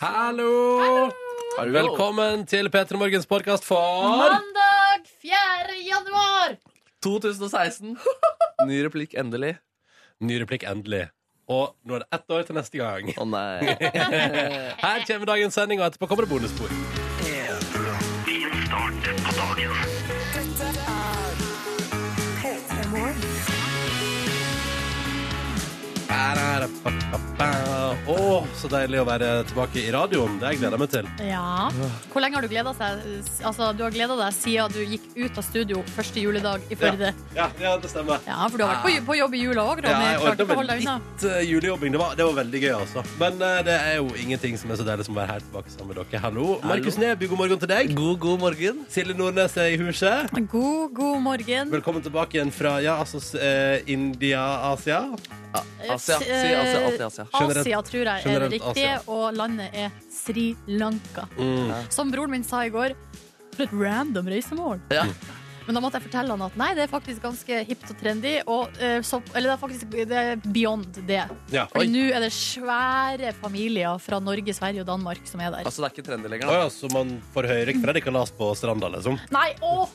Hallo! Velkommen til P3 Morgens podkast for Mandag 4. januar! 2016. Ny replikk, endelig. Ny replikk, endelig. Og nå er det ett år til neste gang. Å nei. Her kommer dagens sending, og etterpå kommer det bonusspor. Å, så deilig å være tilbake i radioen. Det jeg gleder jeg meg til. Ja. Hvor lenge har du gleda deg? Altså, du har gleda deg siden du gikk ut av studio første juledag i Førde. Ja. Ja, ja det stemmer. for du har vært på, ju- på jobb i jula òg, Ronny. Ja, jeg Klarte ordna ikke å vel holde deg unna. litt eh, julejobbing. Det var, det var veldig gøy, altså. Men eh, det er jo ingenting som er så deilig som å være her tilbake sammen med dere. Hallo. Markus Neby, god morgen til deg. God, god morgen. Silje Nordnes er i huset. God, god morgen. Velkommen tilbake igjen fra ja, altså, s- eh, India, Asia. Asia. Si Asia, alltid Asia. Generelt- Asia, tror jeg er det generelt riktige, Asia. og landet er Sri Lanka. Mm. Som broren min sa i går, for et random reisemål. Ja. Men da måtte jeg fortelle han at nei, det er faktisk ganske hipt og trendy, og, eh, så, eller det er faktisk det er beyond det. Ja. For nå er det svære familier fra Norge, Sverige og Danmark som er der. Altså, det er ikke trendy lenger. Å Da. ja, så man får høre predikalas på stranda, liksom. Nei, å!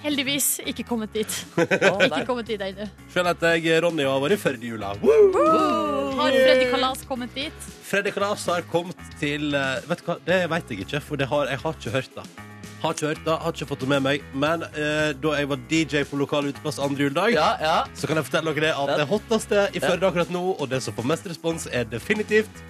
Heldigvis ikke kommet dit. Å, nei. Ikke kommet dit ennå. Selv at jeg, Ronny, har vært i Førdejula. Woo! Har Freddy Kalas kommet dit? Predikalas har kommet til eh, Vet du hva, det vet jeg ikke, for det har, jeg har ikke hørt det. Har ikke hørt det, har ikke fått det med meg. Men eh, da jeg var DJ på lokal uteplass andre juledag, Ja, ja. så kan jeg fortelle dere det at Ja. det hotteste i Ja. Førde akkurat nå, og det som får mest respons, er definitivt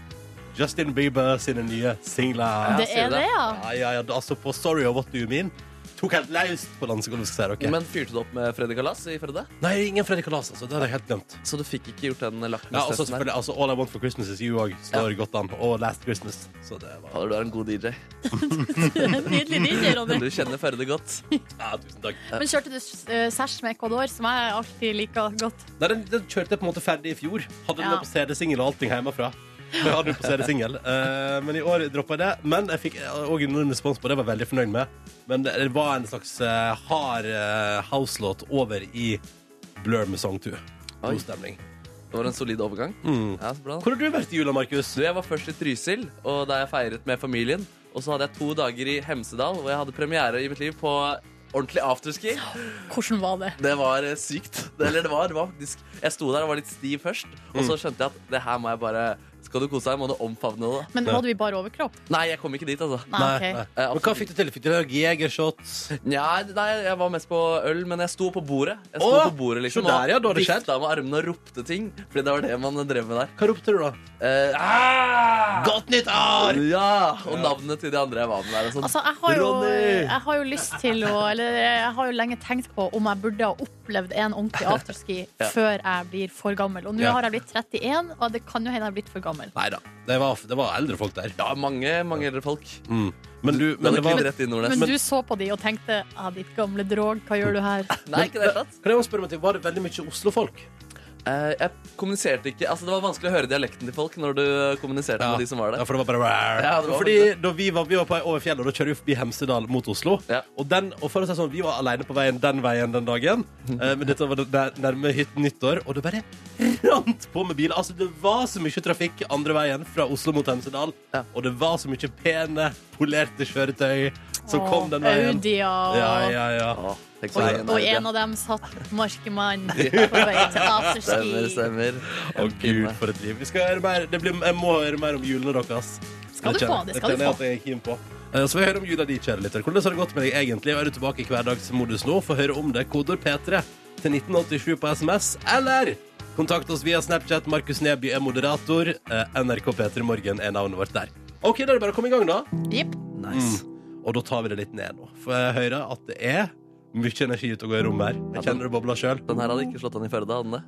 Justin Bieber sine nye singler. Ja, Det sier er du det, det? ja. Ja, ja, ja, altså på Sorry og What Do You Mean Tok helt laust på dansegulvet, skal jeg si dere. Men fyrte du opp med Freddy Kalas i Førde? Nei, ingen Freddy Kalas, altså. Det hadde jeg helt glemt. Så du fikk ikke gjort den Ja, også lakmustesten der? selvfølgelig, altså All I Want For Christmas Is You òg står godt an. Og Last Christmas. Så det var Fader, du er en god DJ. Nydelig DJ, Ronny. Du kjenner Førde godt. Ja, tusen takk. Men kjørte du eh, sæsj med Ecuador, som jeg alltid liker godt? Nei, den, den kjørte jeg på en måte ferdig i fjor. Hadde den Ja. på CD-singel og allting hjemmefra. Jeg hadde den på CD-singel. Eh, men i år droppa jeg det. Men jeg fikk òg en respons på det, var jeg veldig fornøyd med. Men det det var en slags eh, hard eh, house-låt over i Blur med Song 2. Oi. God stemning. Det var en solid overgang. Mm. Ja, så bra. Hvor har du vært i jula, Markus? Du, jeg var først i Trysil, og da jeg feiret med familien. Og så hadde jeg to dager i Hemsedal, hvor jeg hadde premiere i mitt liv på ordentlig afterski. Hvordan var det? Det var eh, sykt. Det, eller det var, det var faktisk Jeg sto der og var litt stiv først, og så skjønte jeg at det her må jeg bare Skal du kose deg, må du omfavne det. Men var du i bar overkropp? Nei, jeg kom ikke dit, altså. Nei, Ah, ok. Men hva fikk du til? Fikk du deg jegershots? Nei, nei, jeg var mest på øl, men jeg sto på bordet. Jeg sto Åh, på bordet liksom så der, ja, da har og det skjedd. vifta med armene og ropte ting. Fordi det var det man drev med der. Hva ropte du, da? Eh, ah! Godt nytt år! Ja, Og navnet til de andre jeg var med der. Og sånn. Altså, jeg har, jo, Ronny! jeg har jo lyst til å Eller jeg har jo lenge tenkt på om jeg burde ha opplevd en ordentlig afterski Ja. før jeg blir for gammel. Og nå Ja. har jeg blitt 31, og det kan jo hende jeg har blitt for gammel. Nei da. Det var, det var eldre folk der. Ja, mange, mange eldre folk. Mm. Men du Men men det det var, rett inn, Nordnes. Men du så på de og tenkte ah, 'ditt gamle drog, hva gjør du her?' Nei, ikke i det hele tatt. Kan jeg også spørre meg til, Var det veldig mye Oslo-folk? Eh, jeg kommuniserte ikke Altså, Det var vanskelig å høre dialekten til folk når du eh, kommuniserte med de som var Ja, der. for det var bare Ja, det var Fordi veldig. da vi var, vi var på vei over fjellet, og da kjører vi forbi Hemsedal mot Oslo. Ja. Og, den, og for å si sånn, Vi var alene på veien den veien den dagen. Eh, men dette var det nær- nærme hytten nyttår, og det bare rant på med biler. Altså, Det var så mye trafikk andre veien fra Oslo mot Hemsedal. Ja. Og det var så mye pene, polerte kjøretøy som kom den Og veien. Audia og Ja, ja, ja. Åh, tenk så Og, veien er og det. en av dem satt Markemann på vei til Stemmer, afterski. stemmer. Å En gud, pinne. for et liv. Vi skal høre mer. Det blir, jeg må høre mer om julene deres. Skal du få, det skal du kjenner jeg få. at jeg er keen på. Eh, Så får jeg høre om jula di, kjære lytter. Hvordan har det gått med deg egentlig? Er du tilbake i hverdagsmodus nå? Få høre om det. Kodord P3 til 1987 på SMS, eller kontakt oss via Snapchat. Markus Neby er moderator. Eh, NRK P3 Morgen er navnet vårt der. OK, da er det bare å komme i gang, da. Jipp. Nice. Og da tar vi det litt ned nå. For jeg hører at det er mye energi ute og går i rommet her. Jeg kjenner det bobler sjøl. Den her hadde ikke slått an i Førde, hadde den det?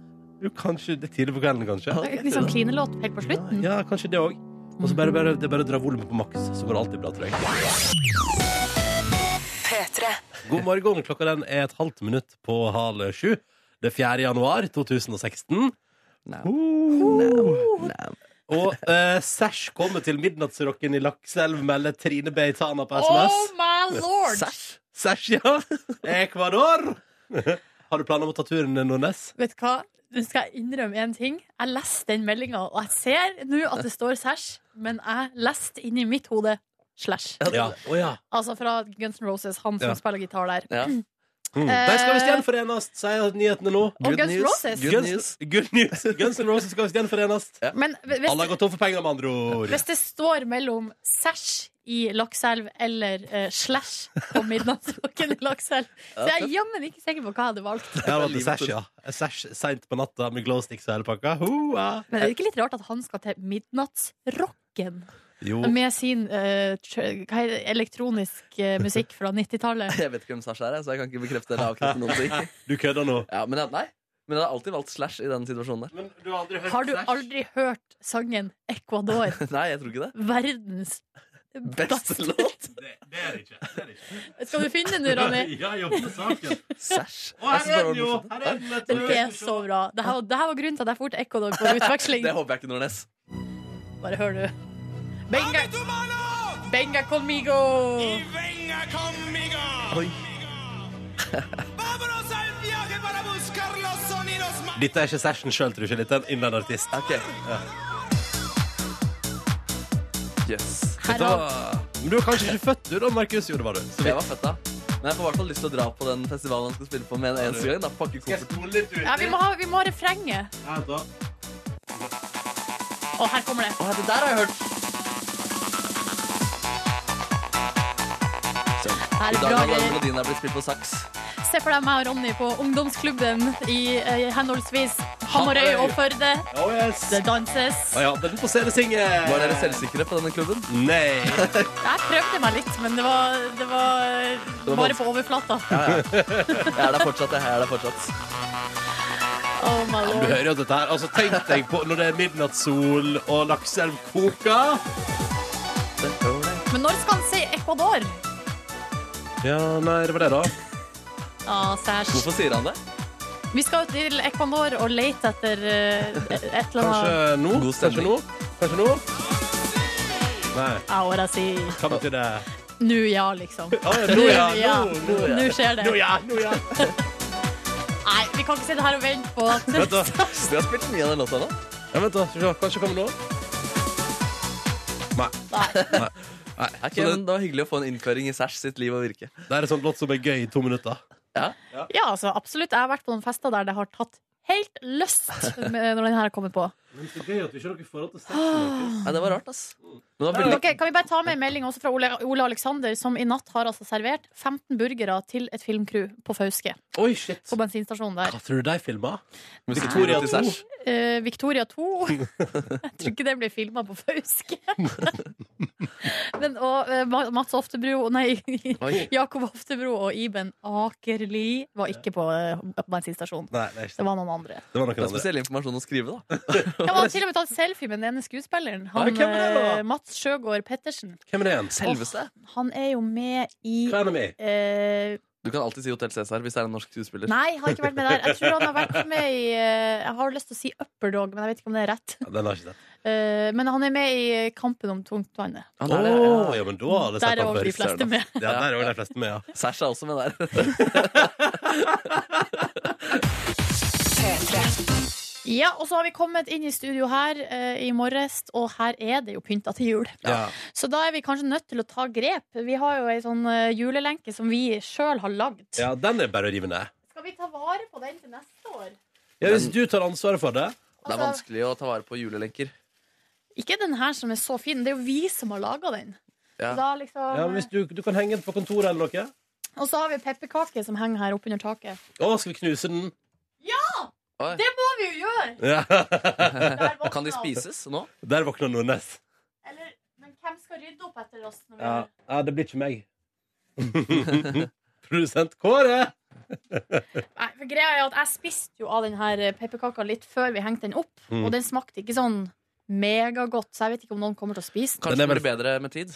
Kanskje det er tidlig på kvelden, kanskje. Litt sånn klinelåt helt på slutten. Ja, kanskje det òg. Og så bare, bare, det er bare å dra volumet på maks, så går det alltid bra, tror jeg. God morgen. Klokka den er et halvt minutt på halv sju. Det er 4. januar 2016. Nei. Uh. Nei. Og eh, Sash kommer til midnattsrocken i Lakselv, melder Trine Beitana på Oh SMS. my lord! Sæsj. Sash, ja. Ecuador. Har du planer om å ta turen, eh, Nordnes? Vet du hva? Nå skal jeg innrømme en ting. Jeg leste den meldinga, og jeg ser nå at det står sæsj, men jeg leste inni mitt hode slash. Ja. Å, ja. Altså fra Guns N' Roses, han som Ja. spiller gitar der. Mm. Ja. De skal visst gjenforenes, sier nyhetene nå. Eh, Og Guns N' Roses. Good news. Good news. Guns N' Roses skal visst gjenforenes. Men hvis, Alle har gått tom for penger, med andre ord. hvis det står mellom sæsj i Lakselv eller eh, slash på Midnattsklokken i Lakselv, så jeg er jammen ikke sikker på hva jeg hadde valgt. Jeg har vært sæsj, ja. Sæsj seint på natta med glowsticks og hele pakka. Hoa. Men er det ikke litt rart at han skal til Midnattsrocken? Jo. Med sin eh, tr- hva heter det, elektronisk eh, musikk fra 90-tallet. Jeg vet ikke hvem Sasha er, jeg, så jeg kan ikke bekrefte eller avkrefte noen ting. Du kødder nå. Ja, men, jeg- nei. men jeg hadde alltid valgt Slash i den situasjonen der. Men du har aldri hørt Har du aldri hørt sangen Ecuador? Nei, jeg tror ikke det. Verdens Beste beste låt. Det, er det ikke. Det er det ikke. Skal du finne den, Ronny? Ja, jobbe med saken. Sæsj. Å, Jeg synes her er den bare det jo! var morsomt. Her er den, vet du. Den er så bra. Dette var, dette var grunnen til at jeg dro til Ecuador på utveksling. Det håper jeg ikke, Nordnes. Bare hør, du. Benga, benga conmigo! venga conmigo. Oi. Vámonos al viaje para buscar los sonidos más. Dette er ikke Sashen sjøl, tror jeg. Litt en innvendt artist. Ok. Yes. Dette Herav. var... Men du var kanskje ikke født, du, da, Markus? Jo, det var du. Så Jeg vidt. var født da. Men jeg får i hvert fall lyst til å dra på den festivalen han skal spille på med en eneste gang. Da pakke kofferten. spole litt ut? Ja, vi må ha, vi må ha refrenget. Ja, da. Og her kommer det. Å, det der har jeg hørt! Så, Her I er dag bra har den greier. melodien der blitt spilt på saks. Se for deg meg og Ronny på ungdomsklubben i eh, henholdsvis Hamarøy og Førde. Oh, yes. Det danses. Å ja, den får se det synge. Var dere selvsikre på denne klubben? Nei. Jeg prøvde meg litt, men det var, det var var bare på overflata. Jeg er der fortsatt. Jeg er der fortsatt. Oh my Du lord. hører jo at dette her Altså, tenk deg på når det er midnattssol og lakseelv koker. Men når skal han si Ecuador? Ja, nei, det var det, da. Ah, sæsj. Hvorfor sier han det? Vi skal jo til Ecuador og lete etter eh, et eller Kanskje annet nå? God Kanskje stemning. nå? Kanskje nå? Nei. Ahora sí. Hva betyr det? Nå ja, liksom. Å, ja, nå, ja. Nå, nå, ja. Nå skjer det. Nå, ja. Nå, ja. Nei, vi kan ikke sitte her og vente på at Vent, da. Vi har spilt mye av den låta nå. Ja, vent da, skal vi se. kanskje kommer nå Nei, Nei. nei, nei. Ok, Så det, men det var hyggelig å få en innføring i Sæsj sitt liv og virke. det er en sånn låt som er gøy i to minutter Ja. Ja, altså, absolutt. Jeg har vært på noen fester der det har tatt helt lyst med- når den her har kommet på. Men så gøy at vi ikke har noe forhold til sexen Nei, det var rart, ass. Men det var veldig... Dere, kan vi bare ta med en melding også fra Ole, Ole Alexander, som i natt har altså servert 15 burgere til et filmcrew på Fauske. Oi, shit På bensinstasjonen der. Hva tror du de filmer? Victoria Victoria 2 to. Eh, Victoria 2. Jeg tror ikke det blir filma på Fauske. Men, og eh, Ma- Mats Oftebro Nei, Oi. Jakob Oftebro og Iben Akerli var ikke på eh, bensinstasjonen. Nei, det er ikke Det var noen andre. Det var noen Det er andre spesiell informasjon å skrive, da. Ja, men han har til og med tatt selfie med den ene skuespilleren. Han, Oi, hvem er det da? eh, Mats Sjøgaard Pettersen. Hvem er det igjen? Selveste. Han er jo med i Hva er det med? eh, Du kan alltid si Hotell Cæsar hvis det er en norsk skuespiller. Nei, har ikke vært med der. Jeg tror han har vært med i eh, Jeg har lyst til å si Upperdog, men jeg vet ikke om det er rett. Ja, Den har jeg ikke sett Eh, men han er med i Kampen om tungtvannet. Han Åh, er det, ja. ja, men da har jeg Der sett er den også før de fleste med. Ja, der er jo de fleste med, ja Sæsj er også med der. Altså- Ja, og så har vi kommet inn i studio her eh, i morges, og her er det jo pynta til jul. Ja, Så da er vi kanskje nødt til å ta grep. Vi har jo ei sånn eh, julelenke som vi sjøl har lagd. ja den er bare å rive ned Skal vi ta vare på den til neste år? Ja, hvis du tar ansvaret for det Det er vanskelig å ta vare på julelenker. Ikke den her som er så fin, det er jo vi som har laga den. Ja. Så Da liksom, eh, Ja, men hvis du, du kan henge den på kontoret eller noe Og så har vi pepperkake som henger her oppunder taket. Åh, skal vi knuse den? Oi. Det må vi jo gjøre! Ja, Der våkner Kan de han. spises nå? der våkner Nordnes Eller, men hvem skal rydde opp etter oss? Når vi Ja, ja det blir ikke meg. Produsent Kåre! Nei, for greia er at Jeg spiste jo av den her eh, pepperkaka litt før vi hengte den opp, Mm. og den smakte ikke sånn megagodt, så jeg vet ikke om noen kommer til å spise den. Den er Kanskje det vel- blir bedre med tid?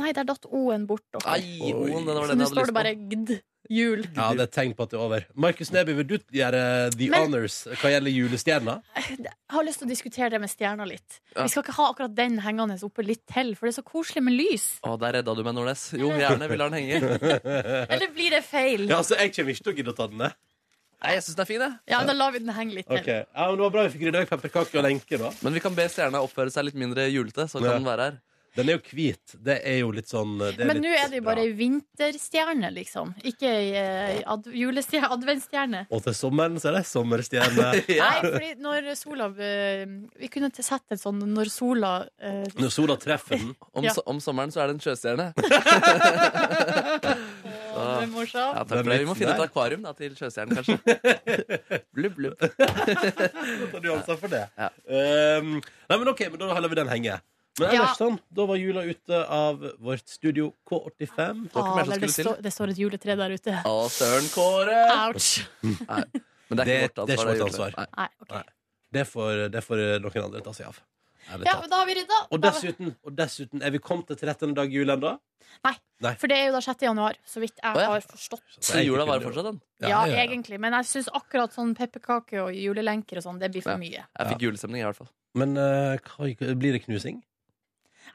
Nei, der datt O-en bort. Og. Ai, Oi. Moen, den var så den jeg nå hadde står det lyst bare på. gd. Jul. Ja, det er tegn på at det er over. Markus Neby, vil du gjøre the Men- honors hva gjelder julestjerna? Jeg har lyst til å diskutere det med stjerna litt. Ja. Vi skal ikke ha akkurat den hengende oppe litt til, for det er så koselig med lys. Å, der redda du meg, Nordnes. Jo, gjerne. Vi lar den henge. Eller blir det feil? Ja, altså, Jeg kommer ikke til å gidde å ta den ned. Nei, jeg syns den er fin, jeg. Ja, da lar vi den henge litt til. Ok, ja, men Det var bra vi fikk rydda vekk pepperkaker og lenker. da Men vi kan be stjerna oppføre seg litt mindre julete, så kan Ja. den være her. Den er jo hvit. Det er jo litt sånn det Men nå litt er det jo bare ei vinterstjerne, liksom. Ikke ei eh, ad julestjerne, adventsstjerne. bra. Og til sommeren så er det sommerstjerne. Ja. Nei, fordi når sola eh, Vi kunne til- sett en sånn når sola eh, Når sola treffer den. Om, Ja. so om sommeren så er det en sjøstjerne. Å, det er morsomt. Ja, takk Den for Ah. det. Vi må vitsen finne et der. akvarium da, til sjøstjernen, kanskje. blubb, blubb. Da tar du ansvar for det. Ja. Um, nei, men OK, men da holder vi den henge. Men Ja. ellers sånn, da var jula ute av vårt studio K85. Det var ikke Ah, mer som der det, skulle til. Ah. står- det står et juletre der ute. Å, søren Kåre! Ouch. Nei. Men det er Det- ikke vårt det er ikke ansvar. vårt egentlig. ansvar. Nei. Nei, ok. Nei. Det får, det får noen andre ta seg av. Ærlig Ja, talt. men da har vi rydda. Og dessuten, og dessuten, er vi kommet til 13. dag jul ennå? For det er jo da 6. januar, så vidt Å, jeg ja. har forstått. Så jula varer fortsatt, den. Ja, egentlig. Men jeg syns akkurat sånn pepperkaker og julelenker og sånn, det blir for Ja. mye. Jeg fikk julestemning, i hvert fall. Men eh, hva, blir det knusing?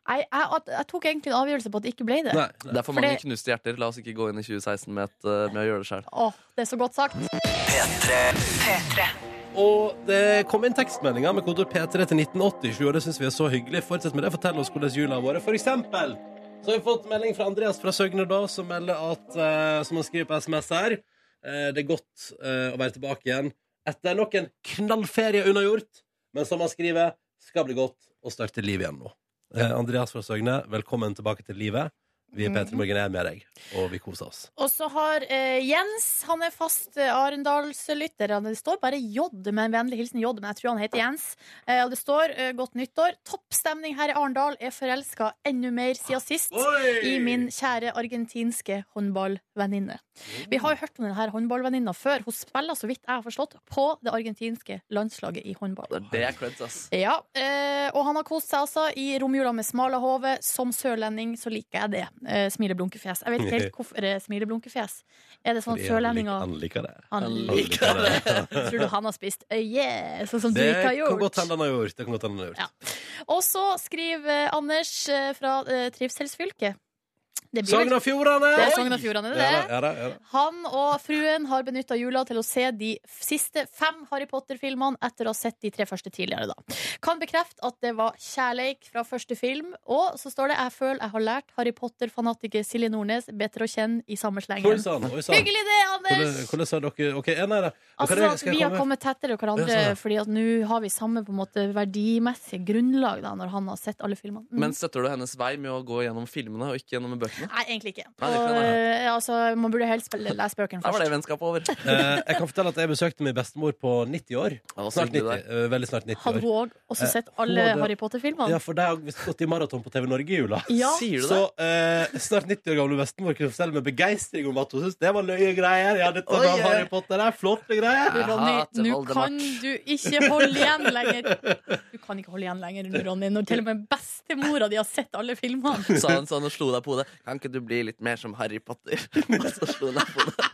Jeg, jeg, at- jeg tok egentlig en avgjørelse på at det ikke ble det. Nei. Det er for For mange det- knuste hjerter. La oss ikke gå inn i 2016 med, et, eh, med å gjøre det sjøl. Åh, det er så godt sagt. Og det kom inn tekstmeldinger med kodord P3 til 1987, og det syns vi er så hyggelig. Fortsett med det. Fortell oss hvordan jula har vært. For eksempel så har vi fått melding fra Andreas fra Søgne, da, som melder at, eh, som han skriver på SMS her, eh, det er godt eh, å være tilbake igjen etter nok en knallferie unnagjort, men som han skriver, skal bli godt å starte livet igjen nå. Eh, Andreas fra Søgne, velkommen tilbake til livet. Vi i P3 Morgen er med deg, og vi koser oss. Og så har eh, Jens, han er fast eh, Arendalslytter. Han- Det står bare J med en vennlig hilsen J, men jeg tror han heter Jens. Eh, og det står eh, 'Godt nyttår'. Topp stemning her i Arendal. Er forelska enda mer siden sist. I min kjære argentinske håndballvenninne. Vi har jo hørt om denne håndballvenninna før. Hun spiller, så vidt jeg har forstått, på det argentinske landslaget i håndball. Det er creds, ass. Ja, eh, og han har kost seg altså i romjula med smalahove. Som sørlending så liker jeg det. Eh, smileblunkefjes. Jeg vet ikke helt hvorfor det er smileblunkefjes. Er det sånn at Fordi han lik- sørlendinger Han liker det. han Han liker liker det. Tror du han har spist øye, sånn som du Det ikke har kan godt gjort? hende han har gjort. Det kan godt hende han har gjort. Ja. Og så skriver eh, Anders eh, fra eh, trivselsfylket. Det blir vel Sogn og Fjordane! Det er Sogn og Fjordane, det er Ja, det. da, ja, da, ja, da. Han og fruen har benytta jula til å se de siste fem Harry Potter-filmene etter å ha sett de tre første tidligere. Da. Kan bekrefte at det var kjærleik fra første film. Og så står det 'Jeg føler jeg har lært Harry Potter-fanatiker Silje Nordnes bedre å kjenne i samme Oi slengen'. sann, oi sann. Hyggelig det, Hvordan Anders! hvordan sa dere OK, ja, nei, nei. Men Altså, kan jeg- at skal vi jeg har komme? kommet tettere hverandre, Ja, sånn, ja. fordi at nå har vi samme på en måte verdimessige grunnlag da, når han har sett alle filmene. Mm. Men støtter du hennes vei med å gå gjennom filmene og ikke gjennom bøkene? Nei, egentlig ikke. Nei, det Og, kan jeg. eh, altså, man burde helst spille- lese bøkene Der var først. det vennskapet over. Eh, jeg kan fortelle at jeg besøkte min bestemor på 90 år. Å, så Snart hyggelig 90, det er. eh, veldig snart 90 Hadde år. hun òg også sett alle hun hadde- Harry Potter-filmene? Ja, for de har visst gått i maraton på TV Norge i jula. Ja. Sier du det? Så eh, snart 90 år gamle bestemor kunne fortelle med begeistring om at hun syntes det var løye greier. Ja, dette Oi, var eh. Harry Potter, det er flotte greier. Jeg Ronny, hater nå Voldemort. kan du ikke holde igjen lenger. Du kan ikke holde igjen lenger, nå, Ronny, når til og med bestemora di har sett alle filmene. Sa han sånn og slo deg på hodet. Kan ikke du bli litt mer som Harry Potter? Og så slo han deg på hodet.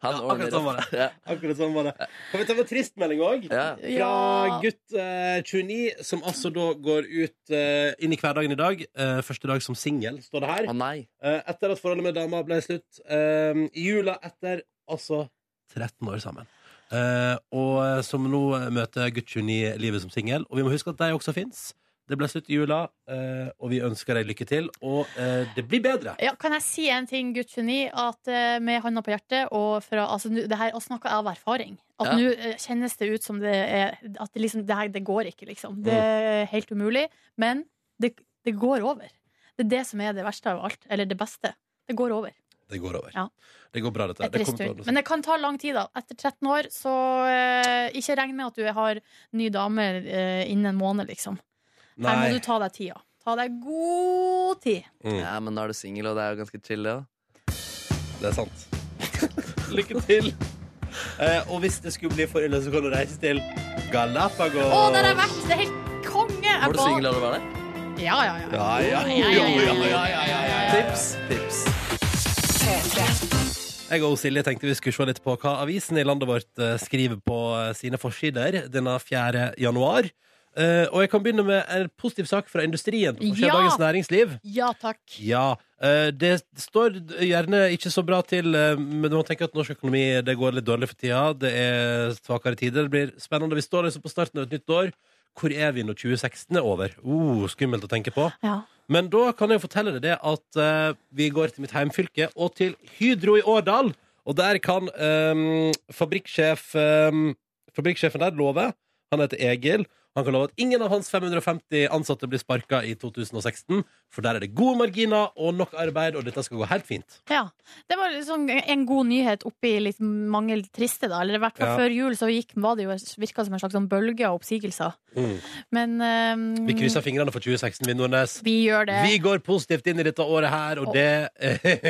Han Ja, akkurat ordner sånn var opp. Ja. Akkurat sånn var det. Kan vi ta en tristmelding òg? Ja. Fra gutt eh, 29, som altså da går ut eh, inn i hverdagen i dag. Eh, første dag som singel, står det her. Å nei. Eh, etter at forholdet med dama ble slutt. eh, I jula etter altså 13 år sammen. Eh, og eh, som nå eh, møter gutt 29 livet som singel. Og vi må huske at de også fins. Det ble slutt i jula, eh, og vi ønsker deg lykke til. Og eh, det blir bedre. Ja, kan jeg si en ting, gutt 29, at eh, med handa på hjertet og fra, altså, nu- det her og snakker jeg av erfaring. At Ja. nå eh, kjennes det ut som det er At det liksom, det her det går ikke, liksom. Det Mm. er helt umulig. Men det, det går over. Det er det som er det verste av alt. Eller det beste. Det går over. Det går over. Ja. Det går bra, dette. her. Etter Det en kommer til å stund. ordne seg. Men det kan ta lang tid, da. Etter 13 år, så eh, ikke regn med at du har ny dame eh, innen en måned, liksom. Her må Nei. du ta deg tida. Ta deg god tid. Mm. Ja, men nå er du singel, og det er jo ganske chill, det. da. Det er sant. Lykke til. Eh, og hvis det skulle bli for ille, så kan du reise til Galapagos. Å, der har jeg vært! Det er helt konge! Jeg Var du ba- singel da du var der? Ja, ja, ja. Ja, ja, Ja, ja, ja, ja, Tips, tips. Jeg og Silje tenkte vi skulle se litt på hva avisen i landet vårt eh, skriver på eh, sine forsider denne 4. januar. Eh, og jeg kan begynne med en positiv sak fra industrien på Ja! Dagens Næringsliv. Ja takk. Ja, eh, det står gjerne ikke så bra til, eh, men man tenker at norsk økonomi det går litt dårlig for tida. Det er svakere tider. Det blir spennende. Vi står liksom på starten av et nytt år. Hvor er vi når 2016 er over? Uh, skummelt å tenke på. Ja. Men da kan jeg jo fortelle deg det at eh, vi går til mitt heimfylke og til Hydro i Årdal. Og der kan ehm, fabrikksjef ehm, Fabrikksjefen der love. Han heter Egil. Han kan love at ingen av hans 550 ansatte blir sparka i 2016. For der er det gode marginer og nok arbeid, og dette skal gå helt fint. Ja. Det var liksom en god nyhet oppi litt mange triste, da. Eller i hvert fall Ja. før jul så gikk, var det jo, virka som en slags sånn bølge av oppsigelser. Men eh, Mm. Vi krysser fingrene for 2016, vi, Nordnes. vi eh, gjør det. Vi går positivt inn i dette året her, og det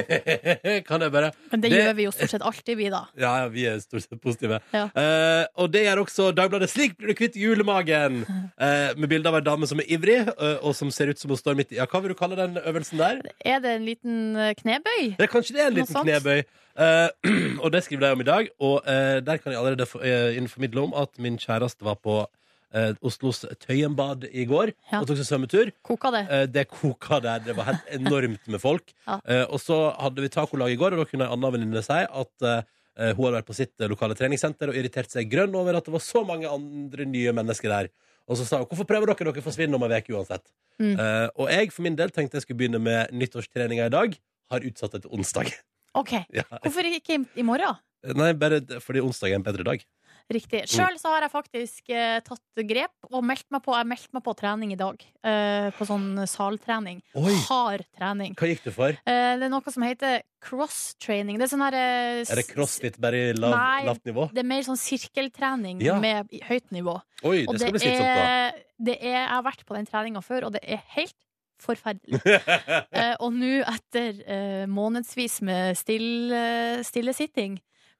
kan jeg bare Men det, det- gjør vi jo stort sett alltid, vi, da. Ja, ja, vi er stort sett positive. Ja. Eh, og det gjør også Dagbladet. Slik blir du kvitt julemagen! Eh, med bilde av ei dame som er ivrig, eh, og som ser ut som hun står midt i Ja, hva vil du kalle den øvelsen der? Er det en liten eh, knebøy? Det er kanskje det er en Noe liten sånt. knebøy. Eh, og det skriver de om i dag, og eh, der kan jeg allerede for, eh, informidle om at min kjæreste var på eh, Oslos Tøyenbad i går Ja. og tok seg svømmetur. Koka det? Eh, Det koka der. Det var helt enormt med folk. Ja. Eh, Og så hadde vi tacolag i går, og da kunne en annen venninne si at eh, eh, hun hadde vært på sitt eh, lokale treningssenter og irritert seg grønn over at det var så mange andre nye mennesker der. Og så sa hun hvorfor prøver dere? Dere forsvinner om en uke uansett. Mm. Eh, og jeg for min del tenkte jeg skulle begynne med nyttårstreninga i dag. Har utsatt det til onsdag. OK. ja. Hvorfor ikke i, i morgen? Nei, bare d- fordi onsdag er en bedre dag. Riktig. Mm. Sjøl så har jeg faktisk eh, tatt grep og meldt meg på. Jeg meldte meg på trening i dag. eh, på sånn saltrening. Oi. Hard trening. Hva gikk du for? Eh, det er noe som heter cross-training. Det er sånn her eh, Er det crossfit bare i lav, Nei. lavt nivå? Det er mer sånn sirkeltrening Ja. med høyt nivå. Oi, det skal bli slitsomt, da. er, det er Jeg har vært på den treninga før, og det er helt forferdelig. Eh, og nå, etter eh, månedsvis med still, eh, stillesitting,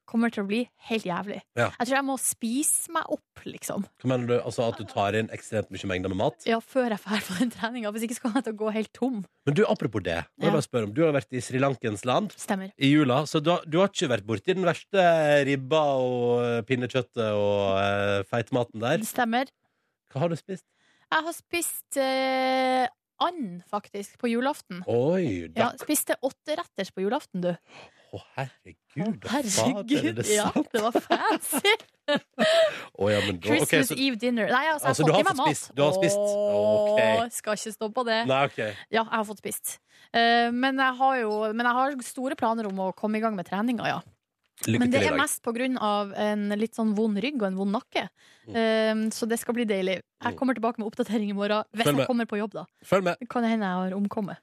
kommer det til å bli helt jævlig. Ja. Jeg tror jeg må spise meg opp, liksom, Hva mener du? Altså at du tar inn ekstremt mye mengder med mat? ja, før jeg drar på den treninga. Hvis ikke så kommer jeg til å gå helt tom. Men du, apropos det, må jeg Ja. bare spørre om Du har vært i Sri Lankens land Stemmer. i jula, så du har, du har ikke vært borti den verste ribba og eh, pinnekjøttet og eh, feitmaten der. Det stemmer. Hva har du spist? Jeg har spist eh, and, faktisk, på julaften. Oi, Ja, da. spiste åtteretters på julaften, du. Å, herregud. da fader, er Herregud, det ja, sant? det var fancy! Å, ja, men da, ok, Christmas så- Eve dinner. Nei, altså, Altså, jeg du har har fått i meg fått mat. spist. Du har spist. Åh, Ok. Skal ikke stå på det. Nei, ok. Ja, jeg har fått spist. Eh, men, jeg har jo, men jeg har store planer om å komme i gang med treninga, ja. Lykke Men det til i er dag. mest på grunn av en litt sånn vond rygg og en vond nakke. Mm. Eh, så det skal bli deilig. Jeg kommer tilbake med oppdatering i morgen, hvis Følg med. jeg kommer på jobb, da. Følg med. Det kan hende jeg har omkommet.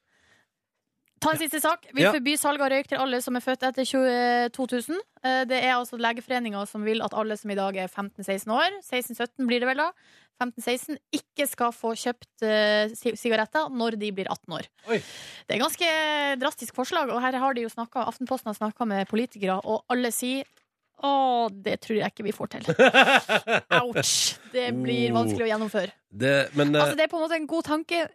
Ta en siste sak. Vil Ja. forby salg av røyk til alle som er født etter 20 2000. Eh, Det er altså Legeforeninga som vil at alle som i dag er 15-16 år, 16-17 blir det vel da, 15-16, ikke skal få kjøpt eh, si- sigaretter når de blir 18 år. Oi. Det er ganske drastisk forslag, og her har de jo snakket, Aftenposten har snakka med politikere, og alle sier å, det tror jeg ikke vi får til. Ouch! Det blir Oh. vanskelig å gjennomføre. Det, men, eh, Altså, det er på en måte en god tanke.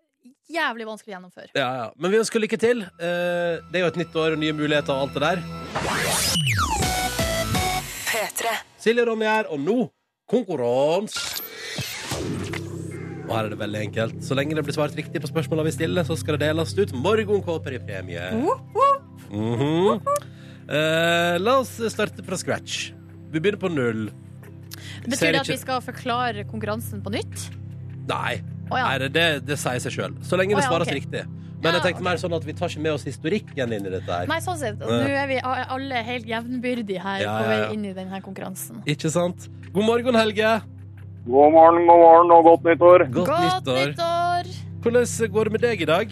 Jævlig vanskelig å gjennomføre. ja, ja. men vi ønsker lykke til. Eh, det er jo et nytt år og nye muligheter og alt det der. Silje og Ronny her, og nå konkurranse. Og her er det veldig enkelt. Så lenge det blir svart riktig på spørsmålene vi stiller, så skal det deles ut morgenkåper i premie. Mhm. Eh, la oss starte fra scratch. Vi begynner på null. Ser Betyr det at ikke- vi skal forklare konkurransen på nytt? Nei, Å ja. Nei det, det, det sier seg sjøl. Så lenge det Å ja, svares ok. riktig. Men Ja, jeg tenkte mer sånn at vi tar ikke med oss historikken inn i dette her. Nei, sånn sett. Nå Nei. er vi a- alle helt jevnbyrdige her Ja, på ja, ja. vei inn i denne konkurransen. Ikke sant? God morgen, Helge. God morgen, god morgen og godt nyttår. Godt, nyttår. nyttår! Hvordan går det med deg i dag?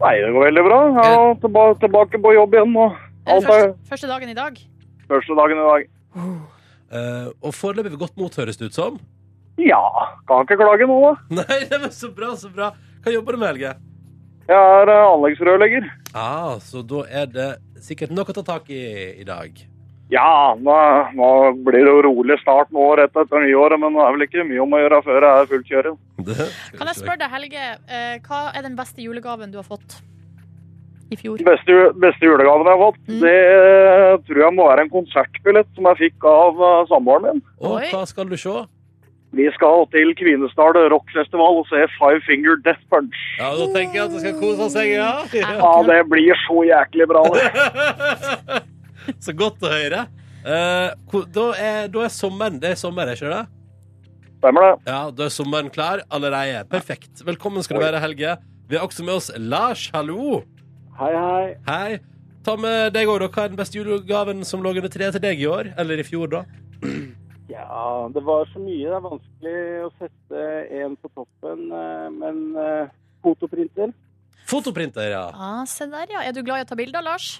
Nei, det går veldig bra. Jeg er tilba tilbake på jobb igjen Er nå. det Alt er første, første dagen i dag? første dagen i dag. Eh, og foreløpig godt mot, høres det ut som. Ja, kan ikke klage nå, da. Nei, det var så bra, så bra. Hva jobber du med, Helge? Jeg er eh, anleggsrørlegger. Ah, så da er det sikkert nok å ta tak i i dag. Ja, nå, nå blir det jo rolig snart nå rett etter nyåret, men det er vel ikke mye om å gjøre før jeg er fullt kjøring. Kan jeg spørre deg, Helge, eh, hva er den beste julegaven du har fått i fjor? Beste, ju- beste julegaven jeg har fått, Mm. det eh, tror jeg må være en konsertbillett som jeg fikk av eh, samboeren min. Og Oi. hva skal du se? Vi skal til Kvinesdal rockfestival og se Five Finger Death Punch. Ja, Da tenker jeg at det skal kose seg, ja. Ja, det blir så jæklig bra. det. Så godt å høre. Eh, hvor- da, er, da er sommeren Det er sommer, ikke det? Stemmer det? Ja, da er sommeren klar allerede. Perfekt. Velkommen skal du Oi. være, Helge. Vi har også med oss Lars. Hallo. Hei, hei. Hei. Ta med deg òg, da. Hva er den beste julegaven som lå under treet til deg i år? Eller i fjor, da? Ja, det var så mye. Det er vanskelig å sette en på toppen, eh, men eh, fotoprinter Fotoprinter, ja. Ah, se der, ja. Er du glad i å ta bilder, Lars?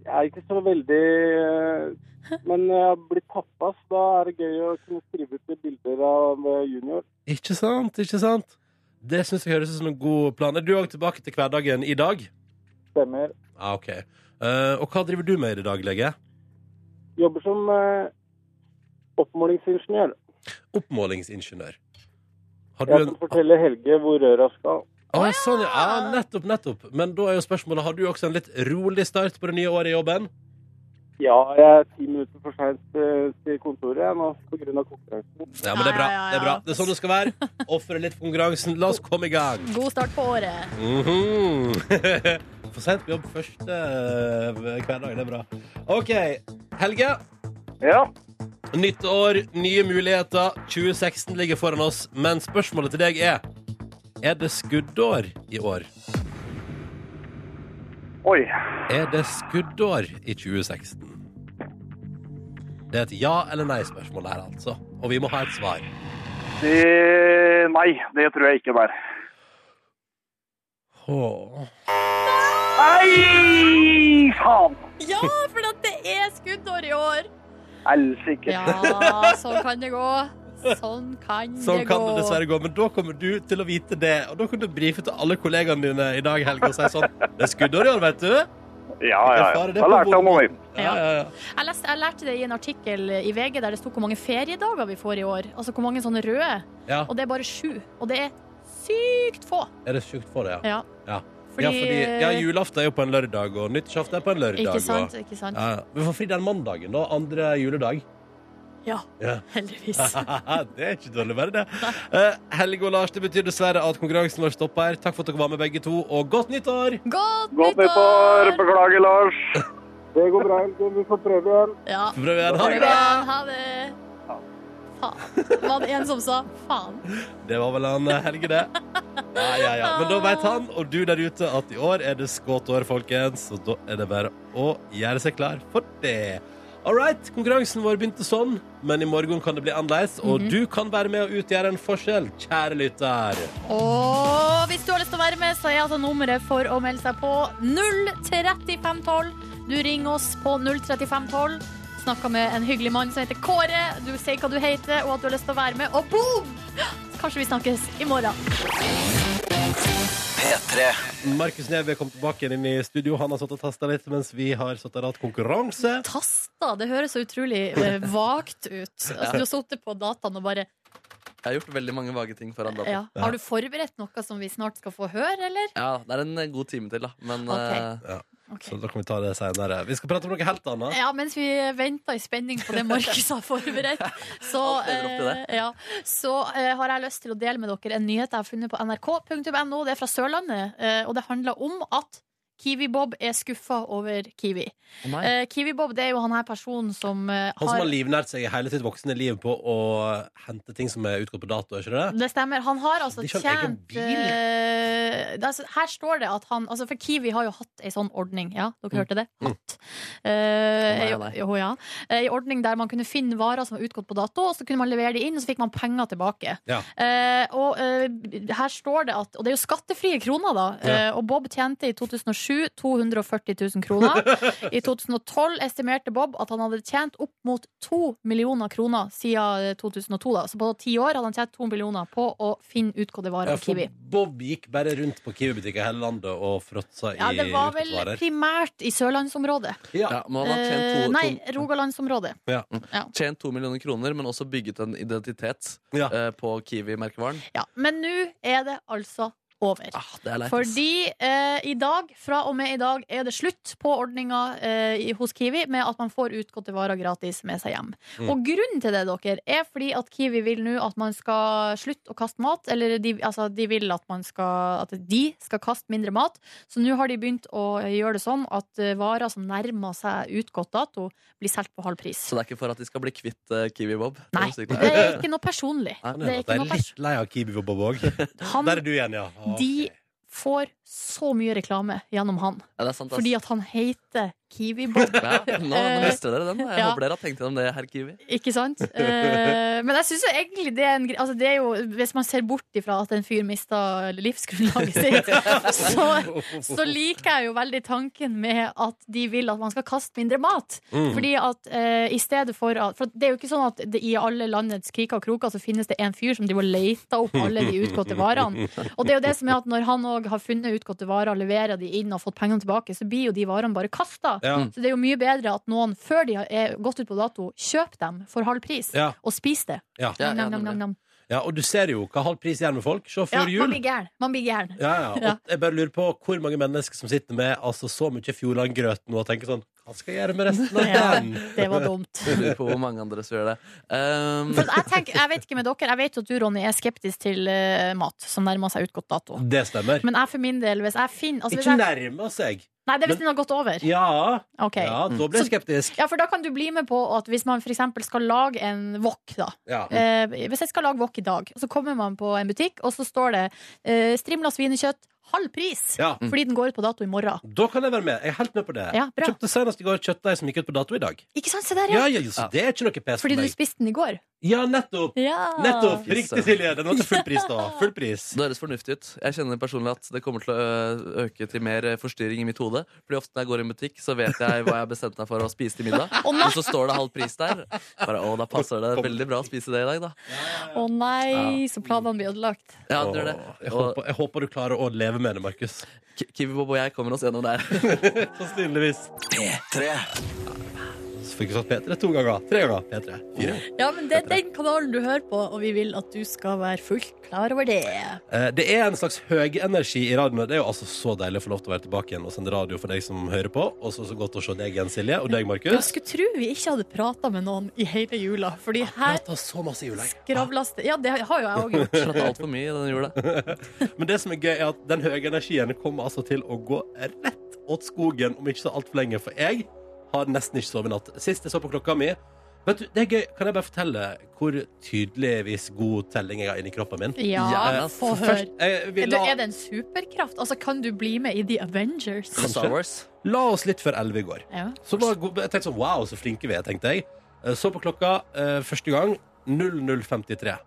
Jeg er ikke så veldig eh, Men jeg har blitt pappa, så da er det gøy å kunne skrive ut litt bilder av eh, junior. Ikke sant, ikke sant? Det syns jeg høres ut som en god plan. Er du òg tilbake til hverdagen i dag? Stemmer. Ja, OK. Eh, og hva driver du med i det daglige? Jobber som eh, oppmålingsingeniør. Oppmålingsingeniør. Har du Jeg en kan fortelle Helge hvor røra skal. Å, sånn, ja. ja, nettopp, nettopp. Men da er jo spørsmålet, har du også en litt rolig start på det nye året i jobben? Ja, jeg er ti minutter for seint til kontoret jeg nå pga. konkurransen. Ja, men det er bra. Ja, ja, ja. Det er bra. Det er sånn det skal være. Ofre litt for konkurransen. La oss komme i gang. God start på året. Mhm. for sent på jobb første eh, hverdag. Det er bra. OK. Helge. Ja. Nytt år, nye muligheter. 2016 ligger foran oss. Men spørsmålet til deg er Er det skuddår i år? Oi. Er det skuddår i 2016? Det er et ja- eller nei-spørsmål her, altså. Og vi må ha et svar. Det... Nei, det tror jeg ikke det er. Åh. Nei, faen! Ja, for at det er skuddår i år! Helsike. Ja, sånn kan det gå. Sånn kan Sånn det kan gå. det dessverre gå, men da kommer du til å vite det. Og da kan du brife til alle kollegaene dine i dag, Helge, og si sånn Det er skuddår i år, vet du. Ja, ja, ja. Erfare det Da på lærte jeg noe nytt. Ja, ja, ja. Jeg, leste, jeg lærte det i en artikkel i VG der det sto hvor mange feriedager vi får i år. Altså hvor mange sånne røde. ja. Og det er bare sju. Og det er sykt få. Er det sjukt for det, ja? Ja. Ja. Fordi, eh, ja, fordi, ja, julaften er jo på en lørdag, og nyttårsaften er på en lørdag. Ikke og- sant? Ikke sant? Ja, ja. Vi får fri den mandagen, da. Andre juledag. Ja, Ja. heldigvis. det er ikke dårlig, bare det. Eh, Helge og Lars, det betyr dessverre at konkurransen vår stopper her. Takk for at dere var med, begge to, og godt nytt år! Godt, Godt nyttår. nyttår! Beklager, Lars. Det går bra, Helge. Vi får prøve igjen. Ja. Prøv igjen. Ha Prøv det bra! igjen. Ha det. Faen. Var det en som sa faen? Det var vel han eh, Helge, det. Ja, ja, ja. Men da veit han, og du der ute, at i år er det skåtår, folkens. Og da er det bare å gjøre seg klar for det. All right, konkurransen vår begynte sånn, men i morgen kan det bli annerledes. Og du kan være med og utgjøre en forskjell, kjære lytter. Og hvis du har lyst til å være med, så er altså nummeret for å melde seg på 03512. Du ringer oss på 03512. Snakker med en hyggelig mann som heter Kåre. Du sier hva du heter, og at du har lyst til å være med. Og boom! Kanskje vi snakkes i morgen. Markus Neby kom tilbake inn i studio. Han har satt og tasta litt mens vi har satt og hatt konkurranse. Tasta, det høres så utrolig eh, vagt ut. Altså, du har sittet på dataen og bare Jeg har gjort veldig mange vage ting foran dataen. ja. Har du forberedt noe som vi snart skal få høre, eller? Ja, det er en eh, god time til, da. Men Ok. Eh, eh, Så da kan vi ta det senere. Vi skal prate om noe helt annet. Ja, mens vi venter i spenning på det Markus har forberedt, så, Alt lever opp til det. eh, ja, så eh, har jeg lyst til å dele med dere en nyhet jeg har funnet på nrk.no. Det er fra Sørlandet, eh, og det handler om at Kiwi-Bob er skuffa over Kiwi. å nei. Eh, Kiwi-Bob det er jo han her personen som eh, Han som har livnært seg i hele sitt voksne liv på å hente ting som er utgått på dato, er ikke det? Det stemmer. Han har altså De kjøpte egen tjent bil. eh, det er altså- Her står det at han altså For Kiwi har jo hatt ei sånn ordning. Ja, dere Mm. hørte det? Hatt. Eh, Å nei, å nei. jo, ja. Ei ordning der man kunne finne varer som var utgått på dato, og så kunne man levere de inn, og så fikk man penger tilbake. Ja. Eh, og eh, her står det at Og det er jo skattefrie kroner, da. Ja. Eh, og Bob tjente i 2007 240 000 kroner. I 2012 estimerte Bob at han hadde tjent opp mot 2 millioner kroner siden eh, 2002. Da. Så på ti år hadde han tjent 2 millioner på å finne utgåtte varer Ja, på Kiwi. for Bob gikk bare rundt på Kiwi-butikker i hele landet og fråtsa Ja, det var i vel utgått varer. primært i sørlandsområdet. Ja. ja, men han har tjent Eh, to, nei, to, Rogalandsområdet. tjent to millioner kroner, men også bygget en identitet Ja. eh, på Kiwi-merkevaren. Ja. Men nå er det altså over. Ah, det er leit. ass. Fordi eh, i dag, fra og med i dag, er det slutt på ordninga eh, i- hos Kiwi med at man får utgåtte varer gratis med seg hjem. Mm. Og grunnen til det, dere, er fordi at Kiwi vil nå at man skal slutte å kaste mat. Eller de, altså, de vil at man skal At de skal kaste mindre mat. Så nå har de begynt å gjøre det sånn at eh, varer som nærmer seg utgått dato, blir solgt på halv pris. Så det er ikke for at de skal bli kvitt eh, Kiwi Bob? Nei, Det er det sykt. er ikke noe personlig. Nei, Det er Jeg ikke er noe pers litt lei av Kiwi og Bob òg. Han Der er du igjen, ja. Ah, ok. De- får så mye reklame gjennom han, Ja, det er sant, ass. fordi at han heter Kiwi-Bob. ja, nå, nå mister dere den. da. Jeg Eh, Ja. håper dere har tenkt gjennom det, herr Kiwi. Ikke sant? Eh, men jeg syns egentlig det er en gre- altså det er jo, Hvis man ser bort ifra at en fyr mista livsgrunnlaget sitt, så, så liker jeg jo veldig tanken med at de vil at man skal kaste mindre mat. Mm. Fordi at eh, i stedet for at For det er jo ikke sånn at det, i alle landets kriker og kroker så finnes det en fyr som driver og leter opp alle de utgåtte varene. Og det er jo det som er at når han òg har funnet utgåtte varer, leverer de inn og fått pengene tilbake, så blir jo de varene bare kasta. Ja. Så det er jo mye bedre at noen, før de er gått ut på dato, kjøper dem for halv pris. Ja. Og spiser det. Ja. Ja, ja, nam, nam, nam, nam. ja, og du ser jo hva halv pris gjør med folk. Se Ja, før man jul. blir gæren. Man blir gæren. Ja, ja. Og Ja. jeg bare lurer på hvor mange mennesker som sitter med altså, så mye Fjordland-grøt nå og tenker sånn Hva skal jeg gjøre med resten av Ja, den? det var dumt. Jeg lurer på hvor mange andre som gjør det. Um, For jeg, tenker, jeg vet ikke med dere, jeg vet jo at du, Ronny, er skeptisk til eh, mat som nærmer seg utgått dato. Det stemmer. Men jeg for min del, hvis jeg finner altså, hvis Mm. Ikke jeg, nærmer seg. Nei, det er hvis den har gått over. Ja, Ok. ja da ble jeg skeptisk. Ja, for da kan du bli med på at hvis man f.eks. skal lage en wok, da. Ja. Eh, hvis jeg skal lage wok i dag, så kommer man på en butikk, og så står det eh, strimla svinekjøtt halv pris. Ja. Mm. Fordi den går ut på dato i morgen. Da kan jeg være med. Jeg er helt med på det. Ja, bra. Kjøpte senest i går kjøttdeig som gikk ut på dato i dag. Ikke sant, se der, ja. Ja, ja, så det er ikke noe pes Fordi for du meg. spiste den i går. Ja, nettopp! Ja. Nettopp! Yes, Riktig, sir. Silje. Den var til full pris, da. Full pris. det høres fornuftig ut. Jeg kjenner personlig at det kommer til å ø- øke til mer ø, forstyrring i mitt hode. Fordi ofte når jeg går i en butikk, så vet jeg hva jeg har bestemt meg for å spise til middag. Å, nei. Og så står det halv pris der. Bare, å, da passer det veldig bra å spise det i dag, da. Å nei, så planene blir ødelagt. Ja, det gjør det. Åh, Jeg, Og håper, jeg håper du klarer å leve med det, Markus. Ki- Kiwi Bob og jeg kommer oss gjennom der. Sannsynligvis. Så fikk vi sagt P3 to ganger. Tre ganger. P3. Fire. Ja, men det er den kanalen du hører på, og vi vil at du skal være fullt klar over det. Eh, Det er en slags høyenergi i radioen. Det er jo altså så deilig å få lov til å være tilbake igjen og sende radio for deg som hører på. Og så så godt å se deg igjen, Silje. Og deg, Jeg Markus. skulle tro vi ikke hadde prata med noen i hele jula, fordi her Prata så masse jul, jeg. skravles det. Ja, det har jo jeg òg gjort. Slått altfor mye i denne jula. Men det som er gøy, er at den høye energien kommer altså til å gå rett åt skogen om ikke så altfor lenge. For jeg har nesten ikke sovet i natt. Sist jeg så på klokka mi Vet du, det er gøy. Kan jeg bare fortelle hvor tydeligvis god telling jeg har inni kroppen min? Ja, Gjerne. få høre. Først, eh, vi Er, du, la, er det en superkraft? Altså, kan du bli med i The Avengers? Star Wars. la oss litt før elleve i går. Ja. Så var jeg, god- jeg tenkte sånn, wow, så flinke vi er, tenkte jeg. Eh, Så på klokka eh, første gang 00.53.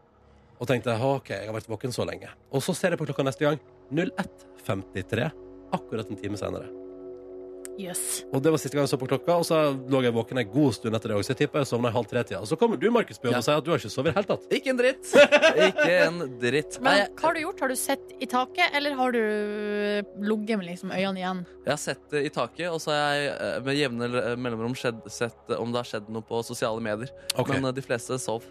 Og tenkte jeg, ok, jeg har vært våken så lenge. Og så ser jeg på klokka neste gang 01.53. Akkurat en time senere. Jøss. Og det var siste gang jeg så på klokka, og så lå jeg våken en god stund etter det også. Så jeg tipper jeg sovna i halv tre-tida. Og så kommer du, Markus Bjørn, Ja. og sier at du har ikke sovet i det hele tatt. Ikke en dritt. Ikke en dritt. Nei, Men jeg- hva har du gjort? Har du sett i taket, eller har du ligget med liksom øynene igjen? Jeg har sett det i taket, og så har jeg eh, med jevne eh, mellomrom skjedd, sett eh, om det har skjedd noe på sosiale medier. Ok. Men eh, de fleste sov.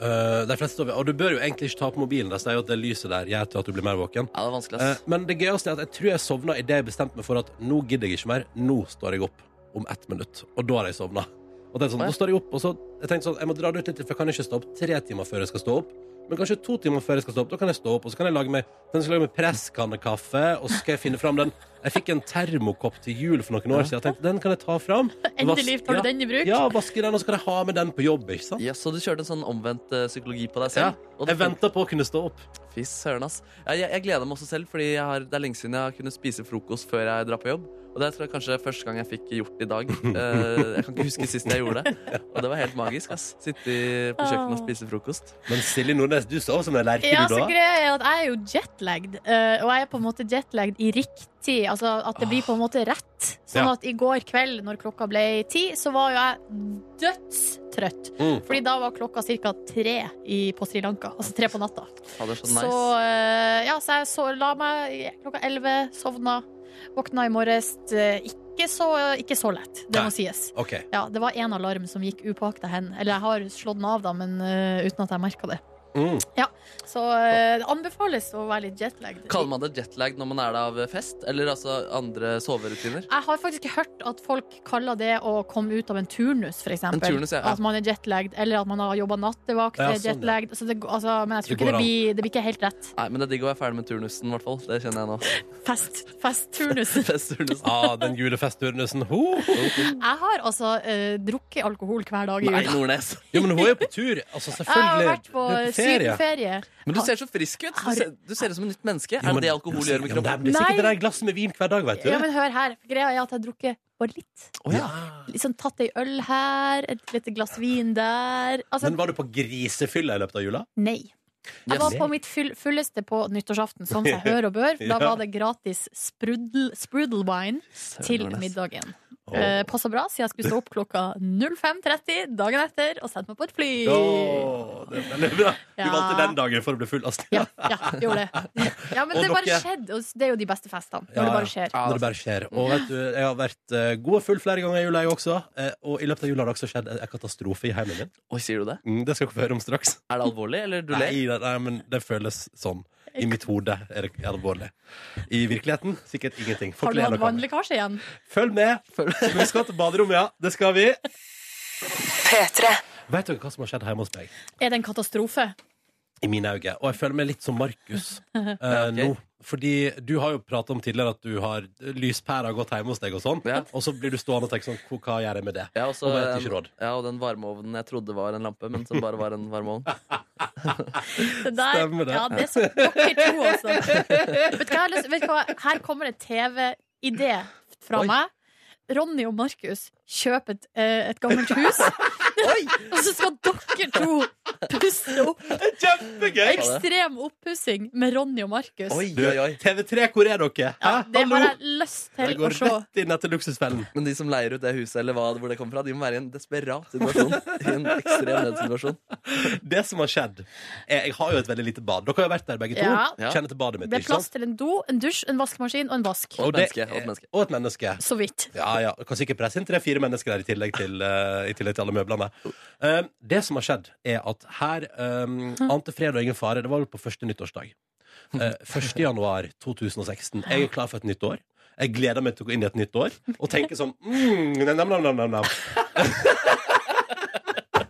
Eh, de fleste sover. Og du bør jo egentlig ikke ta på mobilen. De sier jo at det lyset der gjør til at du blir mer våken. Ja, det er vanskelig, Eh, ass. Men det gøyeste er at jeg tror jeg sovna idet jeg bestemte meg for at nå gidder jeg ikke mer. Nå står jeg opp om ett minutt. Og da har jeg sovna. Og tenkte sånn, Å, ja. nå står jeg opp, og så jeg tenkte sånn, jeg må dra det ut litt, for jeg kan ikke stå opp tre timer før jeg skal stå opp. Men kanskje to timer før jeg skal stå opp, da kan jeg stå opp, og så kan jeg lage meg, kan jeg lage meg presskannekaffe, og så skal jeg finne fram den. Jeg fikk en termokopp til jul for noen år siden, jeg tenkte, den kan jeg ta fram. Endelig tar du den i bruk. Ja, vaske den, og så kan jeg ha med den på jobb, ikke sant? Ja, så du kjørte en sånn omvendt eh, psykologi på deg Ja, selv? og det jeg ventet på å kunne stå opp. Fy søren, ass. Jeg, jeg, jeg gleder meg også selv, fordi jeg har, det er lenge siden jeg har kunnet spise frokost før jeg drar på jobb. Og det tror jeg kanskje er første gang jeg fikk gjort i dag. Eh, jeg kan ikke huske sist jeg gjorde det. Og det var helt magisk, ass. Sitte i- på kjøkkenet og spise frokost. Men Silje Nordnes, du sov som en lerke, Ja, du så da. greia er at jeg er jo jetlagd, eh, og jeg er på en måte jetlagd i riktig Altså at det blir på en måte rett. Sånn Ja. at i går kveld, når klokka ble ti, så var jo jeg dødstrøtt. Mm. Fordi da var klokka ca. tre i, på Sri Lanka. Altså tre på natta. Ja, det er så Så, nice. eh, ja, så jeg så, la meg i- klokka elleve, sovna, våkna i morges. eh, Ikke så, ikke så lett, det Nei. må sies. Ok, Ja, Det var én alarm som gikk upåakta hen. Eller jeg har slått den av, da, men eh, uten at jeg merka det. Mm. Så eh, det anbefales å være litt jetlagd. Kaller man det jetlag når man er det av fest? Eller altså andre soverutiner? Jeg har faktisk ikke hørt at folk kaller det å komme ut av en turnus, f.eks. En turnus, ja, ja. At man er jetlagd, eller at man har jobba nattevakt. Ja, er sånn, ja. jetlagd. Så det, altså, men jeg tror Det ikke går det an. blir, det blir ikke helt rett. Nei, men det er digg å være ferdig med turnusen, i hvert fall. Det kjenner jeg nå. Fest, festturnus. Festturnusen. Ah, den julefestturnusen. Ho, ho, ho. Jeg har altså eh, drukket alkohol hver dag i Nei, jula. Nordnes. Jo, men hun er jo på tur. Altså, Jeg har selvfølgelig. vært på Du er ferie. sydenferie. Men du ser så frisk ut. Du ser, du ser ut som et nytt menneske. Jo, Er det det alkohol gjør med Ja, men Det kroppen? blir sikkert Nei. det der glasset med vin hver dag, vet du. Ja, men hør her. Greia er at jeg har drukket bare litt. Å ja. Liksom tatt ei øl her, et lite glass vin der. Altså, Men var du på grisefylla i løpet av jula? nei. Jeg var på mitt fyll- fulleste på nyttårsaften, sånn som jeg hører og bør. for Da Ja. var det gratis sprudel, sprudelwine til Nordnes. middagen. Åh. Oh. Passa bra, siden jeg skulle stå opp klokka 05.30 dagen etter og sette meg på et fly. Åh, det er veldig bra. Du Ja. valgte den dagen for å bli full, Astrid. Ja, ja, gjorde det. Ja, men Og det bare dere- skjedde. Og det er jo de beste festene. Når Ja, det ja. bare skjer. Når det bare skjer. Og vet du, jeg har vært eh, god og full flere ganger i jula, jeg også. Eh, og i løpet av jula har det også skjedd en katastrofe i heimen min. Oi, sier du det? Mm, det skal dere få høre om straks. Er det alvorlig, eller du ler? Nei, nei, nei, men det føles sånn. I mitt hode er det alvorlig. I virkeligheten sikkert ingenting. Folk Har du ler hatt nok av meg. vannlekkasje igjen? Følg med! Men Vi skal til baderommet, ja. Det skal vi. Vet dere hva som har skjedd hjemme hos meg? Er det en katastrofe? I mine øyne. Og jeg føler meg litt som Markus eh, ok. nå. Fordi du har jo pratet om tidligere at du har lyspæra gått hjemme hos deg og sånn. Ja. Og så blir du stående og tenke sånn "Hva- Hva gjør jeg med det? Ja, og så- Og vet ikke råd. ja, og den varmeovnen jeg trodde var en lampe, men som bare var en varmeovn. Det der, Stemmer det. Ja, det er så dere to, altså. Vet du hva, jeg har lyst- vet du hva? Her kommer en TV-idé fra Oi. meg. Ronny og Markus kjøper et, eh, et gammelt hus. og så skal dere to pusse opp. Kjempegøy! Ekstrem oppussing med Ronny og Markus. Oi, Du, oi, oi. TV3, hvor er dere? Hæ? Ja, det har Hallo? jeg lyst Det til å går se. rett inn etter luksusfellen. Men de som leier ut det huset, eller hva, hvor det kommer fra, de må være i en desperat situasjon. I en ekstrem nødsituasjon. Det som har skjedd er, Jeg har jo et veldig lite bad. Dere har jo vært der begge to. Ja. Ja. Kjenner til badet mitt. Det er ikke plass sant? til en do, en dusj, en vaskemaskin og en vask. Og et det menneske. Og er- et menneske. Og et menneske. Så vidt. Ja, ja. Kan sikkert presse inn tre-fire mennesker der i tillegg til, eh, i tillegg til alle møblene. Eh, det som har skjedd, er at her um, ante fred og ingen fare. Det var vel på første nyttårsdag. Eh, 1. januar 2016. Jeg er klar for et nytt år. Jeg gleder meg til å gå inn i et nytt år og tenke sånn mm, nam, nam, nam, nam, nam.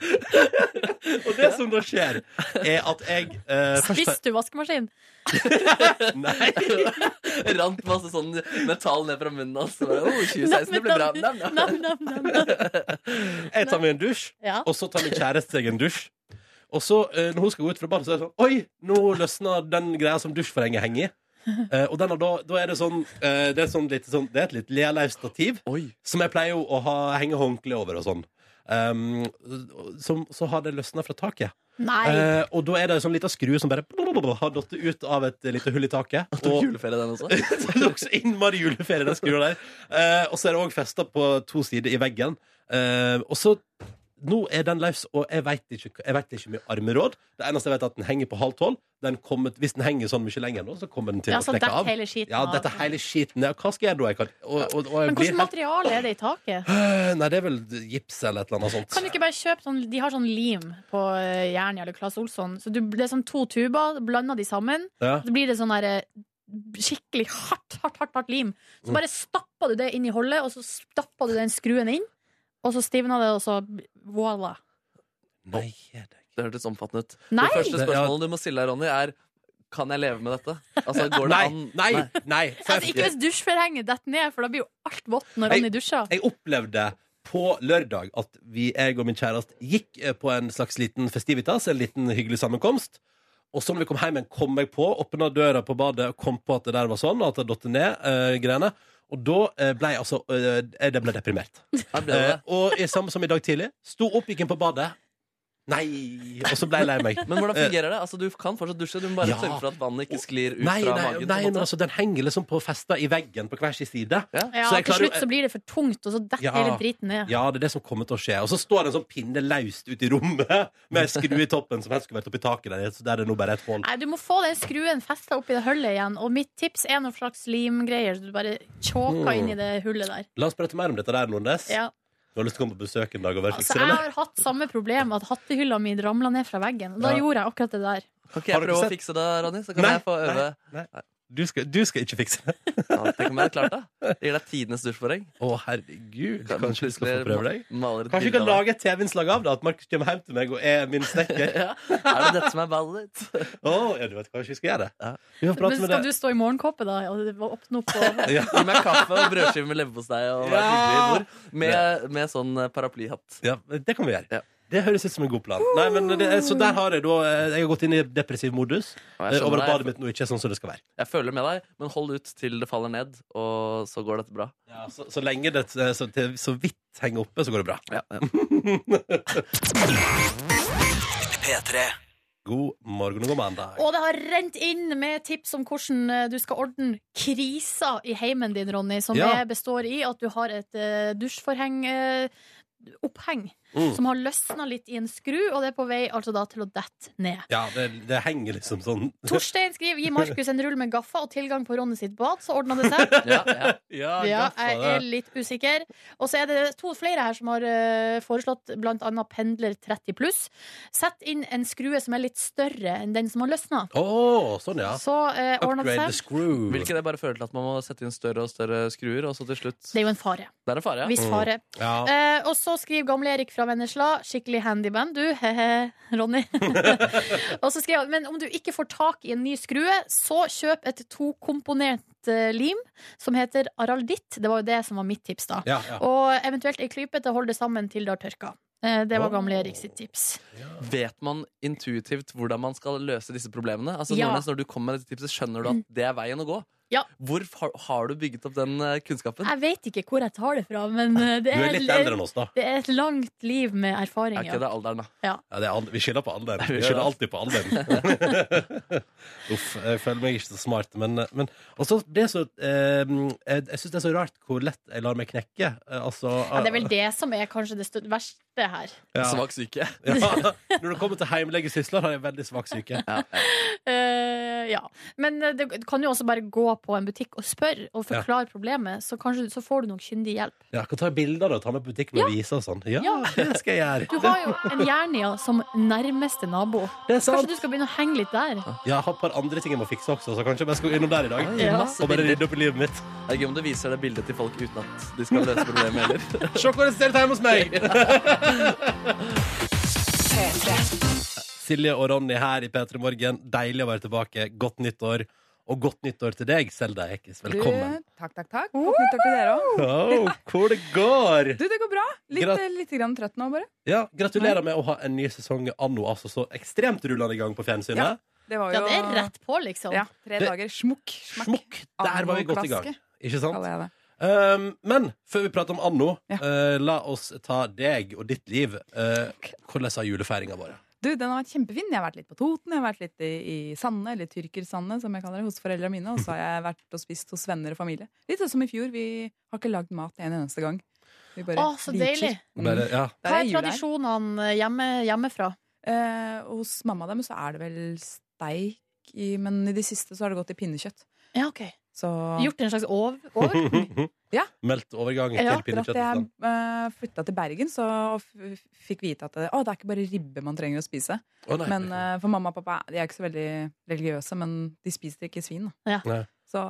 Og det som da skjer, er at jeg eh, først- Spiste du vaskemaskin? Nei. Rant masse sånn metall ned fra munnen hans. Så bare, Oh, 2016, det blir bra. Nam, nam. Nam, nam, nam, nam. Jeg tar meg en dusj. Ja. Og så tar min kjæreste seg en dusj. Og så, eh, når hun skal gå ut fra badet, så er det sånn Oi, nå løsna den greia som dusjforhenget henger i. Eh, og den har da, da er det sånn eh, Det er sånn litt sånn, Det er et litt lealaust stativ Oi. som jeg pleier jo å ha, henge håndkle over og sånn. Um, som, så har det løsna fra taket. Nei. Eh, og da er det en sånn lita skrue som bare har datt ut av et lite hull i taket. Tok juleferie, den også. Så det er også innmari juleferie den skrua der. Eh, og så er det òg festa på to sider i veggen. Eh, og så nå er den løs, og jeg veit ikke, jeg vet ikke mye armeråd. Det eneste jeg vet, er at den henger på halvt hold. Den kommer, hvis den henger sånn mye lenger nå, så kommer den til Ja, å så klekke dekk av. hele skiten Ja, av. dette hele skiten. Ja, hva skal jeg gjøre da? Jeg kan, og, og, og jeg blir Men hvilket helt, materiale er det i taket? Øh, nei, det er vel gips eller et eller annet sånt. Kan du ikke bare kjøpe sånn, De har sånn lim på eh, Jernia eller Claes Olsson. Så du, det er sånn to tuber, blander de sammen. Ja. Så blir det sånn der, eh, skikkelig hardt, hardt, hardt, hardt lim. Så bare stapper du det inn i hullet, og så stapper du den skruen inn. Og så stivner det, og så voilà. Nei, er det Det hørtes omfattende ut. Nei! Det første Det- ja. spørsmålet du må stille deg, Ronny, er kan jeg leve med dette? Altså, går det Nei, an nei, nei. for Altså, ikke jeg, hvis dusjforhenget detter ned, for da blir jo alt vått når Nei. Ronny dusjer. jeg opplevde på lørdag at vi, jeg og min kjæreste gikk eh, på en slags liten festivitas, en liten hyggelig sammenkomst. Og så når vi kom hjem igjen, kom jeg på, åpna døra på badet og kom på at det der var sånn, og at det datt ned eh, greiene. Og da eh, ble jeg altså eh, Jeg ble deprimert. Her ble det. Eh, og i samme som i dag tidlig. Sto opp, gikk inn på badet. Nei! Og så ble jeg lei meg. Men hvordan fungerer det? Altså, du kan fortsatt dusje, du må bare Eh, Ja. sørge for at vannet ikke sklir ut Nei, fra nei, magen. på en nei måte. men altså, den henger liksom på festa i veggen på hver sin side. Ja. Ja, Så jeg til klarer jo- slutt så blir det for tungt, og så detter Ja. hele driten ned. Ja, det er det som kommer til å skje. Og så står det en sånn pinne laust ute i rommet med ei skru i toppen som helst skulle vært oppi taket der. Så der er det nå bare et hull. Nei, Du må få den skruen festa oppi det hullet igjen. Og mitt tips er noen slags limgreier. Så du bare tjåker Mm. inn i det hullet der. La oss prate mer om dette der, Nordnes. Ja. Du har lyst til å komme på besøk en dag og være Altså, fikser, jeg eller? har hatt samme problem, at hattehylla mi ramla ned fra veggen. Og da Ja. gjorde jeg akkurat det der. Kan ikke Har dere jeg prøve å sett- fikse det, Ronny? Så kan Nei, jeg få øve. Nei. Du skal, du skal ikke fikse det. Ja, tenk om jeg har klart det. Jeg gir deg tidenes dusjforheng. Å, herregud. Kan- Kanskje vi skal få plutselig prøve deg? maler et Kanskje vi bilde kan av lage et TV-innslag av det? At Markus kommer hjem til meg og er min snekker? deg. ja. Er det dette som er ballet ditt? Å, ja, du vet kanskje vi skal gjøre det? Ja. Vi får Men prate med deg. skal du stå i morgenkåpe, da? Og åpne opp og Ja. Gi meg kaffe og brødskive med leverpostei og vær Ja! hyggelig i bord. Med, med sånn eh, paraplyhatt. Ja, det kan vi gjøre. Ja. Det høres ut som en god plan. Nei, men det, er- så der har jeg da eh, Jeg har gått inn i depressiv modus Og eh, jeg, over skjønner at badet deg. mitt nå ikke er sånn som det skal være. jeg føler med deg, men hold ut til det faller ned, og så går dette bra. Ja, så, så lenge det eh, så, til, så vidt henger oppe, så går det bra. Ja, ja. God morgen og god mandag. Og det har rent inn med tips om hvordan eh, du skal ordne krisa i heimen din, Ronny, som Ja. er- består i at du har et eh, dusjforheng eh, oppheng Mm. som har løsna litt i en skru, og det er på vei altså da til å dette ned. Ja, det, det henger liksom sånn Torstein skriver 'Gi Markus en rull med gaffa og tilgang på Ronny sitt bad', så ordna det seg. Ja, ja. Ja, Ja, gaffa, jeg det. er litt usikker. Og så er det to flere her som har eh, foreslått blant annet pendler 30 pluss. Sett inn en skrue som er litt større enn den som har løsna. Å, sånn, ja. Så eh, ordna det Upgrade the seg. screw. Vil ikke det bare føre til at man må sette inn større og større skruer, og så til slutt Det er jo en fare. Det er en fare, ja. Mm. Viss fare. Ja. Eh, og så skriver gamle Erik fra Vennesla skikkelig handyman, du. He-he, Ronny. og så skriver han men om du ikke får tak i en ny skrue, så kjøp et tokomponert eh, lim som heter aralditt. Det var jo det som var mitt tips, da. Ja, ja. Og eventuelt ei klype til å holde det sammen til det har tørka. Eh, det var gamle Erik sitt tips. Vet man intuitivt hvordan man skal løse disse problemene? Altså, Ja. Nordnes, når du kommer med dette tipset, skjønner du at det er veien å gå? Ja. Hvor har, har du bygget opp den eh, kunnskapen? Jeg vet ikke hvor jeg tar det fra, men eh, det Du er, er litt eldre enn oss, da. det er et langt liv med Er erfaring. ikke Ja. det alderen, da? Ja, det er aldri, vi skylder på alderen. Vi Vi gjør skylder det. alltid på alderen. Uff, jeg føler meg ikke så smart, men, men og så det er så, eh, Jeg, jeg syns det er så rart hvor lett jeg lar meg knekke. Eh, altså Ja, det er vel det som er kanskje det stø- verste her. ja. Svak syke. Ja, Når det kommer til heimlegesysler, har jeg veldig svak syke. Eh, ja. Men eh, det kan jo også bare gå på en butikk og spørre og Ja. forklare problemet, så kanskje så får du nok kyndig hjelp. Ja, kan ta bilder da, ta med på butikken og vise og sånn. Ja, Ja. det skal jeg gjøre. Du har jo en Jernia som nærmeste nabo. Det er Kanskje sant. du skal begynne å henge litt der? Jeg har et par andre ting jeg må fikse også, så kanskje jeg bare skal innom der i dag. Oi, Ja. masse Og bare bilder. rydde opp i livet mitt. Det er gøy om du viser det bildet til folk uten at de skal løse problemet heller. Se hvordan det ser ut hjemme hos meg! Silje og Ronny her i P3 Morgen. Deilig å være tilbake. Godt nyttår. Og godt nyttår til deg, Selda Ekiz. Velkommen. Du, takk, takk, takk. Godt nyttår til dere òg. Oh, hvor det går! Du, det går bra. Litt, Grat- eh, litt grann trøtt nå, bare. Ja, Gratulerer med å ha en ny sesong anno altså så ekstremt rullende i gang på Ja, fjernsynet. Det var Ja, jo det er rett på, liksom. Ja, tre Det- dager. Smukk. Smakk. Smokk! Der var vi godt i gang. Anno-klaske, Ikke sant? kaller jeg det. Um, men før vi prater om anno, Ja. eh, la oss ta deg og ditt liv. Eh, hvordan har julefeiringa vært? Du, den har vært kjempefin. Jeg har vært litt på Toten, jeg har vært litt i, i Sande, eller Tyrkersande, som jeg kaller det, hos foreldrene mine. Og så har jeg vært og spist hos venner og familie. Litt sånn som i fjor. Vi har ikke lagd mat en eneste gang. Vi bare Å, så deilig. Mm. Bare, ja. Der Hva er jul her. tradisjonene eh, hjemme, hjemmefra? Eh, hos mamma og dem så er det vel steik i Men i det siste så har det gått i pinnekjøtt. Ja, ok. Så Gjort en slags ov over? Ja. Meldt overgang Ja, til Etter at pinnekjøtt. jeg uh, flytta til Bergen, så f fikk vite at det, å, det er ikke bare ribbe man trenger å spise. Å, nei. Men eh, For mamma og pappa de er ikke så veldig religiøse, men de spiser ikke svin. Da. Ja. Nei. Så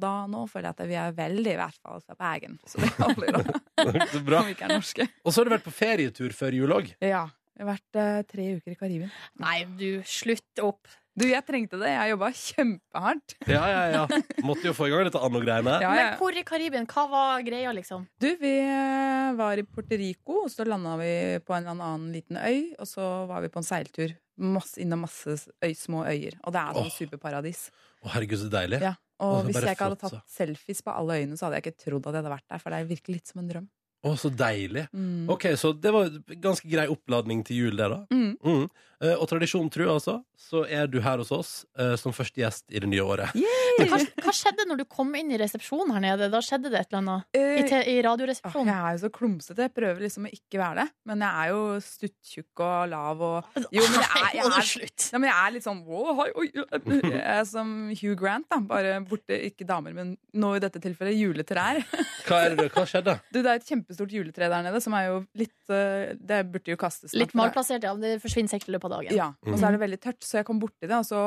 da nå føler jeg at vi er veldig i hvert fall fra Bergen. Så det holder, da. Så bra. Om vi ikke er norske. Og så har du vært på ferietur før jul òg. Ja. Jeg har vært eh, tre uker i Karibien. Nei, du, slutt opp. Du, jeg trengte det. Jeg jobba kjempehardt. Ja, ja, ja. Måtte jo få i gang dette anno-greiene. Ja, Men ja. hvor i Karibien? Hva var greia, liksom? Du, vi eh, var i Puerto Rico, og så landa vi på en eller annen liten øy. Og så var vi på en seiltur masse, innom masse s- øy, små øyer. Og det er sånn Åh. superparadis. Å, herregud, så deilig. Ja, Åh, og det er hvis bare jeg ikke hadde flott, tatt selfies på alle øyene, så hadde jeg ikke trodd at jeg hadde vært der. For det virker litt som en drøm. Å, så deilig. Mm. OK, så det var ganske grei oppladning til jul, det, da. Mm. Mm. Eh, og tradisjonen tro, altså, så er du her hos oss eh, som første gjest i det nye året. Men hva, hva skjedde når du kom inn i resepsjonen her nede? Da skjedde det et eller annet? I, Eh, te, i åh, radioresepsjonen? jeg er jo så klumsete. Jeg prøver liksom å ikke være det. Men jeg er jo stuttjukk og lav og Jo, men jeg er, jeg Nei, nå er, slutt. Nei, men jeg er litt sånn wow, hei, oi, øh, jeg er Som Hugh Grant, da. Bare borte, ikke damer, men nå i dette tilfellet juletrær. Hva, er det, hva skjedde? Du, det er et kjempestort juletre der nede, som er jo litt eh, Det burde jo kastes. snart, Litt for det- malplassert, ja. men Det forsvinner sikkert i løpet av dagen. Ja, og så er det Mhm. veldig tørt, så jeg kom borti det, og så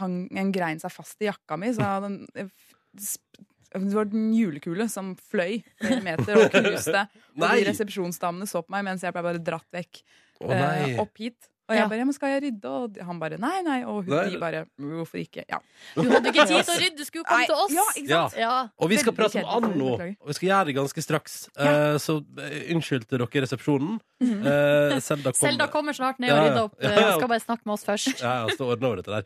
hang en grein seg fast i jakka mi, så den eh, sp- det var en julekule som fløy flere meter og knuste. Og Nei! de resepsjonsdamene så på meg mens jeg ble bare dratt vekk Å eh, nei. opp hit. Og jeg Ja. bare ja, men 'Skal jeg rydde?' Og han bare 'Nei, nei'. Og hun, Nei. de bare 'Hvorfor ikke?' Ja. Du hadde ikke tid til å rydde, du skulle jo komme Nei, til oss. ja, ikke sant? Ja. Og vi skal Veldig prate om kjedelig. anno, Beklager. og vi skal gjøre det ganske straks. Eh, så eh, unnskyld til dere i resepsjonen. Mhm. Eh, Selda kom. Selda kommer snart ned og Ja, ja. rydder opp. Ja, eh, ja. og Skal bare snakke med oss først. Ja, ja, så ordner over dette der.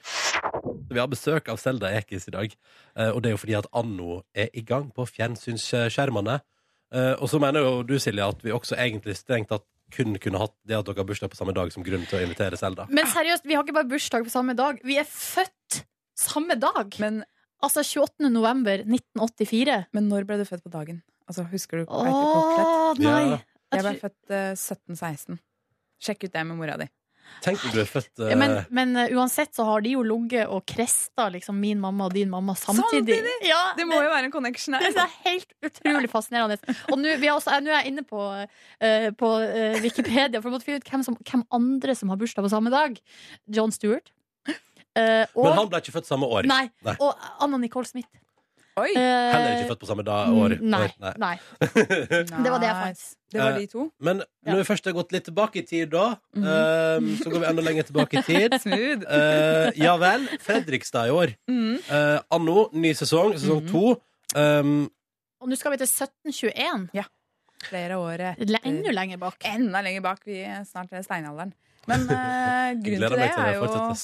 Vi har besøk av Selda Ekiz i dag, eh, og det er jo fordi at anno er i gang på fjernsynsskjermene. Eh, Og så mener jo du, Silje, at vi også egentlig strengt tatt kun kunne hatt det at dere har bursdag på samme dag som grunn til å invitere Selda. Men seriøst, vi har ikke bare bursdag på samme dag. Vi er født samme dag! Men, Altså 28. november 1984. men når ble du født på dagen? Altså, Husker du? Åh, vet du klokkeslett? nei! Ja. Jeg ble Jeg tror- født eh, 1716. Sjekk ut det med mora di. Tenk om du er født eh, Ja, men, men eh, uansett så har de jo ligget og kresta liksom min mamma og din mamma samtidig. Samtidig? Ja, Det må jo være en connection her. Det er helt utrolig fascinerende. Og nå vi har også- nå er jeg inne på, eh, på eh, Wikipedia for å måtte finne ut hvem, som, hvem andre som har bursdag på samme dag. John Stewart. Eh, og, Men han ble ikke født samme år. nei, Nei. og Anna Nicole Smith. Oi! Eh, Heller ikke født på samme dag, år. Nei, År, nei. nei. Det var det jeg fant. Det var Eh, de to. Men når vi først har gått litt tilbake i tid, da, Mhm. eh, så går vi enda lenger tilbake i tid. Smooth. Eh, ja vel. Fredrikstad i år. Mm. Eh, anno, ny sesong, sesong Mhm. to. Um, Og nå skal vi til 1721. Flere år etter. Le- Enda lenger bak. Enda lenger bak. Vi er snart ved steinalderen. Men eh, jeg gleder grunnen til det meg til er det jo fortsetter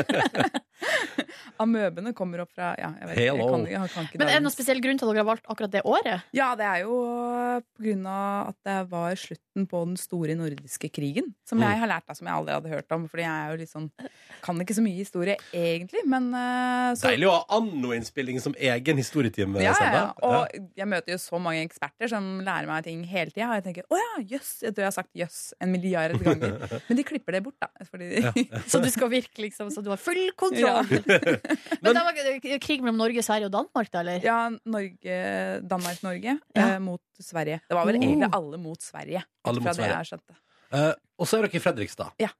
sesong ti. ja. Amøbene kommer opp fra ja, jeg vet, ikke, jeg kan, jeg kan Men er ikke det dagens- noen spesiell grunn til at dere har valgt akkurat det året? Ja, det er jo eh, på grunn av at det var slutten på den store nordiske krigen. Som Mm. jeg har lært av, som jeg aldri hadde hørt om. Fordi jeg er jo litt sånn Kan ikke så mye historie, egentlig, men eh, så Deilig å ha anno-innspilling som egen historietime. Ja, ja, ja. Sandra. Ja. Og jeg møter jo så mange eksperter som lærer meg ting hele tida. Og jeg tenker å ja, jøss. Jeg tror jeg har sagt jøss en milliard ganger. Men de klipper det bort, da. Fordi Så du skal virke liksom så du har full Ja. kontroll. Men, det var krig mellom Norge, Sverige og Danmark, da, eller? Ja, Norge, Danmark-Norge Ja. eh, mot Sverige. Det var vel Oh. egentlig alle mot Sverige. Alle mot fra Sverige. Det, jeg skjønte. Eh, og så er dere i Fredrikstad. Ja.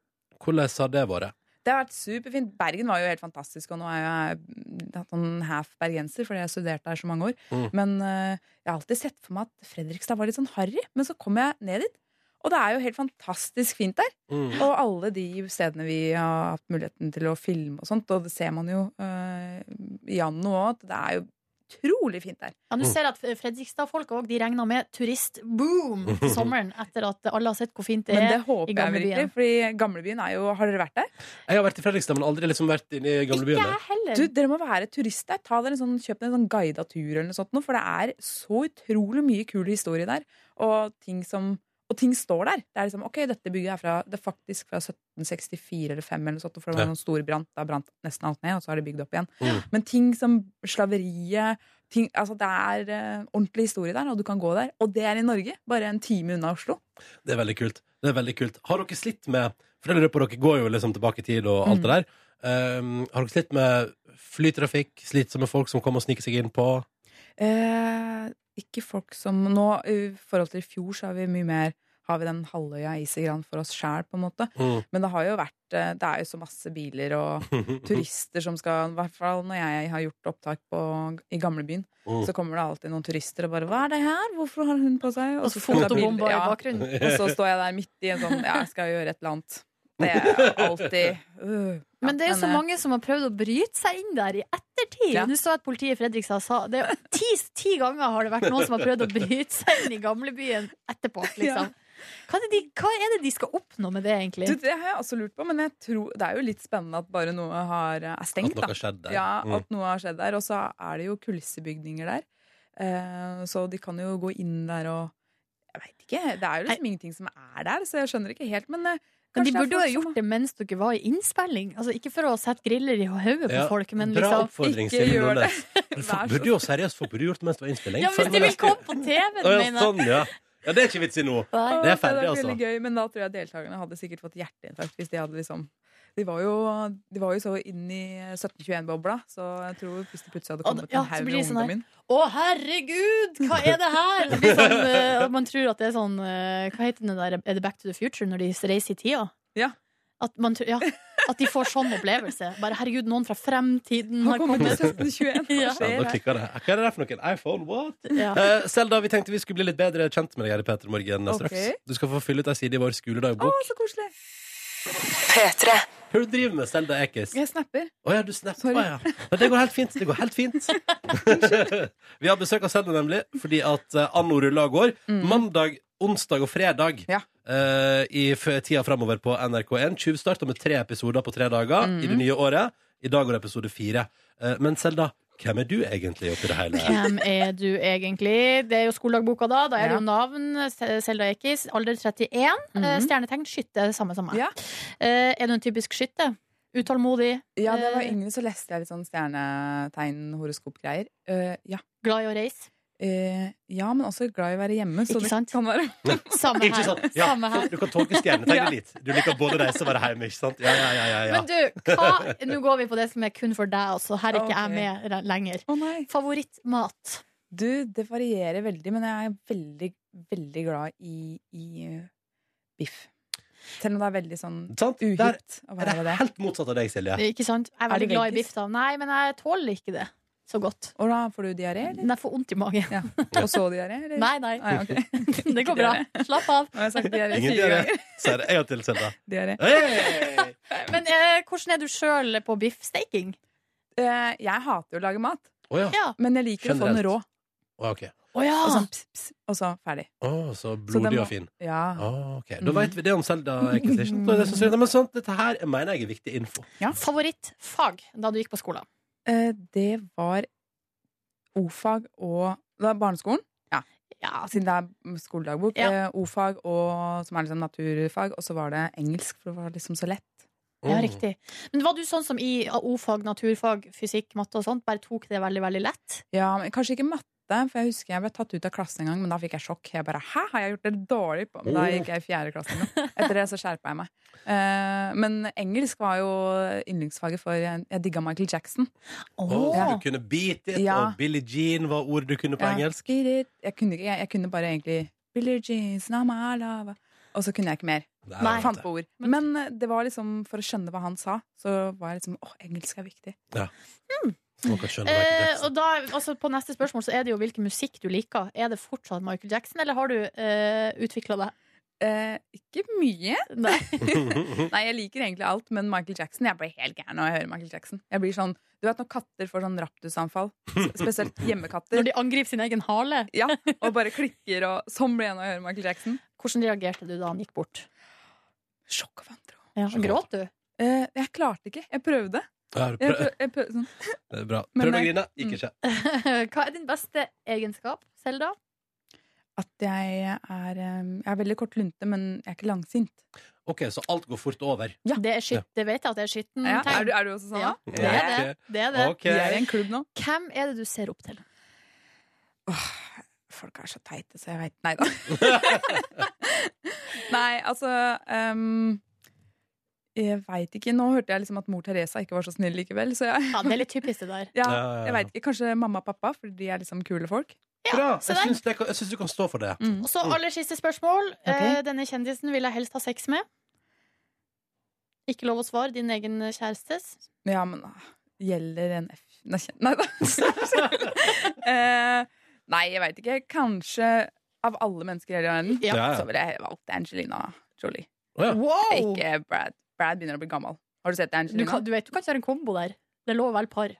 Hvordan har det vært? det har vært superfint. Bergen var jo helt fantastisk, og nå er jeg jeg har hatt en half bergenser fordi jeg studerte der så mange år. Mm. Men eh, jeg har alltid sett for meg at Fredrikstad var litt sånn harry. Men så kom jeg ned dit, og det er jo helt fantastisk fint der. Mm. Og alle de stedene vi har hatt muligheten til å filme og sånt, og det ser man jo eh, i Anno òg, at det er jo utrolig fint der. Ja, du Mm. ser at Fredrikstad-folk òg regner med turistboom til sommeren etter at alle har sett hvor fint det Men er. det håper jeg Gamlebyen. virkelig, fordi Gamlebyen er jo Har dere vært der? Jeg har vært i Fredrikstad, men aldri liksom vært inne i Ikke gamlebyen. jeg heller. Du, dere må være turist der. Ta dere en sånn, kjøp dere en sånn guida tur eller noe sånt, nå, for det er så utrolig mye kul historie der. Og ting som og ting står der. Det er liksom, ok, dette bygget er fra, det er faktisk fra 1764 eller 5 eller noe sånt, for det var Ja. noen stor brant. Da brant nesten alt ned, og så har de bygd opp igjen. Mm. Men ting som slaveriet ting, altså Det er eh, ordentlig historie der, og du kan gå der. Og det er i Norge, bare en time unna Oslo. Det er veldig kult. Det er veldig kult. Har dere slitt med For det lurer jeg på, dere går jo liksom tilbake i tid og alt det der. Um, har dere slitt med flytrafikk? Slitsomme folk som kommer og sniker seg inn på? Eh, ikke folk som Nå, i forhold til i fjor, så har vi mye mer Har vi den halvøya Isegran for oss sjæl, på en måte. Mm. Men det har jo vært eh, Det er jo så masse biler og turister som skal I hvert fall når jeg har gjort opptak på, i gamlebyen, Mm. så kommer det alltid noen turister og bare 'Hva er det her? Hvorfor har hun på seg?' og skal det være bilder. Altså, fotobomber i Ja. bakgrunnen. Og så står jeg der midt i en sånn Ja, jeg skal gjøre et eller annet. Det er alltid øh, ja, Men det er jo så eh, mange som har prøvd å bryte seg inn der i ettertid. Ja. Nå så jeg at politiet i Fredrikstad sa det er ti, ti ganger har det vært noen som har prøvd å bryte seg inn i gamlebyen etterpå. Ja. Liksom. Hva, er det de, hva er det de skal oppnå med det, egentlig? du, det har jeg også lurt på, men jeg tror, det er jo litt spennende at bare noe har, eh, er At stengt. noe da har skjedd der. Ja, Mm. at noe har skjedd der. Og så er det jo kulissebygninger der. Eh, Så de kan jo gå inn der og Jeg veit ikke. Det er jo liksom ingenting som er der, så jeg skjønner ikke helt, men Men eh, de kanskje det er burde jo folk ha som gjort det mens dere var i innspilling. Altså, ikke for å sette griller i hodet på Ja, folk, men Bra liksom oppfordring, ikke Silje gjør det. Nordnes. Men Vær folk så burde jo seriøst folk burde gjort det mens det var innspilling. Ja, hvis de vil komme på TV-en, Å, ja, mener jeg. sånn, ja. ja, det er ikke vits i nå. Nei. Det er ferdig, Åh, hadde vært altså. veldig Gøy, men da tror jeg deltakerne hadde sikkert fått hjerteinfarkt hvis de hadde liksom De var jo, de var jo så inn i 1721-bobla, så jeg tror hvis de plutselig hadde Og da- kommet ja, en så haug blir med det sånn her. ungdommen Å, herregud, hva er det her? Det blir sånn, eh, man tror at det er sånn eh, Hva heter det der, er det Back to the Future når de reiser i tida? Ja. At, man, tror- ja, at de får sånn opplevelse. Bare herregud, noen fra fremtiden har Har kommet kommet. til 1721. Ja, Ja. Hva skjer Sånn, da her? klikker det. Hva er det der for noe? En iPhone? What? Ja. Eh, Selda, vi tenkte vi skulle bli litt bedre kjent med deg her i Peter Morgen Ok. straks. Du skal få fylle ut ei side i vår Å, skoledagbok. så koselig! Hva er det du driver med, Selda Ekiz? Jeg snapper. Å ja, du snappa, Sorry. ja. Men det går helt fint. Det går helt fint. vi har besøk av Selda, nemlig, fordi at eh, anno rulla og går. Mandag, onsdag og fredag Ja. eh, i f tida framover på NRK1. Tjuvstarta med tre episoder på tre dager i det nye året. I dag går det episode fire. Eh, men Selda, hvem er du egentlig oppi det hele? Hvem er du egentlig? Det er jo skoledagboka, da. Da er det Ja. Mhm. jo navn. Selda Ekiz, alder 31. eh, Stjernetegn, skytter, det samme som meg. Ja. Eh, Er du en typisk skytter? Utålmodig, Ja, da jeg var Eh. yngre, så leste jeg litt sånn stjernetegn-horoskop-greier. Eh, ja. glad i å reise? Eh, ja, men også glad i å være hjemme, så Ikke det sant? kan være Samme Ikke sånn her. sant? Ja, Samme her. Du kan tolke stjernetegnet litt. Du liker både reise og være hjemme, ikke sant? Ja, ja, ja, ja, ja. Men du, hva, nå går vi på det som er kun for deg, altså. Her er ikke Ok. jeg med re- lenger. Å nei! Favorittmat? Du, det varierer veldig, men jeg er veldig, veldig glad i, i eh, biff. Selv om det er veldig sånn Sant? Der uhipt å er være det det. helt motsatt av deg, Silje. Ikke sant? Jeg er Er det veldig glad i veggis? biff, da. Nei, men jeg tåler ikke det så godt. Og da får du diaré, eller? Men jeg får vondt i magen. Ja. Og så diaré, eller? Nei, nei. Ah, ja, ok. Det går bra. Slapp av. Nå har jeg sagt diaré Ingen fire diaré. ganger. Så er det en til, Selda. Diaré. Hey! Men eh, hvordan er du sjøl på biffsteking? Eh, jeg hater jo å lage mat, Å ja. Ja. Altså, men jeg liker å få den Generelt. Ah. rå. Å, ok. Å ja. Og sånn pss, pss, og så ferdig. Å, så Så den blodig må- og fin. Ja. Ah, ok. Da Mhm. Mm. vet vi det om Selda Ekvisition. Det synes jeg, nei, men sånt, dette her jeg mener jeg er viktig info. Favorittfag da du gikk på skolen? Eh, det var o-fag og Det var barneskolen, Ja, altså, siden det er skoledagbok. Ja. Eh, o-fag og, som er liksom naturfag, og så var det engelsk, for det var liksom så lett. ja, Mm. riktig. Men var du sånn som i O-fag, naturfag, fysikk, matte og sånt, bare tok det veldig, veldig lett? Ja, men Kanskje ikke matte, for jeg husker jeg ble tatt ut av klassen en gang, men da fikk jeg sjokk. Jeg bare, hæ, har jeg gjort det dårlig på? Men Da Mm. gikk jeg i fjerde klasse. eller noe. Etter det så skjerpa jeg meg. Eh, men engelsk var jo yndlingsfaget for Jeg digga Michael Jackson. Å, Åh. Du kunne beat it, Ja. og Billie Jean var ord du kunne på Ja, engelsk. get it. Jeg kunne, ikke, jeg, jeg kunne bare egentlig Billie Jeans, now my love. Og så kunne jeg ikke mer. Der, Nei. vet fant du. på ord. Men eh, det var liksom, for å skjønne hva han sa, så var jeg liksom Å, engelsk er viktig. Så man kan skjønne Michael Eh, Jackson. og da, altså på neste spørsmål så er det jo hvilken musikk du liker. Er det fortsatt Michael Jackson, eller har du eh, utvikla deg? Eh, ikke mye. Nei. Nei, jeg liker egentlig alt, men Michael Jackson Jeg blir helt gæren når jeg hører Michael Jackson. Jeg blir sånn, Du vet når katter får sånn raptusanfall, s- spesielt Når hjemmekatter, de angriper sin egen hale. Ja, og bare klikker og Sånn blir jeg når jeg hører Michael Jackson. Hvordan reagerte du da han gikk bort? Sjokk og vantro. Ja, gråt du? Eh, jeg klarte ikke. Jeg prøvde. Ja, du Jeg prøv, prøv, jeg prøv, sånn. det er bra. Men Prøv eh, å mm. nei. grine. Gikk ikke. Hva er din beste egenskap, Selda? At jeg er eh, Jeg er veldig kort lunte, men jeg er ikke langsint. OK, så alt går fort over. Ja. Det, er skyt, det vet jeg at det er altså? skitten Ja, tegn. er, du, er du også Mm, sånn, Ja, da? det er det. det, er det. Ok. Vi er i en klubb nå. Hvem er det du ser opp til? Folk er så teite, så jeg veit Nei da. Nei, altså ehm, Jeg veit ikke. Nå hørte jeg liksom at mor Teresa ikke var så snill likevel, så jeg Ja, Det er litt typisk, det der. ja, Ja, ja, ja. jeg veit ikke. Kanskje mamma og pappa, for de er liksom kule folk. Bra! se Jeg der. syns, det, kan- jeg syns du kan stå for det. Og så aller siste spørsmål. Eh, Denne kjendisen vil jeg helst ha sex med. Ikke lov å svare. Din egen kjærestes. Ja, men ah, gjelder en F Nei, kjen- nei da. Eh, nei, jeg veit ikke. Kanskje av alle mennesker i hele verden, Ja. Ja, ja. så ville jeg valgt Angelina Jolie. Å, ja. Wow! Ikke Brad. Brad begynner å bli gammel. Har du sett Du, Angelina? kan, du vet, du kan ikke gjøre en kombo der. Det lå vel par.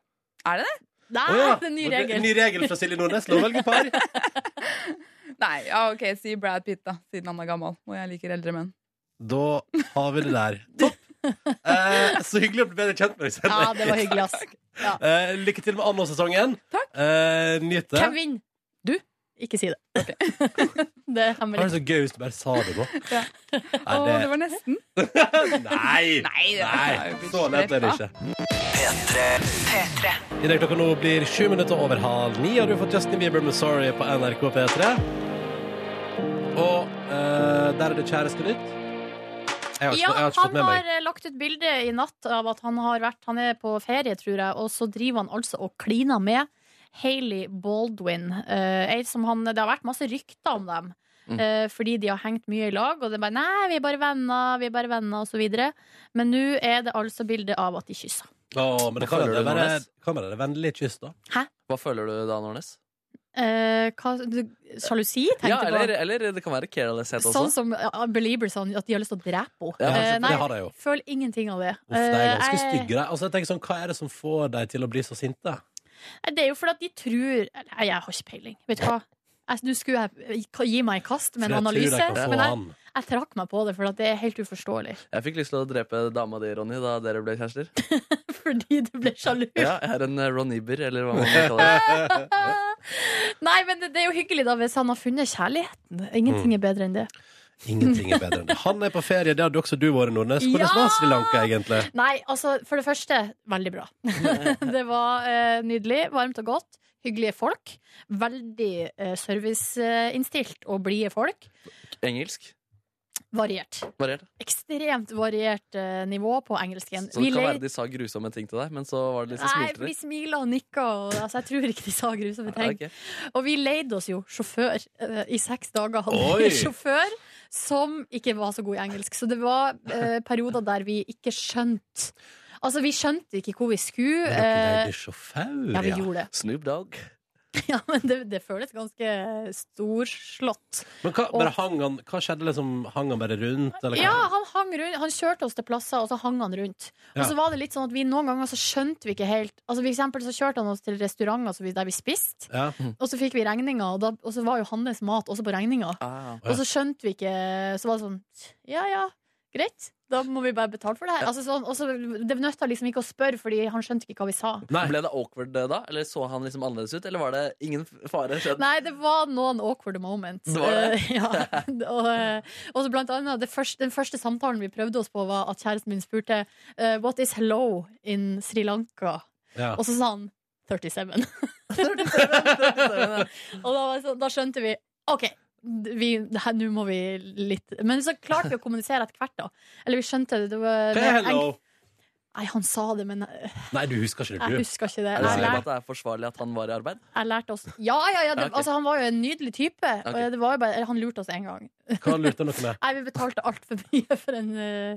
Er det det? Nei, Å, ja. det er en ny Og det- regel. Ny regel fra Silje Nordnes. Lov å velge par. Nei, ja, ok, si Brad Pitt da, siden han er gammel, og jeg liker eldre menn. Da har vi det der. Topp! Eh, så hyggelig å bli bedre kjent med deg. Ja, Sende. det var hyggelig, ass. Ja. Eh, lykke til med anno-sesongen. Takk. Eh, nyt det. Hvem vinner? Du? Ikke si det. det er Det er hemmelig. så gøy hvis du bare sa det nå. Ja. Å, Nei, det det, var nesten. nei, Nei, det var jo nei. blitt Så lett er det ikke. I det klokka nå blir sju minutter over halv ni, har du fått Justin Bieber med 'Sorry' på NRK P3. Og eh, der er det kjæreste nytt. Jeg har ikke, Ja, jeg har ikke fått han med har meg. eh, lagt ut bilde i natt av at han har vært Han er på ferie, tror jeg, og så driver han altså og kliner med Hailey Baldwin. eh, ei som han, det har vært masse rykter om dem. Mm. eh, fordi de har hengt mye i lag, og det er bare 'nei, vi er bare venner', vi er bare venner og så videre Men nå er det altså bilde av at de kysser. Å, men det kan Hva føler være du nå, bare- Nes? kan være det vennlig kyss, da. Hva føler du da, Nordnes? Eh, hva, du- Sjalusi, tenkte Ja, jeg eller, eller det kan være carelesshet på. også. Sånn som eh, Beliebers, han- at de har lyst til å drepe henne. Ja, Eh, det nei, har de jo. føler ingenting av det. Uff, de er ganske Eh, jeg- stygge, de. Altså, jeg tenker sånn, hva er det som får deg til å bli så sinte? Nei, eh, Det er jo fordi at de tror Nei, jeg har ikke peiling. Vet du hva? Jeg, du skulle jeg, gi meg i kast med For en jeg analyse, tror de kan få men jeg, han. jeg trakk meg på det, for at det er helt uforståelig. Jeg fikk lyst til å drepe dama di, Ronny, da dere ble kjærester. Fordi du ble sjalu. Ja, jeg er en eh, Ron Iber, eller hva man kaller det. Nei, men det, det er jo hyggelig da hvis han har funnet kjærligheten. Mm. Ingenting er bedre enn det. Ingenting er bedre enn det. Han er på ferie, det hadde også du vært, Nordnes. Hvordan Ja! var Sri Lanka, egentlig? Nei, altså, for det første, veldig bra. det var eh, nydelig, varmt og godt. Hyggelige folk. Veldig eh, serviceinnstilt og blide folk. Engelsk. Variert. Variert. Ekstremt variert eh, nivå på engelsken. Så det Vi kan lei- være de sa grusomme ting til deg, men så var det de som Nei, smilte vi litt. smila og nikka, og altså, jeg tror ikke de sa grusomme Ja, ting. ok. Og vi leide oss jo sjåfør eh, i seks dager. Hadde Oi! vi sjåfør som ikke var så god i engelsk. Så det var eh, perioder der vi ikke skjønte Altså, vi skjønte ikke hvor vi skulle. Dere eh, leide sjåfør, ja, vi ja. gjorde det. Snoop Dogg. Ja, men det, det føles ganske eh, storslått. Men hva, bare hang han, hva skjedde liksom? Hang han bare rundt, eller hva? Ja, han, hang rundt, han kjørte oss til plasser, og så hang han rundt. Og Ja. så var det litt sånn at vi noen ganger så skjønte vi ikke helt Altså, For eksempel så kjørte han oss til restauranter så vi- der vi spiste, Ja. og så fikk vi regninga, og, da- og så var jo hans mat også på regninga. Ah. Og så skjønte vi ikke Så var det sånn Ja ja, greit, da må vi bare betale for det her. Altså, sånn, og så Det nøtta liksom ikke å spørre, fordi han skjønte ikke hva vi sa. Nei. Ble det awkward eh, da? Eller så han liksom annerledes ut? Eller var det ingen f- fare? skjedd? Nei, det var noen awkward moments. Det var det? Eh, ja. og, eh, og så blant annet det første, Den første samtalen vi prøvde oss på, var at kjæresten min spurte eh, What is hello in Sri Lanka? Ja. Og så sa han 37. og da, var det sånn, da skjønte vi OK, vi- det her- nå må vi litt Men så klarte vi å kommunisere etter hvert, da. Eller vi skjønte det. det var, Hva er hello? Nei, han sa det, men jeg, Nei, du husker ikke jeg det, du. husker ikke det. Er du Jeg sikker på lærte, at det er forsvarlig at han var i arbeid? jeg lærte oss Ja, ja, ja! Det, Ok. altså, han var jo en nydelig type. Og Ok. Det var jo bare, han lurte oss én gang. Hva lurte dere med? Nei, vi betalte altfor mye for en, eh,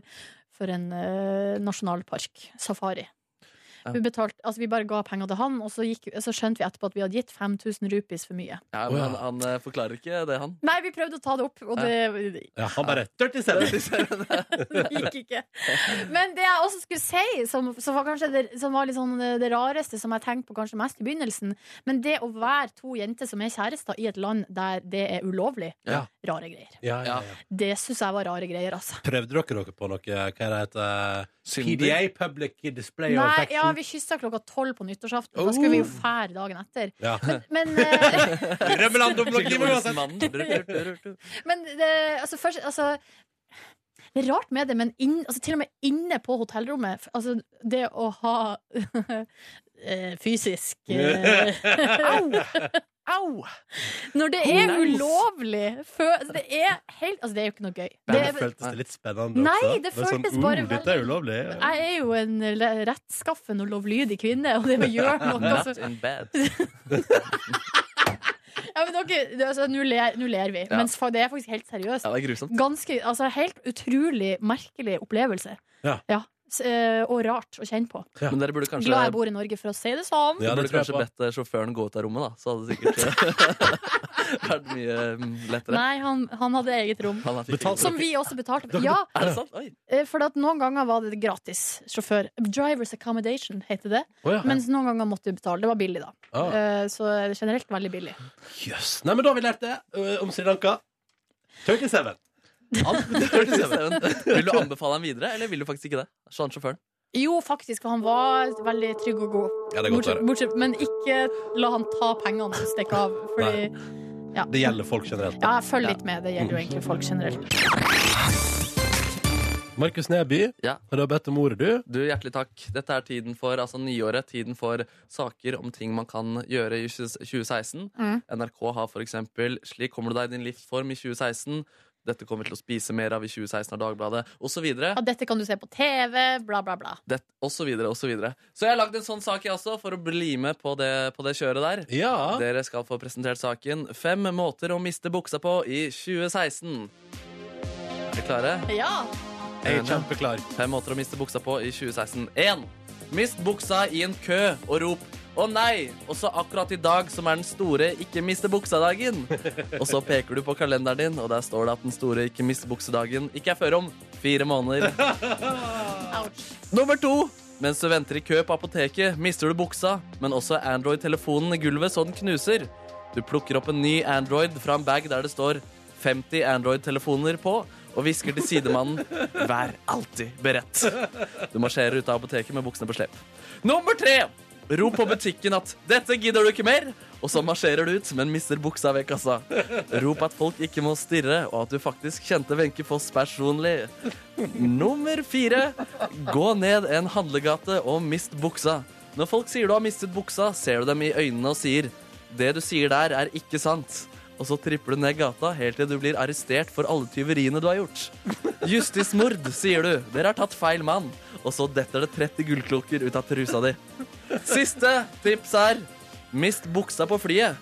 for en eh, nasjonalpark. Safari. Ja. Vi, betalte, altså vi bare ga penger til han, og så, gikk, så skjønte vi etterpå at vi hadde gitt 5000 rupees for mye. Ja, Å, men ja. han, han eh, forklarer ikke det, han. Nei, vi prøvde å ta det opp, og det, Ja, han bare 37. det gikk ikke. Men det jeg også skulle si, som, som var kanskje det, som var litt sånn eh, det rareste som jeg tenkte på kanskje mest i begynnelsen, men det å være to jenter som er kjærester i et land der det er ulovlig, Ja. rare greier. Ja, ja, ja. Det syns jeg var rare greier, altså. Prøvde dere dere på noe, hva er det heter? Synder. PDA, Public Display of Nei, Affection? ja, vi kyssa klokka tolv på nyttårsaften. for Da skulle vi jo fære dagen etter. Ja. Men, eh, Rømmeland og Skikkelig blokkime uansett! Olsenmannen. Rur, rur, rur, rur. men det, altså, først, altså det er rart med det, men inn, altså, til og med inne på hotellrommet f- altså, Det å ha eh, fysisk eh, Au! Når det er Nice. ulovlig fø, altså, det, er helt, altså, det er jo ikke noe gøy. Men Det, det er- føltes det litt spennende Nei, også. det var føltes bare uh, Dette er ulovlig. jeg er jo en le- rettskaffen og lovlydig kvinne, og det å gjøre noe altså, Not in bed. ja, men dere- det- altså, Nå ler, nå ler vi, Ja. men fa- det er faktisk helt seriøst. Ja, det er grusomt. Ganske, altså Helt utrolig merkelig opplevelse. Ja. S- eh, og rart å kjenne på. Men dere burde kanskje, Glad jeg bor i Norge, for å si det sånn. Ja, dere det burde tror jeg kanskje på. bedt eh, sjåføren gå ut av rommet, da. Så hadde det sikkert eh, vært mye mm, lettere. Nei, han, han hadde eget rom. Han fikk Betalt- Som vi også betalte for. Ja, Er det sant? Oi. eh, for at noen ganger var det gratis sjåfør. Drivers accommodation heter det. Å, ja. Mens noen ganger måtte vi betale. Det var billig, da. Ah. Eh, Så generelt veldig billig. Jøss. Nei, men da har vi lært det ø, om Sri Lanka. 37. Vil du anbefale han videre, eller vil du faktisk ikke det? Så han sjåføren. Jo, faktisk, for han var veldig trygg og god. Ja, det er godt å Bortsett, høre. bortsett, men ikke la han ta pengene og stikke av. Fordi ja. Det gjelder folk generelt. ja, følg litt med. Det gjelder jo egentlig folk generelt. Markus Neby, Ja. har du bedt om ordet, du? Du, hjertelig takk. Dette er tiden for, altså nyåret, tiden for saker om ting man kan gjøre i 20- 2016. Mm. NRK har for eksempel 'Slik kommer du deg i din livsform i 2016'. Dette kommer vi til å spise mer av i 2016 av Dagbladet, osv. Ja, dette kan du se på TV, bla, bla, bla. Og så videre, og så videre. Så jeg har lagd en sånn sak, jeg også, for å bli med på det, på det kjøret der. Ja. Dere skal få presentert saken 'Fem måter å miste buksa på i 2016'. Er dere klare? Ja! Jeg er kjempeklar. Fem måter å miste buksa på i 2016. 1. Mist buksa i en kø og rop 'Å nei!' Også akkurat i dag, som er den store 'ikke miste buksa'-dagen. Og så peker du på kalenderen din, og der står det at den store 'ikke miste buksa'-dagen ikke er før om fire måneder. Ouch. Nummer to. Mens du venter i kø på apoteket, mister du buksa, men også Android-telefonen i gulvet så den knuser. Du plukker opp en ny Android fra en bag der det står 50 Android-telefoner på, og hvisker til sidemannen 'vær alltid beredt'. Du marsjerer ut av apoteket med buksene på slep. Nummer tre. Rop på butikken at 'dette gidder du ikke mer', og så marsjerer du ut, men mister buksa ved kassa. Rop at folk ikke må stirre, og at du faktisk kjente Wenche Foss personlig. Nummer fire. Gå ned en handlegate og mist buksa. Når folk sier du har mistet buksa, ser du dem i øynene og sier Det du sier der, er ikke sant. Og så tripper du ned gata helt til du blir arrestert for alle tyveriene du har gjort. Justismord, sier du. Dere har tatt feil mann. Og så detter det 30 gullklokker ut av trusa di. Siste tips er mist buksa på flyet.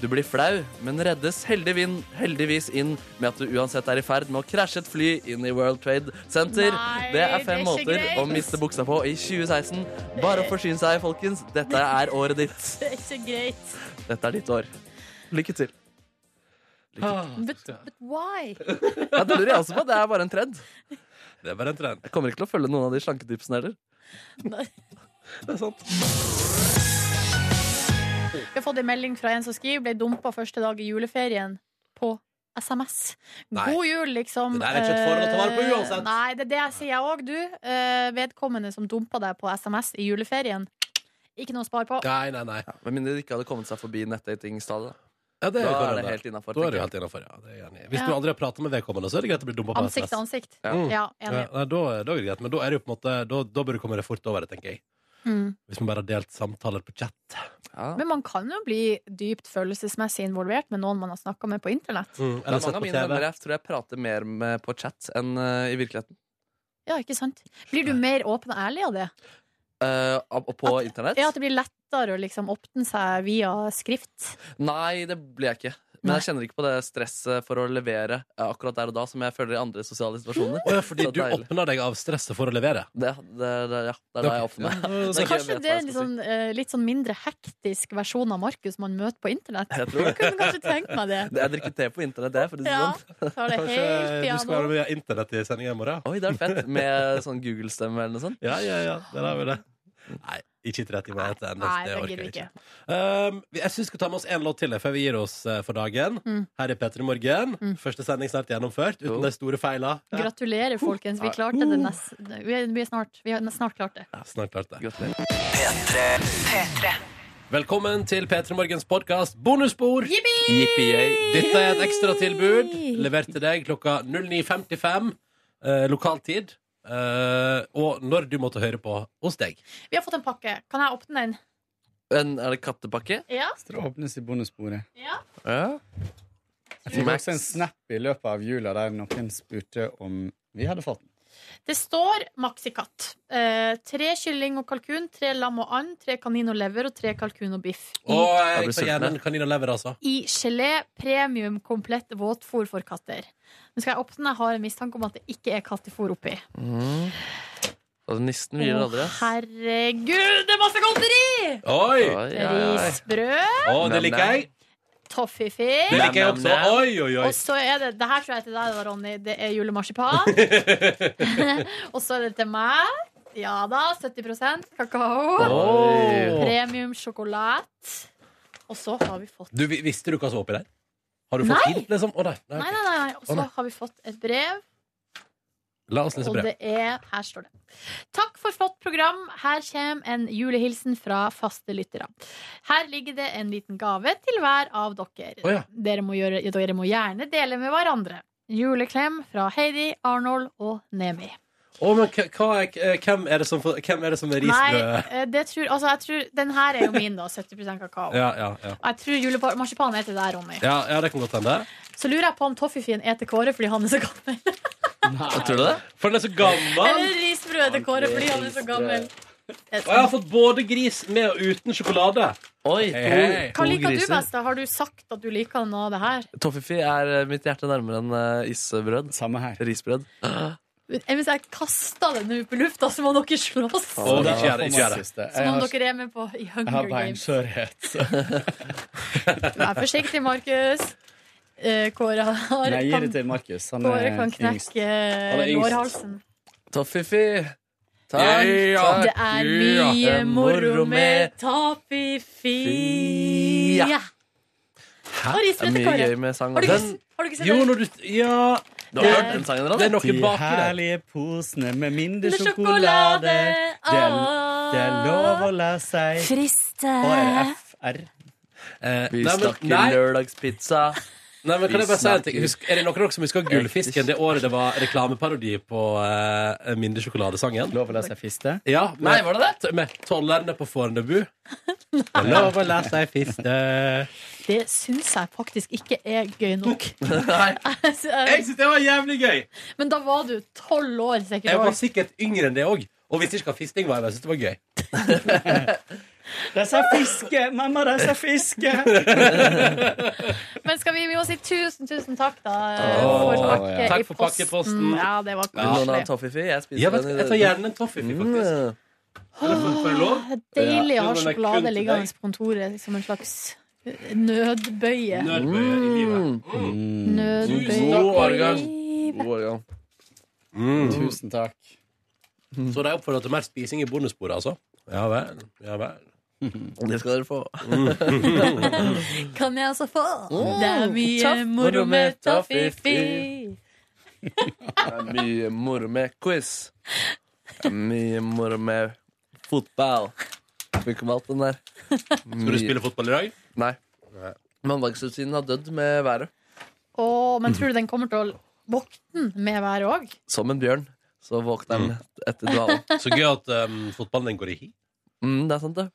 Du blir flau, men reddes heldigvin- heldigvis inn med at du uansett er i ferd med å krasje et fly inn i World Trade Center. Nei, det er fem det er ikke måter å greit. miste buksa på i 2016. Bare å forsyne seg, folkens. Dette er året ditt. Det er ikke greit. Dette er ditt år. Lykke til. But, but why? Ja, det lurer jeg også på. Det er bare en trend. Det er bare en trend. Jeg kommer ikke til å følge noen av de slanketipsene heller. Nei. Det er sant. Vi har fått en melding fra en som skriver ble dumpa første dag i juleferien på SMS. Nei. God jul, liksom. Det der er ikke et forhold å ta vare på Eh, uansett. Nei, det er det jeg sier jeg òg, du. Eh, Vedkommende som dumpa deg på SMS i juleferien. Ikke noe å spare på. Nei, nei, nei. Med mindre de ikke hadde kommet seg forbi nettdatingstadiet. Ja, det Da er, er korona. det helt innafor. da er det helt innafor. Ja, det er jeg enig i. Hvis du Ja. aldri har pratet med vedkommende, så er det greit å bli dumpa på Ansikt til SMS. ansikt. Ja. Mm. Ja, Ja, enig. nei, da, er- da er det greit, men da er det jo på en måte Da, da bør du komme deg fort over det, tenker jeg. Mm. Hvis man bare har delt samtaler på chat. Ja. Men man kan jo bli dypt følelsesmessig involvert med noen man har snakka med på internett. Mm, eller Det er mange sett av på mine venner TV. jeg tror jeg prater mer med på chat enn eh, i virkeligheten. Ja, ikke sant? Blir du mer åpen og ærlig av det? Eh, og og på internett? Ja, At det blir lettere å liksom åpne seg via skrift? Nei, det blir jeg ikke. Men jeg kjenner ikke på det stresset for å levere eh, akkurat der og da som jeg føler i andre sosiale situasjoner. Å ja, fordi Så du deilig. åpner deg av stresset for å levere. Mm, Det, det, det, ja, det er da jeg åpner meg. Ja, Så Jeg kanskje vet det hva er jeg en litt skal sånn, eh, litt sånn mindre hektisk versjon av Markus man møter på internett? Jeg tror det. kunne kanskje tenkt meg det. Jeg drikker te på internett, det. er For å si det Ja, sånn. tar det Kanskje helt du skal være piano. via internett i sendinga i morgen? Oi, det er fett. Med sånn Google-stemme eller noe sånt. Ja, ja, ja. Der har vi det. Nei, ikke 30 minutter. ennå, Nei, det det orker gidder jeg vi ikke. ikke. Um, jeg syns vi skal ta med oss en låt til før vi gir oss eh, for dagen. Mm. Her er P3 Morgen. Mm. Første sending snart gjennomført, uten Jo. de store feila. Ja. Gratulerer, folkens. Vi klarte det nest, vi er, vi er snart, vi har snart klart det. Snart klart det. Gratulerer. Velkommen til P3 Morgens podkast Bonusbord. Yippee-yay. Dette er et ekstratilbud levert til deg klokka 09.55 eh, lokal tid. eh, og når du måtte høre på hos deg. Vi har fått en pakke. Kan jeg åpne den? En, er det kattepakke? Ja? Det åpnes i bonusbordet. ja. Ja. Jeg fikk Max. også en snap i løpet av jula der noen spurte om vi hadde fått den. Det står maxikatt. Eh, tre kylling og kalkun, tre lam og and, tre kanin og lever og tre kalkun og biff. I, Og eh, Jeg jeg blir får sulten, gjerne en kanin og lever, altså. i gelé, premium, komplett våtfôr for katter. Nå skal jeg åpne. Jeg har en mistanke om at det ikke er kattefôr oppi. Mm. Og Nissen hviler Å, aldri. ass. herregud, det er masse godteri! Oi! Oi, oi, oi. Risbrød, Å, det liker jeg. Det toffifee. liker jeg også. Oi, oi, oi. Og så er det det her tror jeg er til deg, da, Ronny. Det er julemarsipan. og så er det til meg. Ja da, 70 kakao. Oi. Premium sjokolade. Og så har vi fått Du, vi- visste du hva som var oppi der? Har du fått Nei. hint, liksom? Å, nei. nei, Nei, ok. nei, nei. Og Å, så nei. har vi fått et brev, La oss lese og brev. det er Her står det. Takk for flott program. Her kommer en julehilsen fra faste lyttere. Her ligger det en liten gave til hver av dere. Å, ja. Dere må, gjøre, dere må gjerne dele med hverandre. Juleklem fra Heidi, Arnold og Nemi. Å, men k- hva er, eh, hvem, er det som, får- hvem er det som er Nei, risbrød? eh, det tror, altså, jeg tror, den her er jo min, da. 70 kakao. Ja, ja, ja. Og Jeg tror julemarsipan er til deg, Ronny. Ja, ja, det kan godt hende. Så lurer jeg på om Toffifee er til Kåre fordi han er så gammel. Tror du det? For den er så gammel! Eller risbrød er til Kåre fordi han er så gammel. Eh, Og jeg har fått både gris med og uten sjokolade. Oi, to, Hei. Hva to liker du griser. best, da? Har du sagt at du liker noe av det her? Toffifee er eh, mitt hjerte nærmere enn eh, isbrød. Samme her. Risbrød. Men Eh, Hvis jeg kaster den ut på lufta, så må dere slåss. Å, Så det ikke gjør det, var ikke gjør det. siste. Som Jeg om har, dere er med på i jeg Hunger har Games. beinskjørhet. så- Vær forsiktig, Markus. Eh, Kåre Nei, har, jeg gir det kan, til Markus. Han Kåre er kan yngst. knekke eh, er yngst. lårhalsen. Toffifee! Takk, Ja. Det er mye moro med Tapifia. Fia. Og Det er risbrød til mye Kåre. gøy med sang. Har du ikke, Den, har du ikke sett Jo, det? når du Ja, du har Det- hørt den sangen? Ronny? det er noe De baki der. herlige posene med mindre Med sjokolade. Det er, ah. det er lov å la seg Friste. Og er det FR? Eh, Vi nei, men, snakker nei, lørdagspizza. nei, men kan jeg bare si en ting? Vi Husk, er det noen av dere som husker Gullfisken, det året det var reklameparodi på eh, Mindesjokoladesangen? Lov å la seg fiste? Ja, Nei, med, var det det? med tollerne på Fornebu. Det er Lov å la seg fiste. Det syns jeg faktisk ikke er gøy nok. Nei. Jeg syns det var jævlig gøy! Men da var du tolv år, sikkert. Jeg var Var... sikkert yngre enn det òg. Og hvis ikke hva fisting var, jeg syns det var gøy. De sa fiske! Mamma, de sa fiske! Men skal vi, vi må si tusen, tusen takk, da, Åh, for pakke ja. Takk i for posten. pakkeposten. Ja, det var Vil noen ha koselig. toffifee? Jeg spiser Jeg, vet, den. i- altså, jeg tar gjerne en toffee, faktisk. Mm. Eller får- får jeg lov? Deilig å Ja, ha men det er kun sjokolade til liggende deg. på kontoret som en slags eh, nødbøye. Nødbøye i livet. Mm. Nødbøye God årgang. i livet. God årgang. Tusen takk. Mm. Så de oppfordrer til mer spising i bonusbordet, altså? Ja vel. Ja vel. Det skal dere få. Kan jeg altså få? Mm. Det er mye Toff- moro med Toffifee. Toffifi. Det er mye moro med quiz. Det er mye moro med fotball. Funker med alt den der. Skal du spille fotball i dag? Nei. Mandagsrutinen har dødd med været. Åh, men tror du den kommer til å vokte med været òg? Som en bjørn. Så våkner den etter dvalen. Så gøy at um, fotballen din går i hi. Mm, det er sant, det.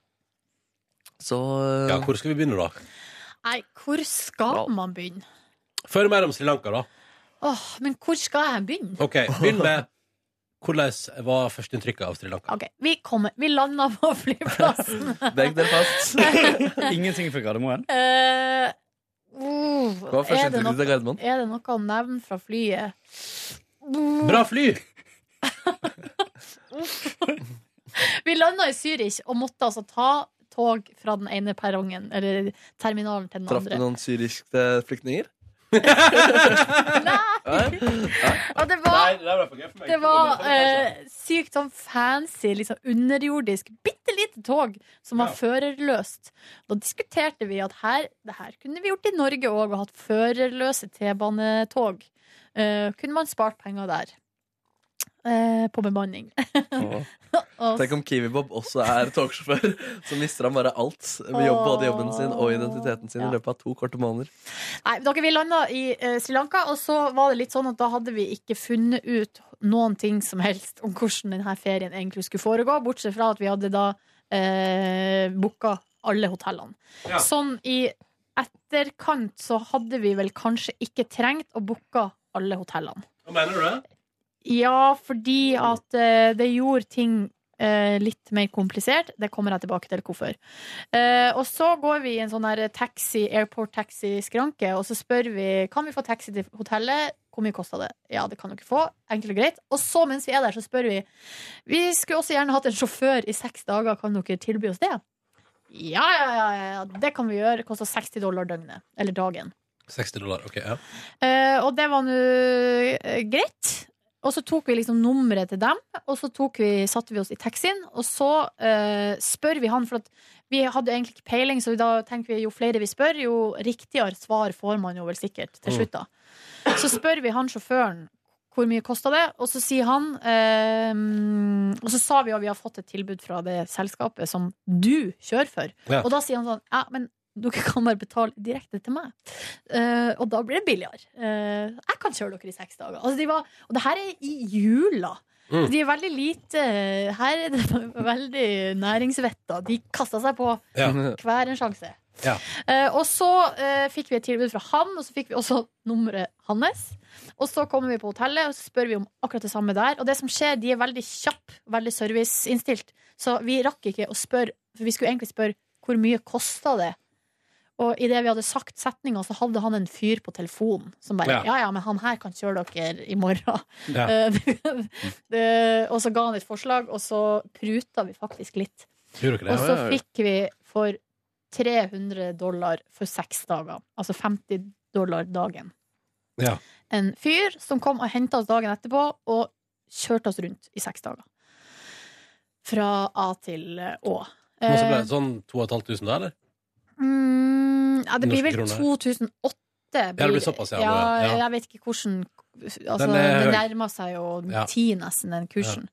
Så eh, Ja, Hvor skal vi begynne, da? Nei, hvor skal Ja. man begynne? Før mer om Sri Lanka, da. Åh, men hvor skal jeg begynne? Ok, Begynn med hvordan var førsteinntrykket av Sri Lanka? Ok, Vi kommer, vi lander på flyplassen. eh, Legg dere fast. Ingenting fra Gardermoen? Eh, uh, Hva var er, det førsteinntrykket til noe, Gardermoen? er det noe å nevne fra flyet? Uh, Bra fly! Vi landa i Zürich og måtte altså ta tog fra den ene perrongen, eller terminalen, til den Traff du andre. noen syriske flyktninger? Og det Nei, var, det der var for gøy for meg. det var eh, sykt sånn fancy, liksom underjordisk, bitte lite tog som var Ja. førerløst. Da diskuterte vi at her, det her kunne vi gjort i Norge òg, og hatt førerløse T-banetog. Eh, kunne man spart penger der. Eh, på bemanning. Og Tenk om Kiwi-Bob også er togsjåfør, så mister han bare alt. Med jobb, både jobben sin og identiteten sin i Ja. løpet av to korte måneder. Nei, dere, Vi landa i eh, Sri Lanka, og så var det litt sånn at da hadde vi ikke funnet ut noen ting som helst om hvordan denne ferien egentlig skulle foregå, bortsett fra at vi hadde da eh, booka alle hotellene. Ja. Sånn i etterkant så hadde vi vel kanskje ikke trengt å booke alle hotellene. Hva mener du det? Ja, fordi at eh, det gjorde ting eh, litt mer komplisert. Det kommer jeg tilbake til hvorfor. Eh, og så går vi i en sånn her taxi, airport taxi-skranke, og så spør vi kan vi få taxi til hotellet. Hvor mye kosta det? Ja, det kan dere få. Enkelt og greit. Og så, mens vi er der, så spør vi Vi skulle også gjerne hatt en sjåfør i seks dager. Kan dere tilby oss det? Ja, ja, ja, ja. Det kan vi gjøre. Det koster 60 dollar døgnet. Eller dagen. 60 dollar. ok, ja. Eh, og det var nå eh, greit. Og så tok vi liksom nummeret til dem, og så tok vi, satte vi oss i taxien. Og så eh, spør vi han, for at vi hadde egentlig ikke peiling, så da tenker vi jo flere vi spør, jo riktigere svar får man jo vel sikkert til slutt, da. Så spør vi han sjåføren hvor mye kosta det, og så sier han eh, Og så sa vi jo vi har fått et tilbud fra det selskapet som du kjører for. Ja. Og da sier han sånn Ja, men dere kan bare betale direkte til meg. Eh, og da blir det billigere. Eh, jeg kan kjøre dere i seks dager. Altså, de var, og det her er i jula. Mm. De er veldig lite eh, Her er det veldig næringsvetta. De kasta seg på Ja. hver en sjanse. Ja. Eh, og så eh, fikk vi et tilbud fra han, og så fikk vi også nummeret hans. Og så kommer vi på hotellet og så spør vi om akkurat det samme der. Og det som skjer, de er veldig kjappe, veldig serviceinnstilt. Så vi rakk ikke å spørre, for vi skulle egentlig spørre hvor mye kosta det? Og idet vi hadde sagt setninga, så hadde han en fyr på telefonen som Ja. bare Ja ja, men han her kan kjøre dere i morgen. Ja. Eh, det, og så ga han et forslag, og så pruta vi faktisk litt. Gjorde dere Og det? så ja, ja. fikk vi for 300 dollar for seks dager. Altså 50 dollar dagen. Ja. En fyr som kom og henta oss dagen etterpå og kjørte oss rundt i seks dager. Fra A til Å. Men eh, så ble det sånn 2500, da, eller? Mm, ja, det blir Norske vel kroner. 2008. det blir såpass, ja, ja, det- ja. Jeg vet ikke hvordan altså, Den er Det høy. nærmer seg jo Ja. ti, nesten, den kursen.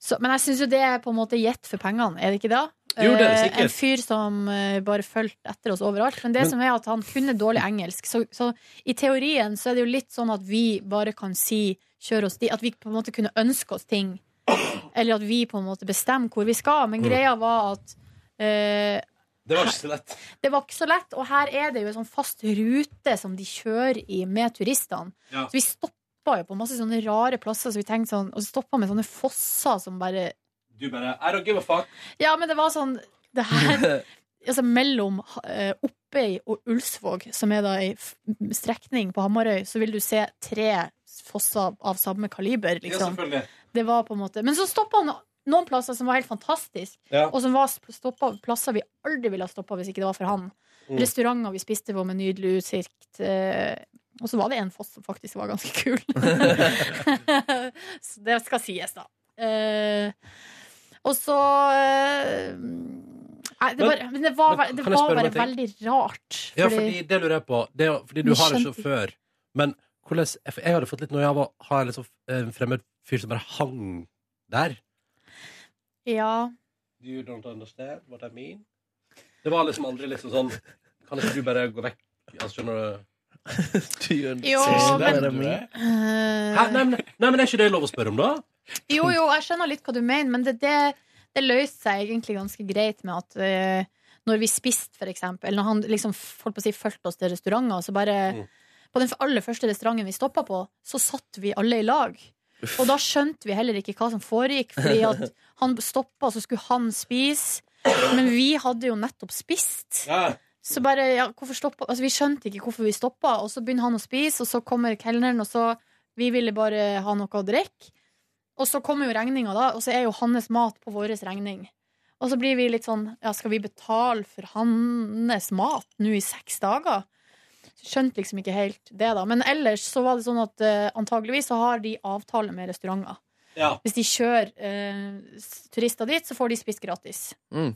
Så, men jeg syns jo det er på en måte gjett for pengene, er det ikke det? Jo, det er det Eh, sikkert. En fyr som eh, bare fulgte etter oss overalt. Men det Men- som er at han kunne dårlig engelsk. Så, så i teorien så er det jo litt sånn at vi bare kan si 'kjør oss dit'. At vi på en måte kunne ønske oss ting. Eller at vi på en måte bestemmer hvor vi skal. Mm. Men greia var at eh, Det var ikke så lett. det var ikke så lett, og her er det jo en sånn fast rute som de kjører i med turistene. Ja. Så vi stoppa jo på masse sånne rare plasser, så vi tenkte sånn, og så stoppa med sånne fosser som bare Du bare I don't give a fuck. Ja, men det var sånn det her, altså Mellom eh, Oppøy og Ulsvåg, som er da ei f- strekning på Hamarøy, så vil du se tre fosser av samme kaliber, liksom. selvfølgelig. Det var på en måte Men så stoppa han noen plasser som var helt fantastisk Ja. Og som var sp- stoppet plasser vi aldri ville ha stoppet Hvis ikke det var for han Mm. Restauranter vi spiste på med nydelig utsikt eh, Og så var det en foss som faktisk var ganske kul Så det skal sies da Eh, Og så eh, Nei, det, Men- bare, men det var, men det kan jeg var spørre om bare en ting? veldig rart Ja, fordi det lurer jeg på. Det er, fordi du Vi har en skjønte- sjåfør. Men hvordan jeg- Jeg hadde fått litt noia av å ha en liksom, en fremmed fyr som bare hang der. Ja, You don't understand what I mean. Det var liksom aldri liksom sånn Kan ikke du bare gå vekk? Altså, skjønner du? jo, Ser ikke men det, du er? eh, Hæ? Nei, men, nei, men er ikke det lov å spørre om, da? Jo, jo, jeg skjønner litt hva du mener, men det, det, det løste seg egentlig ganske greit med at eh, når vi spiste, for eksempel, når han liksom holdt på å si fulgte oss til restauranter, så bare Mm. På den aller første restauranten vi stoppa på, så satt vi alle i lag. Og da skjønte vi heller ikke hva som foregikk, fordi at han stoppa, så skulle han spise. Men vi hadde jo nettopp spist. Ja. Så bare, ja, hvorfor stoppa Altså, vi skjønte ikke hvorfor vi stoppa, og så begynner han å spise, og så kommer kelneren, og så Vi ville bare ha noe å drikke. Og så kommer jo regninga, da, og så er jo hans mat på vår regning. Og så blir vi litt sånn Ja, skal vi betale for hans mat nå i seks dager? Så Skjønte liksom ikke helt det, da. Men ellers så var det sånn at eh, antageligvis så har de avtale med restauranter. Ja. Hvis de kjører eh, s- turister dit, så får de spist gratis. Mm.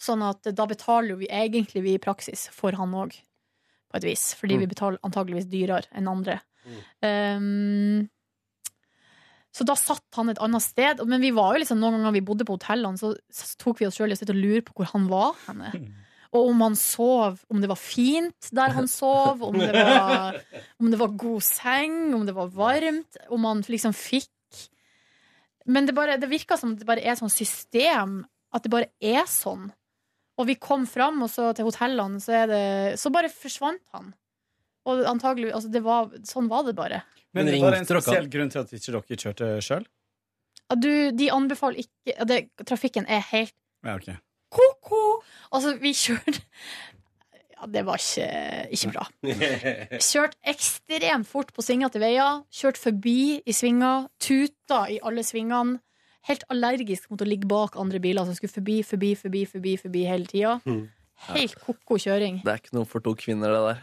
Sånn at eh, da betaler jo vi egentlig vi i praksis for han òg, på et vis. Fordi Mm. vi betaler antageligvis dyrere enn andre. Mm. Um, så da satt han et annet sted. Men vi var jo liksom, noen ganger vi bodde på hotellene, så så tok vi oss sjøl i å sitte og lure på hvor han var henne. Og om han sov, om det var fint der han sov, om det var, om det var god seng, om det var varmt, om han liksom fikk Men det, bare, det virka som det bare er sånn system, at det bare er sånn. Og vi kom fram, og så til hotellene, så er det Så bare forsvant han. Og antagelig, altså det var, sånn var det bare. Men Men var det en ringte dere? spesiell grunn til at ikke dere kjørte sjøl? Ja, Du, de anbefaler ikke ja, det, Trafikken er helt Ja, ok. ko-ko! Altså, vi kjørte Ja, det var ikke, ikke bra. Kjørt ekstremt fort på svingete veier. Kjørt forbi i svinger. Tuta i alle svingene. Helt allergisk mot å ligge bak andre biler som skulle forbi, forbi, forbi, forbi, forbi hele tida. Mm. Helt ko-ko kjøring. Det er ikke noe for to kvinner, det der.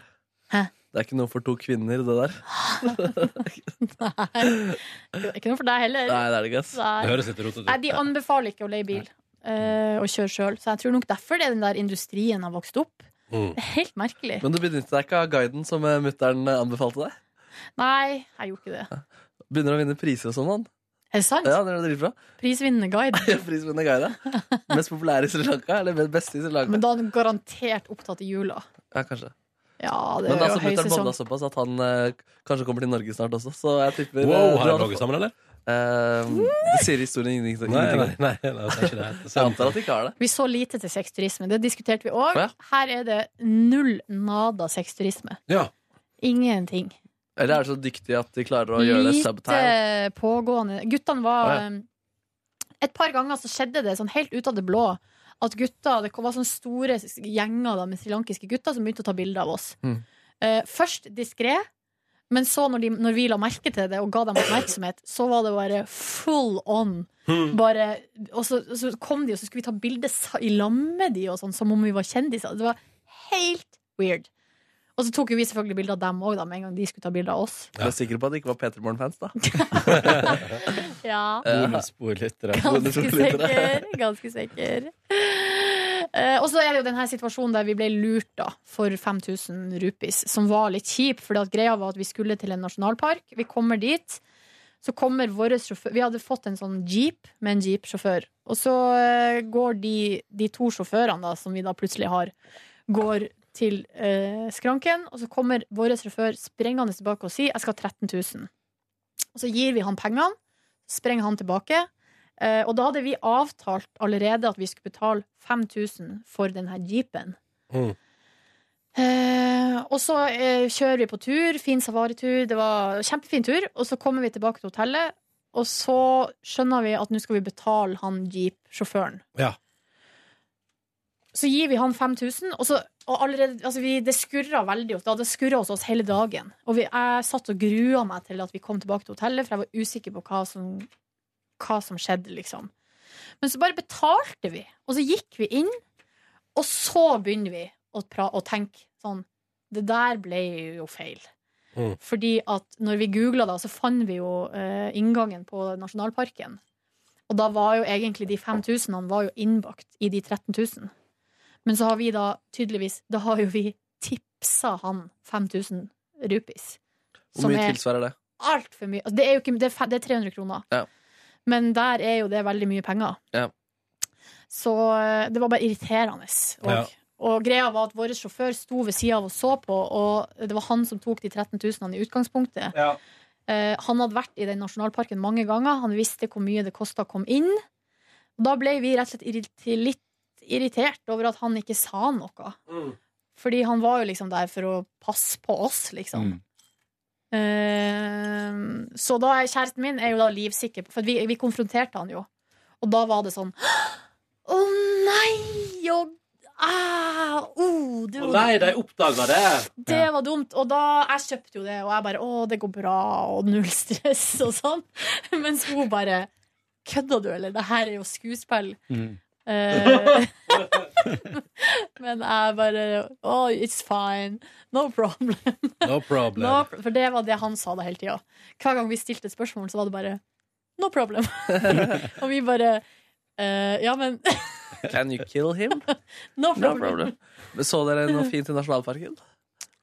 Hæ? Det er ikke noe for to kvinner, det der. Nei. Det er Ikke noe for deg heller. Nei, det er det ikke, ass. Det Nei. høres litt rotete ut. Nei, de anbefaler ikke å leie bil eh, og kjøre sjøl. Så jeg tror nok derfor det er den der industrien har vokst opp. Mm. Det er Helt merkelig. Men du benyttet deg ikke av guiden som eh, mutteren eh, anbefalte deg? Nei, jeg gjorde ikke det. Begynner å vinne priser og sånn, han. Er det sant? Ja, det er dritbra. Prisvinnende guide. Prisvinnende guide. Mest populære i Sri Lanka, eller den beste i Sri Lanka. Men da er han garantert opptatt i jula. Ja, kanskje. Ja, det Men altså, da er så jo mutter'n høysesong. såpass at han eh, kanskje kommer til Norge snart også, så jeg tipper eh, Wow, har du hadde dere ligget sammen, eller? fått- Eh, det sier historien ingenting Nei, ingenting nei, om. nei, nei det er ikke det. Jeg antar at de ikke har det. Vi så lite til sexturisme, det diskuterte vi òg. Ja. Her er det null nada sexturisme. Ja. Ingenting. Eller er de så dyktige at de klarer å gjøre det subtile? Lite pågående. Guttene var Å, ja. um, Et par ganger så skjedde det sånn helt ut av det blå at gutta Det var sånne store gjenger da, med srilankiske gutter som begynte å ta bilder av oss. Mm. Eh, først diskré, men så, når, de, når vi la merke til det og ga dem oppmerksomhet, så var det bare full on. Mm. Hmm. Bare, og så, så kom de, og så skulle vi ta bilde sa- i lag med de, og sånn, som om vi var kjendiser. Det var helt weird. Og så tok jo vi selvfølgelig bilde av dem òg, med en gang de skulle ta bilde av oss. Du er sikker på at det ikke var Peter Morn-fans, da? Eh, Ja, Bonusbordlyttere. ganske sikker. Ganske sikker. Eh, og så er det jo denne situasjonen der vi ble lurt da, for 5000 rupees, som var litt kjip. For greia var at vi skulle til en nasjonalpark. Vi kommer dit. Så kommer vår sjåfør Vi hadde fått en sånn jeep med en jeep-sjåfør. Og så eh, går de, de to sjåførene da, som vi da plutselig har, går til eh, skranken. Og så kommer vår sjåfør sprengende tilbake og sier 'jeg skal ha 13 000'. Og så gir vi han pengene, sprenger han tilbake. Eh, og da hadde vi avtalt allerede at vi skulle betale 5000 for denne jeepen. Mm. Eh, og så eh, kjører vi på tur, fin safaritur, det var kjempefin tur. Og så kommer vi tilbake til hotellet, og så skjønner vi at nå skal vi betale han jeep-sjåføren. Ja. Så gir vi han 5000, og, så, og allerede, altså vi, det skurra veldig. Det hadde skurra hos oss hele dagen. Og vi, jeg satt og grua meg til at vi kom tilbake til hotellet, for jeg var usikker på hva som hva som skjedde, liksom. Men så bare betalte vi, og så gikk vi inn, og så begynner vi å, pra å tenke sånn Det der ble jo feil. Mm. Fordi at når vi googla det, så fant vi jo eh, inngangen på nasjonalparken. Og da var jo egentlig de 5000 var jo innbakt i de 13 000. Men så har vi da tydeligvis Da har jo vi tipsa han 5000 rupees. Hvor mye tilsvarer det? altfor mye. Altså, det, er jo ikke, det, er, fe- det er 300 kroner. Ja. Men der er jo det veldig mye penger. Ja. Så eh, det var bare irriterende. Og, Ja. og greia var at vår sjåfør sto ved sida av og så på, og det var han som tok de 13 000 i utgangspunktet. Ja. Eh, han hadde vært i den nasjonalparken mange ganger, han visste hvor mye det kosta å komme inn. Og da ble vi rett og slett irrit- litt irritert over at han ikke sa noe. Mm. Fordi han var jo liksom der for å passe på oss, liksom. Eh, så da er kjæresten min er jo da livsikker, for vi, vi konfronterte han jo. Og da var det sånn Å nei! Og, ah, oh, det, Å var, nei, de oppdaga det! det var dumt. Og da Jeg kjøpte jo det, og jeg bare Å, det går bra, og null stress, og sånn. Mens hun bare Kødda du, eller? Det her er jo skuespill. Mm. Eh, men jeg bare Oh, it's fine. No problem. No problem. No, for det var det han sa da hele tida. Hver gang vi stilte et spørsmål, så var det bare No problem. og vi bare eh, Ja, men Can you kill him? no No problem. problem. Men Så dere noe fint i nasjonalparken?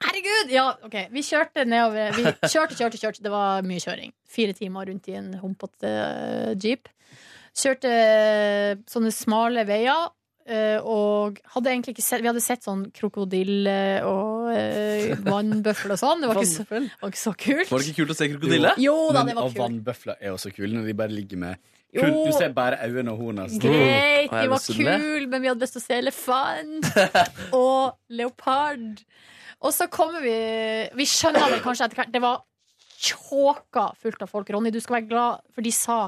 Herregud! Ja, OK. Vi kjørte nedover. Vi kjørte, kjørte, kjørte. Det var mye kjøring. Fire timer rundt i en humpete eh, jeep. Kjørte eh, sånne smale veier. eh, og hadde egentlig ikke sett Vi hadde sett sånn krokodille og eh, vannbøffel og sånn. Det var ikke så, Vannfell? var ikke så kult. Var det ikke kult å se krokodille? Jo da, det Men, var og kult. vannbøfler er jo så kule når de bare ligger med Jo. Kun, Du ser bare øynene og hornene. altså. Greit, Og jeg de var misunner. kule, men vi hadde lyst til å se elefant og leopard. Og så kommer vi Vi skjønner det kanskje etter hvert. Det var tjåka fullt av folk. Ronny, du skal være glad, for de sa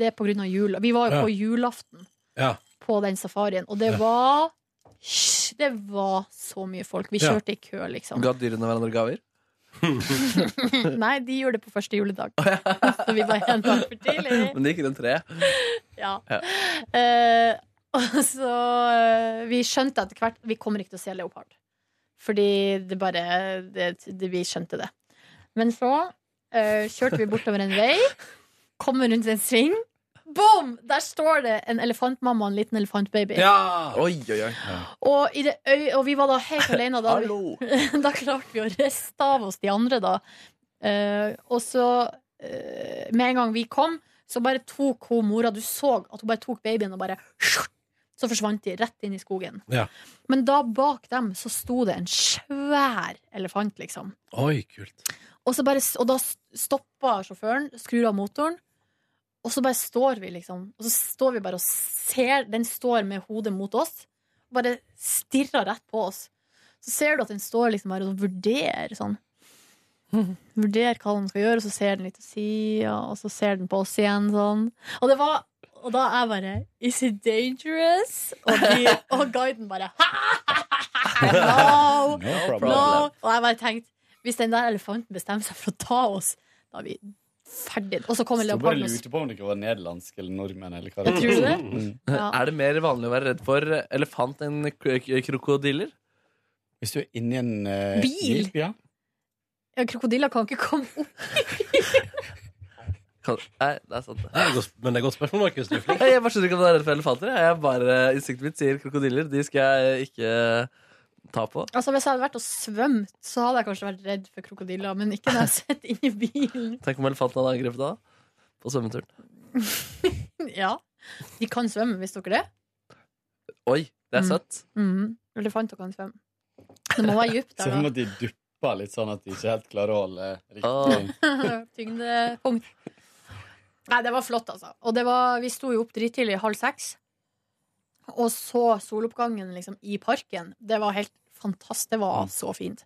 det er på grunn av jul. Vi var jo Ja. på julaften Ja. på den safarien, og det Ja. var hysj, Det var så mye folk. Vi Ja. kjørte i kø, liksom. Ga dyrene hverandre gaver? Nei, de gjorde det på første juledag. Så vi var en dag for tidlig. Men det gikk rundt treet. Ja. Ja. Eh, og så eh, Vi skjønte etter hvert Vi kommer ikke til å se leopard. Fordi det bare det, det, Vi skjønte det. Men så eh, kjørte vi bortover en vei, kommer rundt en sving. Boom! Der står det en elefantmamma og en liten elefantbaby. Ja! Oi, oi, oi. Og, i det øy, og vi var da helt alene. og Da, hadde vi- Hallo! da klarte vi å riste av oss de andre, da. Eh, og så, eh, med en gang vi kom, så bare tok hun mora Du så at hun bare tok babyen og bare Så forsvant de rett inn i skogen. Ja. Men da bak dem så sto det en svær elefant, liksom. Oi, kult. Og, så bare, og da stoppa sjåføren, skrur av motoren, Og så bare står vi liksom Og så står vi bare og ser Den står med hodet mot oss Bare stirrer rett på oss Så ser du at den står liksom bare og vurderer sånn Vurderer hva den skal gjøre Og så ser den litt til sida Og så ser den på oss igjen sånn Og det var og da er jeg bare Is it dangerous? Og, de, og guiden bare No, No problem. no Og jeg bare tenkte Hvis den der elefanten bestemmer seg for å ta oss Da er vi ferdige Og så kommer Så bare leoparden og lurte på om dere var nederlandske eller nordmenn eller hva Jeg tror det. Mm. Ja. Er det mer vanlig å være redd for elefant enn k- k- krokodiller? Hvis du er inni en eh, Bil? ja. Ja, krokodiller kan ikke komme opp. Kan, nei, det er sant. det. Nei, det er godt- Men det er et godt spørsmål, Markus. Du er flink. Nei, Jeg bare skjønner ikke at du er redd for elefanter. jeg. Jeg bare, Instinktet mitt sier krokodiller. De skal jeg ikke ta på. Altså, Hvis jeg hadde vært og svømt, så hadde jeg kanskje vært redd for krokodiller. Men ikke når jeg sitter inni bilen. Tenk om elefanten hadde angrepet deg da, på svømmeturen. Ja, De kan svømme, visste dere det? Oi, det er Mm. søtt. Mm. Elefanter kan svømme. Det må være dypt Så om der, at de dupper litt sånn at de ikke helt klarer å holde riktig. Åh. da. Tyngdepunkt. Nei, det var flott, altså. Og det var, vi sto jo opp drittidlig, halv seks, og så soloppgangen liksom i parken. Det var helt fantastisk. Det var så fint.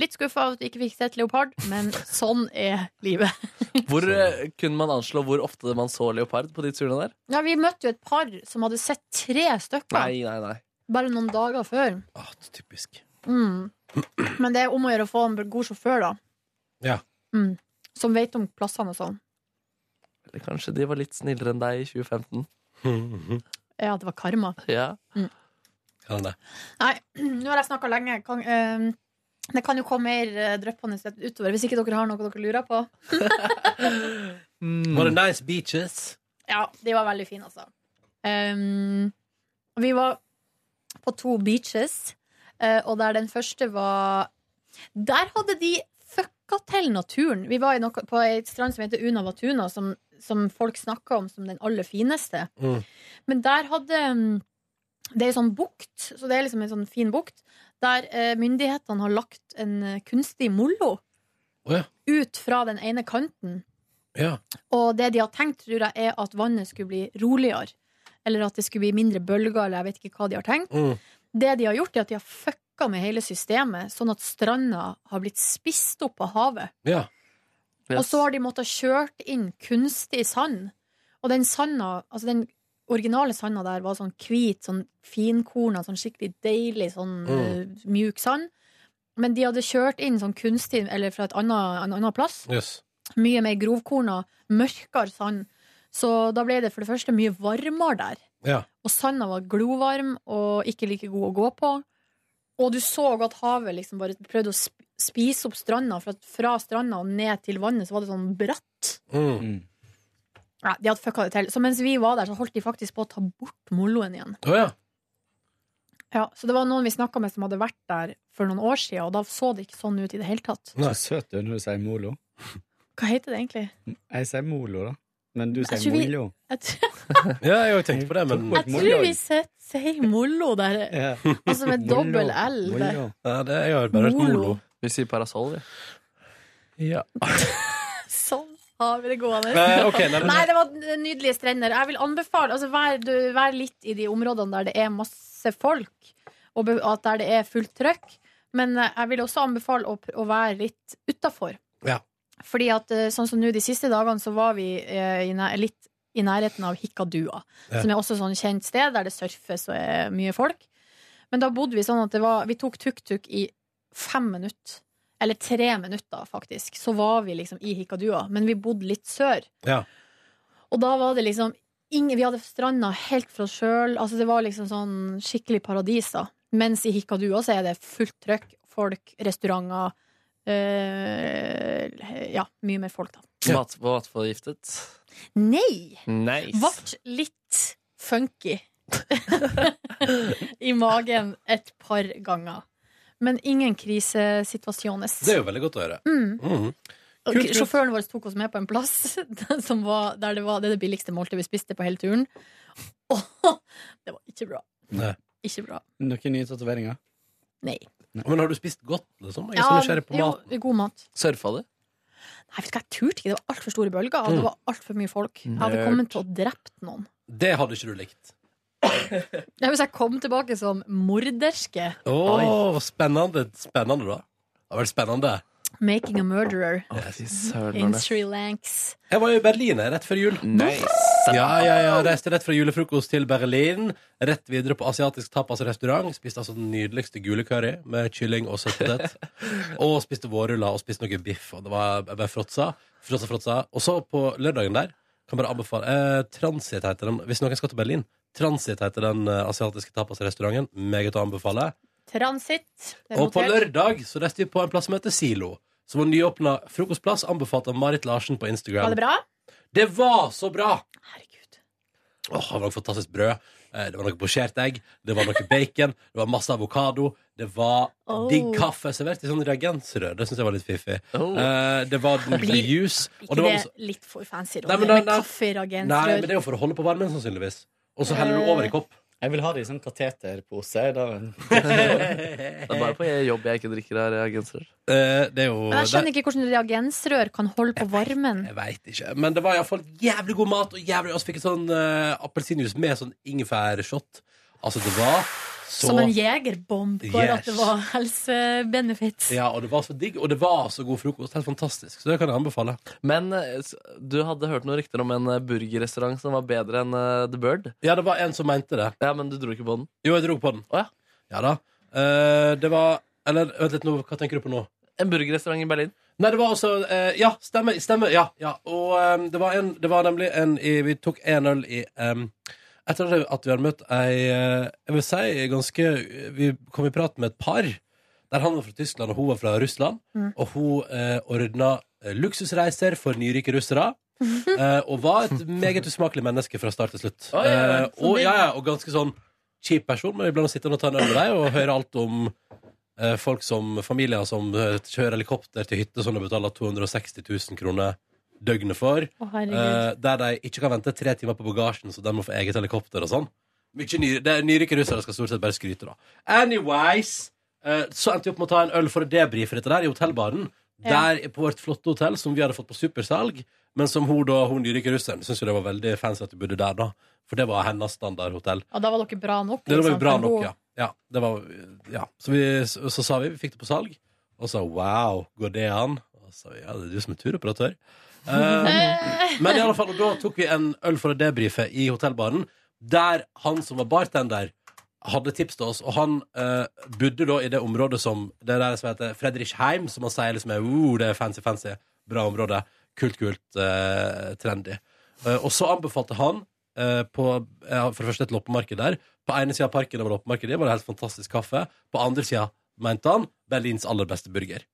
Litt skuffa over at vi ikke fikk sett leopard, men sånn er livet. Hvor eh, kunne man anslå hvor ofte man så leopard på de turene der? Ja, Vi møtte jo et par som hadde sett tre stykker Nei, nei, nei. bare noen dager før. Ah, typisk. Mm. Men det er om å gjøre å få en god sjåfør, da. Ja. Mm. Som vet om plassene og sånn. Eller kanskje de var litt snillere enn deg i 2015. Ja, det var karma. Ja. Kan det. Nei, nå har jeg snakka lenge. Kan, eh, det kan jo komme mer eh, dryppende svett utover hvis ikke dere har noe dere lurer på. Var det nice beaches? Ja, de var veldig fine, altså. Ehm, vi var på to beaches, eh, og der den første var Der hadde de fucka til naturen. Vi var i noe, på ei strand som heter Unavatuna, som, som folk snakka om som den aller fineste. Mm. Men der hadde mm, Det er ei sånn bukt, så det er liksom en sånn fin bukt, der eh, myndighetene har lagt en eh, kunstig mollo Å ja. ut fra den ene kanten. Ja. Og det de har tenkt, tror jeg, er at vannet skulle bli roligere. Eller at det skulle bli mindre bølger, eller jeg vet ikke hva de har tenkt. Mm. Det de har gjort, er at de har fucka med hele systemet, sånn at stranda har blitt spist opp av havet. ja. Og så har de måttet kjørt inn kunstig sand. Og den sanda, altså den originale sanda der var sånn hvit, sånn finkorna, sånn skikkelig deilig, sånn Mm. eh, mjuk sand. Men de hadde kjørt inn sånn kunstig, eller fra et annet, en annen plass, Yes. mye mer grovkorna, mørkere sand. Så da ble det for det første mye varmere der. Ja. Og sanda var glovarm og ikke like god å gå på. Og du så at havet liksom bare prøvde å sp- spise opp stranda, for at fra stranda og ned til vannet så var det sånn bratt. Mm. Mm. Ja, de hadde fucka det til. Så mens vi var der, så holdt de faktisk på å ta bort moloen igjen. Å ja. Ja, så det var noen vi snakka med som hadde vært der for noen år siden, og da så det ikke sånn ut i det hele tatt. Nei. Så søt du er når du sier molo. Hva heter det egentlig? Jeg sier molo, da. Men du Jeg sier tror vi- molo. Jeg tror, ja, jeg har jo tenkt på det, men jeg tror vi sier sier molo der, Ja. altså med dobbel L der. Molo. ja, det, Jeg har bare hørt Molo. Molo. Vi sier parasoll, vi. Ja. Sånn har vi det gående. Eh, ok, nei, Nei, det var nydelige strender. Jeg vil anbefale altså, vær, du, vær litt i de områdene der det er masse folk, og be- at der det er fullt trøkk. Men eh, jeg vil også anbefale å, pr- å være litt utafor. Ja. Fordi at eh, sånn som nå de siste dagene, så var vi eh, i nær, litt i nærheten av Hikkadua, Ja. som er også sånn kjent sted der det surfes og er mye folk. Men da bodde vi sånn at det var, vi tok tuk-tuk i fem minutter. Eller tre minutter, faktisk. Så var vi liksom i Hikkadua. Men vi bodde litt sør. Ja. Og da var det liksom ingen, Vi hadde stranda helt for oss sjøl. Altså, det var liksom sånn skikkelig paradis, da. Mens i Hikkadua så er det fullt trøkk. Folk, restauranter eh, Ja, mye mer folk, da. Mat, var matforgiftet. Nei! Nice. Vart litt funky i magen et par ganger. Men ingen krisesituasjones. Det er jo veldig godt å høre. Mm. Mhm. Og Kult, kult. Sjåføren vår tok oss med på en plass som var, der det var det, er det billigste måltidet vi spiste på hele turen. Og det var ikke bra. Nei. Ikke bra. Noen nye tatoveringer? Nei. Men har du spist godt, liksom? Jeg er så nysgjerrig på jo, mat. god mat. Surfa du? Nei, vet du hva, jeg turte ikke. Det var altfor store bølger, og det var altfor mye folk. Jeg Mm. hadde Nerd. kommet til å drept noen. Det hadde ikke du likt. Ja, hvis jeg kom tilbake som morderske, Å, spennende. Spennende, da. Det var spennende. making a murderer Å, fy søren, in Arne. Sri Lanks Jeg var jo i Berlin jeg, rett før jul. Nice. Ja, ja, ja, Reiste rett fra julefrokost til Berlin. Rett videre på asiatisk tapasrestaurant. Spiste altså den nydeligste gule curry med kylling og søtpotet. og spiste vårruller og spiste noe biff. Og det var jeg bare fråtsa. Fråtsa, fråtsa. Og så på lørdagen der kan bare anbefale eh, Transit heter den. Hvis noen skal til Berlin. Transit heter den eh, asiatiske tapasrestauranten. Meget å anbefale. Transit. Det er Og på notert. lørdag så reiste vi på en plass som heter Silo. Som var nyåpna frokostplass, anbefalt av Marit Larsen på Var Instagram. det bra? det var så bra! Herregud. Åh, det var noe fantastisk brød. Eh, Det var noe posjert egg, det var noe bacon, det var masse avokado. Det var Oh. digg kaffe servert i sånn reagensrør. Det syns jeg var litt fiffig. Oh. Eh, det var Blir- juice. Blir Og det ikke det, var også, litt for fancy, Nei, Ronny? men Med da- da- kaffe, nei, men det reagensrør Eh. er jo for å holde på varmen, sannsynligvis. Og så heller du over i kopp. Jeg vil ha det i sånn kateterpose. Da. Det er bare på jobb jeg ikke drikker av reagensrør. Eh, det er jo Men jeg skjønner ikke hvordan reagensrør kan holde på varmen. Jeg veit ikke. Men det var iallfall jævlig god mat. Og jævlig, og så fikk jeg sånn eh, appelsinjuice med sånn ingefærshot. Altså, det var så Som en jegerbomb, bare Yes. at det var helsebenefits. Ja, og det var så digg, og det var så god frokost. Helt fantastisk. Så det kan jeg anbefale. Men eh, s- du hadde hørt noen rykter om en eh, burgerrestaurant som var bedre enn eh, The Bird. Ja, det var en som mente det. Ja, men du dro ikke på den. Jo, jeg dro på den. Å, ja. Ja da. Eh, det var Eller vent litt, nå, hva tenker du på nå? En burgerrestaurant i Berlin. Nei, det var også eh, Ja, stemmer. stemmer ja, ja. Og eh, det, var en, det var nemlig en i, Vi tok en øl i eh, em, Etter at vi hadde møtt ei eh, Jeg vil si ganske Vi kom i prat med et par. Der han var fra Tyskland, og hun var fra Russland. Mm. Og hun eh, ordna eh, luksusreiser for nyrike russere. eh, og var et meget usmakelig menneske fra start til slutt. Oi, oi, oi. Eh, og, Så digg. ja, ja, og ganske sånn kjip person, men iblant sitter han og tar en øl med deg og hører alt om eh, folk som, familier som eh, kjører helikopter til hytte som de betaler 260 000 kroner døgnet for, Å, herregud. eh, der de ikke kan vente tre timer på bagasjen, så de må få eget helikopter og sånn. Mykje ny, det er Nyrike russere skal stort sett bare skryte, da. Anyways, eh, så endte vi opp med å ta en øl for å debrife dette der i hotellbaren. Ja. Der på vårt flotte hotell, som vi hadde fått på supersalg. Men som hun da, hun nyrike russeren syntes jo det var veldig fancy at vi bodde der, da. For det var hennes standardhotell. Og da var dere bra nok? Det var jo liksom, bra for nok, hun- ja. ja, det var, ja. Så, vi, så, så sa vi, vi fikk det på salg Og sa, wow, går det an? Og så sa vi, ja, det er du som er turoperatør Eh, Eh, Men i alle fall, og da tok vi en øl for å debrife i hotellbaren Der han som var bartender hadde tips til oss Og han eh, bodde da i det området som Det der som heter Fredrichheim Som han sier liksom er, uh, det er fancy, fancy Bra område, kult, kult, eh, trendy Eh, Og så anbefalte han eh, på, eh, For det første et loppemarked der På ene siden av parken det var loppemarkedet Det var det helt fantastisk kaffe På andre siden, mente han, Berlins aller beste burger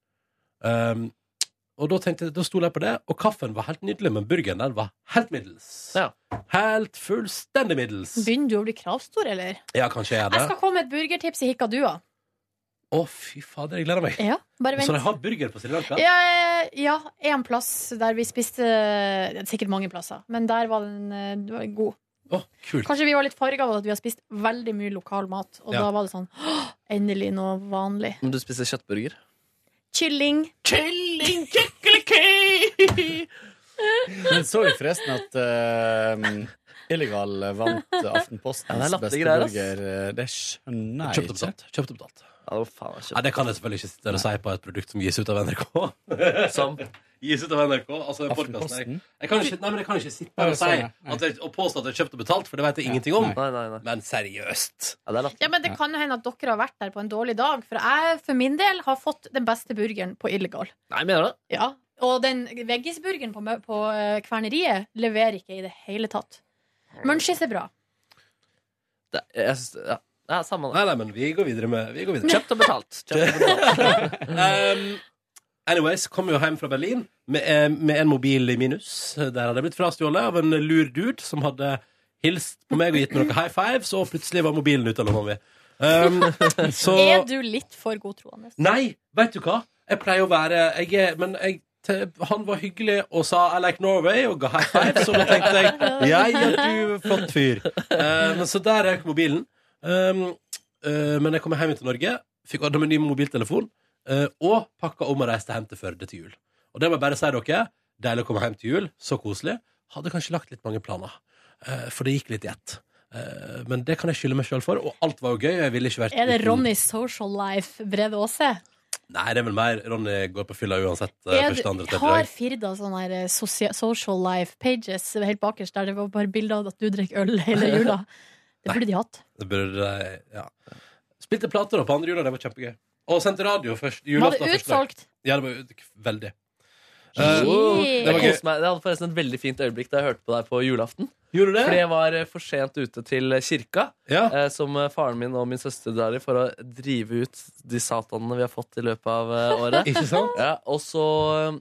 um, Og da tenkte jeg, da stod jeg på det Og kaffen var helt nydelig, men burgeren der var helt middels Ja. Helt fullstendig middels Begynner du å bli kravstor, eller? Ja, kanskje jeg er Jeg det skal komme med et burgertips i Hikadua. Å fy fader, jeg gleder meg Ja, bare Så de vent. har burger på Sri Lanka? Ja, eh, ja, en plass der vi spiste det er Sikkert mange plasser, men der var den eh, det var god. Å, kult Kanskje vi var litt farga av at vi har spist veldig mye lokal mat. Og Ja. da var det sånn «Åh, Endelig noe vanlig. Men du spiser kjøttburger. Kylling. Kylling kykeliky! Men så jo forresten at eh, Illegal vant Aftenpostens Ja, det er beste latterlig greier, ass. burger. eh, Det skjønner Kjøpt og jeg ikke. betalt Kjøpt og betalt Ja, det var faen meg Nei, kjøtt. det kan jeg selvfølgelig ikke sitte her og si på et produkt som gis ut av NRK Som Gis ut av NRK, altså en podcast jeg, Aftenposten. jeg, kan ikke, nei, men jeg kan ikke sitte Ja, her og, si det sånn, ja. Nei. at jeg, og påstå at jeg kjøpte og betalt For det vet jeg Ja, ingenting om nei. Nei, nei, nei. Men seriøst Ja, det er latterlig. Ja, men Det kan jo hende at dere har vært der på en dårlig dag. For jeg for min del har fått den beste burgeren på Illegal. Nei, mener du det? Ja, Og den veggisburgeren på, mø- på eh, kverneriet leverer ikke i det hele tatt. Munchies er bra. det? er- Jeg synes, ja. ja, samme det. Nei, nei, men vi går videre med Vi går videre Kjøpt og betalt. Kjøpt og betalt. Um, anyways, kom jo hjem fra Berlin med, eh, med en mobil i minus. Der hadde jeg blitt frastjålet av en lur dude som hadde hilst på meg og gitt meg noen high fives, og plutselig var mobilen ute av lomma mi. Um, så Er du litt for godtroende? Nei, vet du hva? Jeg pleier å være jeg er, Men jeg, te, han var hyggelig og sa 'I like Norway' og ga high fives, og da tenkte jeg 'Ja, ja, du flott fyr'. Eh, Men så der røk mobilen. Um, eh, men jeg kom hjem til Norge, fikk ordna meg ny mobiltelefon, eh, og pakka om og reiste hjem til Førde til jul. Og det må jeg bare si dere. Deilig å komme hjem til jul. Så koselig. Hadde kanskje lagt litt mange planer, eh, for det gikk litt i ett. Eh, Men det kan jeg skylde meg sjøl for, og alt var jo gøy. og Jeg ville ikke vært Er det uten- Ronnys social life, Brede Aase? Nei, det er vel mer. Ronny går på fylla uansett. eh, Er Første, andre, det- tredje Har dag. Firda sånne her eh, sosia- social life pages helt bakerst der det var bare bilder av at du drikker øl hele jula? Det burde de hatt. Det burde, eh, ja. Spilte plater da på andre jula, det var kjempegøy. Og sendte radio først. Var Julaften det første dag. utsolgt? Ja, det var ut- veldig. Eh, Shit. det var Jeg gøy. koste meg. Jeg hadde forresten et veldig fint øyeblikk da jeg hørte på deg på julaften. Gjorde du Fordi det? jeg var eh, for sent ute til kirka, Ja. eh, som eh, faren min og min søster drar i for å drive ut de satanene vi har fått i løpet av eh, året. Ikke sant? Ja, og så,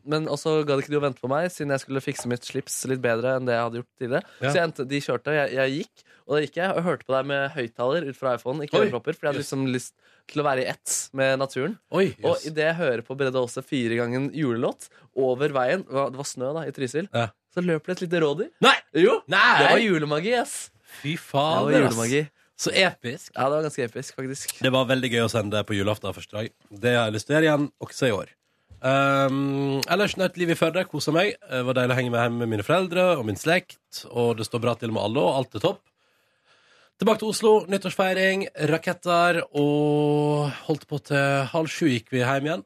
men også gadd ikke de å vente på meg, siden jeg skulle fikse mitt slips litt bedre enn det jeg hadde gjort tidligere. Ja. Så jeg endte, de kjørte, og jeg, jeg gikk, og da gikk jeg og hørte på deg med høyttaler ut fra iPhone, ikke Oi. ørepropper, for jeg hadde liksom lyst til å være i ett med naturen. Oi, Og jøss. i idet jeg hører på Brede Aase fire gangen julelåt over veien, det var- det var snø da, i Trysil, Ja. så løp det et lite rådyr. Nei! Jo, det var Nei! julemagi, ass. Fy Det var faen. julemagi. Så episk. Ja, det var ganske episk, faktisk. Det var veldig gøy å sende det på julaften første dag. Det har jeg lyst til å gjøre igjen, også i år. Um, ellers nødt liv i Førde. Kosa meg. Eh, Det var deilig å henge med hjem med mine foreldre og min slekt. Og det står bra til med alle, og alt er topp. Tilbake til Oslo. Nyttårsfeiring, raketter og holdt på til halv sju gikk vi hjem igjen.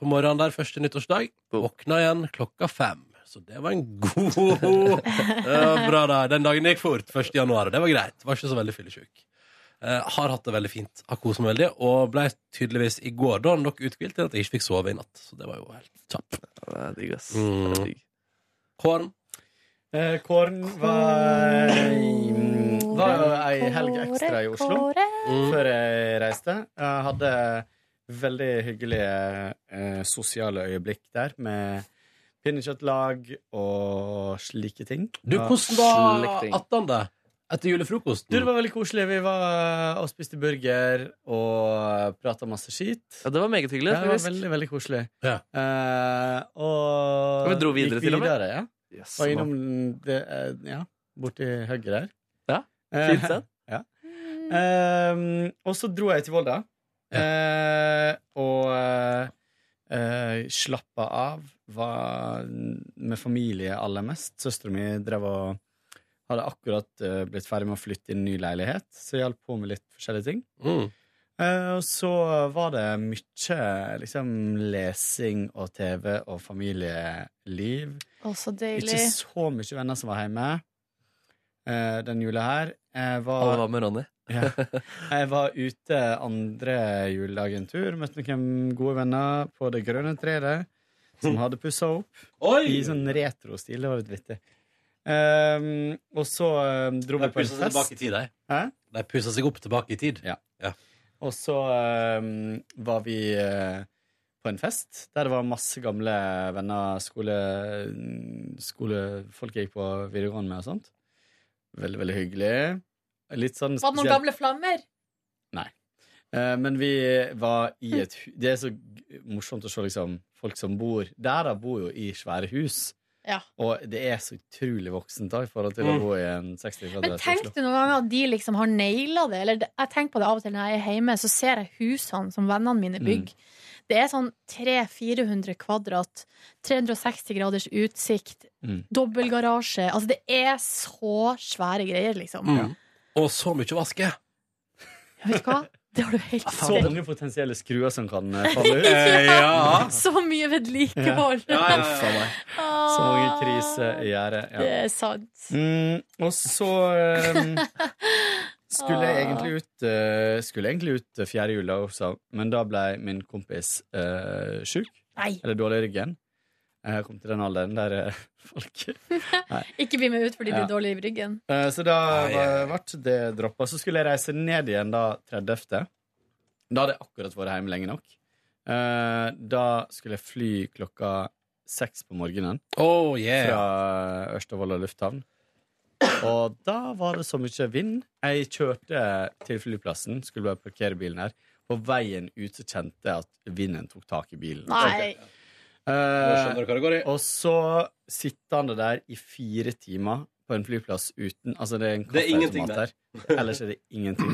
På morgenen der første nyttårsdag. Våkna igjen klokka fem. Så det var en god Det var Bra dag. Den dagen gikk fort. 1. januar, og det var greit. Var ikke så veldig fyllesyk. Eh, har hatt det veldig fint, har koset meg veldig, og ble tydeligvis i går da nok uthvilt til at jeg ikke fikk sove i natt. Så det var jo helt kjapt. Ja, Det er digg, ass. Mm. Det er digg. Kåren. Eh, mm, Kåren var, var jo ei helg ekstra i Oslo. Mm. før jeg reiste. Jeg hadde veldig hyggelige eh, sosiale øyeblikk der med pinnekjøttlag og slike ting. Du, Ja, hvordan var slike ting. 18. det? Etter Du, det julefrokosten? var veldig koselig. Vi var og spiste burger og prata masse skit. Ja, det var meget hyggelig, Ja, det var faktisk. veldig, veldig koselig. Ja. Eh, og Og vi dro videre gikk til og med. videre, Ja. Yes, Var man. innom det, eh, ja, borti høyre der. Ja, Eh, fint sted. ja. Ehm, og så dro jeg til Volda. Eh, og eh, slappa av. Var med familie aller mest. Søstera mi drev og hadde akkurat eh, blitt ferdig med å flytte inn i ny leilighet, så jeg hjalp på med litt forskjellige ting. Mm. Eh, Og så var det mye liksom, lesing og TV og familieliv. Å, så Ikke deilig. så mye venner som var hjemme eh, den jula her. Jeg Alle var, var med Ronny. ja, jeg var ute andre juledag en tur. Møtte noen gode venner på det grønne treet som hadde pussa opp i Oi! sånn retrostil. Det var litt vittig. Ehm, og så eh, dro vi De på en pusset seg tilbake fest. i tid, de. Hæ? De pusset seg opp tilbake i tid. Og så eh, var vi eh, på en fest der det var masse gamle venner, skole, skolefolk jeg gikk på videregående med og sånt. Veldig, veldig hyggelig. Litt sånn Var det noen spesielt. gamle flammer? Eh, Men vi var i et hu Det er så g- morsomt å se liksom, folk som bor der, da, bor jo i svære hus. Ja. Og det er så utrolig voksent da, i forhold til å Mm. bo i en 60 Men kvadrat i tenk Oslo. du noen ganger at de liksom har naila det? Eller det- jeg tenker på det av og til når jeg er hjemme, så ser jeg husene som vennene mine Mm. bygger. Det er sånn 300-400 kvadrat, 360 graders utsikt, Mm. dobbeltgarasje. Altså, det er så svære greier, liksom. Mm. Og så mye å vaske! Ja, vet du hva? Det har du helt Så rett i. mange potensielle skruer som kan eh, falle ut. ja. Så mye vedlikehold. Ah. Ja, ja, ja. Faen meg. Så mange kriser i gjerdet. Det Ja. er sant. Mm, og så ehm, skulle jeg egentlig ut eh, Skulle egentlig ut eh, fjerde jula også, men da ble min kompis uh, sjuk. Nei, Eller dårlig i ryggen. Jeg kom til den alderen der eh, folk ikke bli med ut fordi du Ja. blir dårlig i ryggen. Eh, Så da Ai, var- ble det droppa. Så skulle jeg reise ned igjen da 30. Da hadde jeg akkurat vært hjemme lenge nok. Eh, da skulle jeg fly klokka seks på morgenen. Oh, yeah. fra Ørstavolla lufthavn. Og da var det så mye vind. Jeg kjørte til flyplassen, skulle bare parkere bilen her. På veien ut så kjente jeg at vinden tok tak i bilen. Nei. Nå Eh, skjønner du hva det går i. og så sittende der i fire timer på en flyplass uten Altså, det er en Det er ingenting kaffeautomat der. Ellers er det ingenting.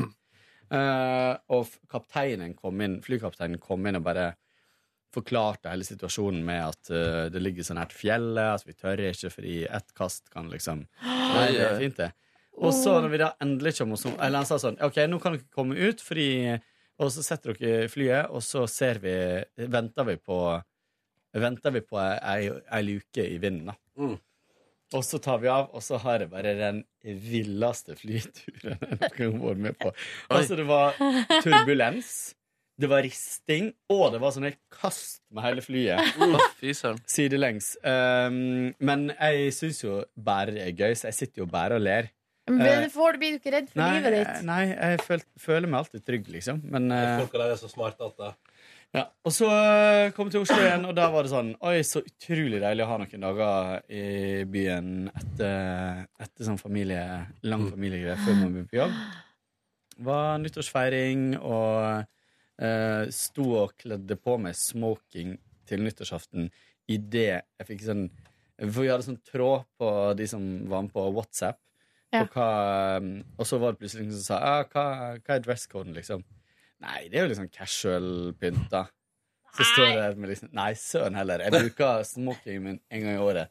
Eh, og f- kapteinen kom inn, flykapteinen kom inn og bare forklarte hele situasjonen med at eh, det ligger så nært fjellet, at vi tør ikke fordi ett kast kan liksom Nei, det er fint, det. Og så når vi da endelig kommer oss om Eller han sa sånn OK, nå kan dere komme ut, fordi Og så setter dere i flyet, og så ser vi Venter vi på Venter vi på ei, ei luke i vinden, da. Mm. Og så tar vi av, og så har jeg bare den villeste flyturen jeg noen gang har vært med på. Altså, det var turbulens, det var risting, og det var sånn et kast med hele flyet Å, fy søren. sidelengs. Um, men jeg syns jo bare det er gøy, så jeg sitter jo bare og ler. Men får, blir du ikke redd for Eh. Nei, eh, livet ditt? nei jeg føl, føler meg alltid trygg, liksom. Men, eh, Folka der er så smarte at det ja. Og så eh, kom jeg til Oslo igjen, og da var det sånn Oi, så utrolig deilig å ha noen dager i byen etter, etter sånn familie, lang familiegreie før man begynner på jobb. var nyttårsfeiring, og eh, sto og kledde på meg smoking til nyttårsaften idet jeg fikk sånn For vi hadde sånn tråd på de som var med på WhatsApp. Ja. på hva, eh, og så var det plutselig noen som sa ah, hva, hva er dresscoden, liksom? Nei, det er jo liksom casual-pynta. Så står jeg der med liksom Nei, søren heller. Jeg bruker smokingen min en gang i året.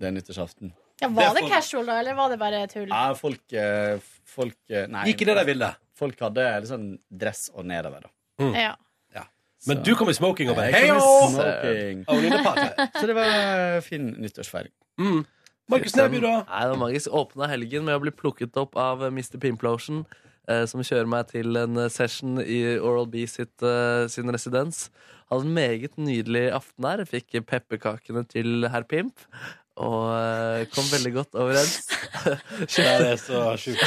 Det er nyttårsaften. Ja, var Det det får- casual, da, eller var det bare tull? Ja, folk, eh, folk eh, Nei. gikk i det de ville. Folk hadde liksom dress og nedover, da. Ja. Men Så- du kom i smoking og bare hei Jeg kom og med smoking. Only the party. Så det var fin nyttårsfeiring. Mm. Markus Neby, da? Nei, det var magisk. Åpna helgen med å bli plukket opp av eh, Mr. Pimplotion, eh, som kjører meg til en eh, session i Oral B sitt, eh, sin residens. Hadde en meget nydelig aften her. Fikk eh, pepperkakene til herr Pimp. Og eh, kom veldig godt overens. kjøpte, er så sjukt.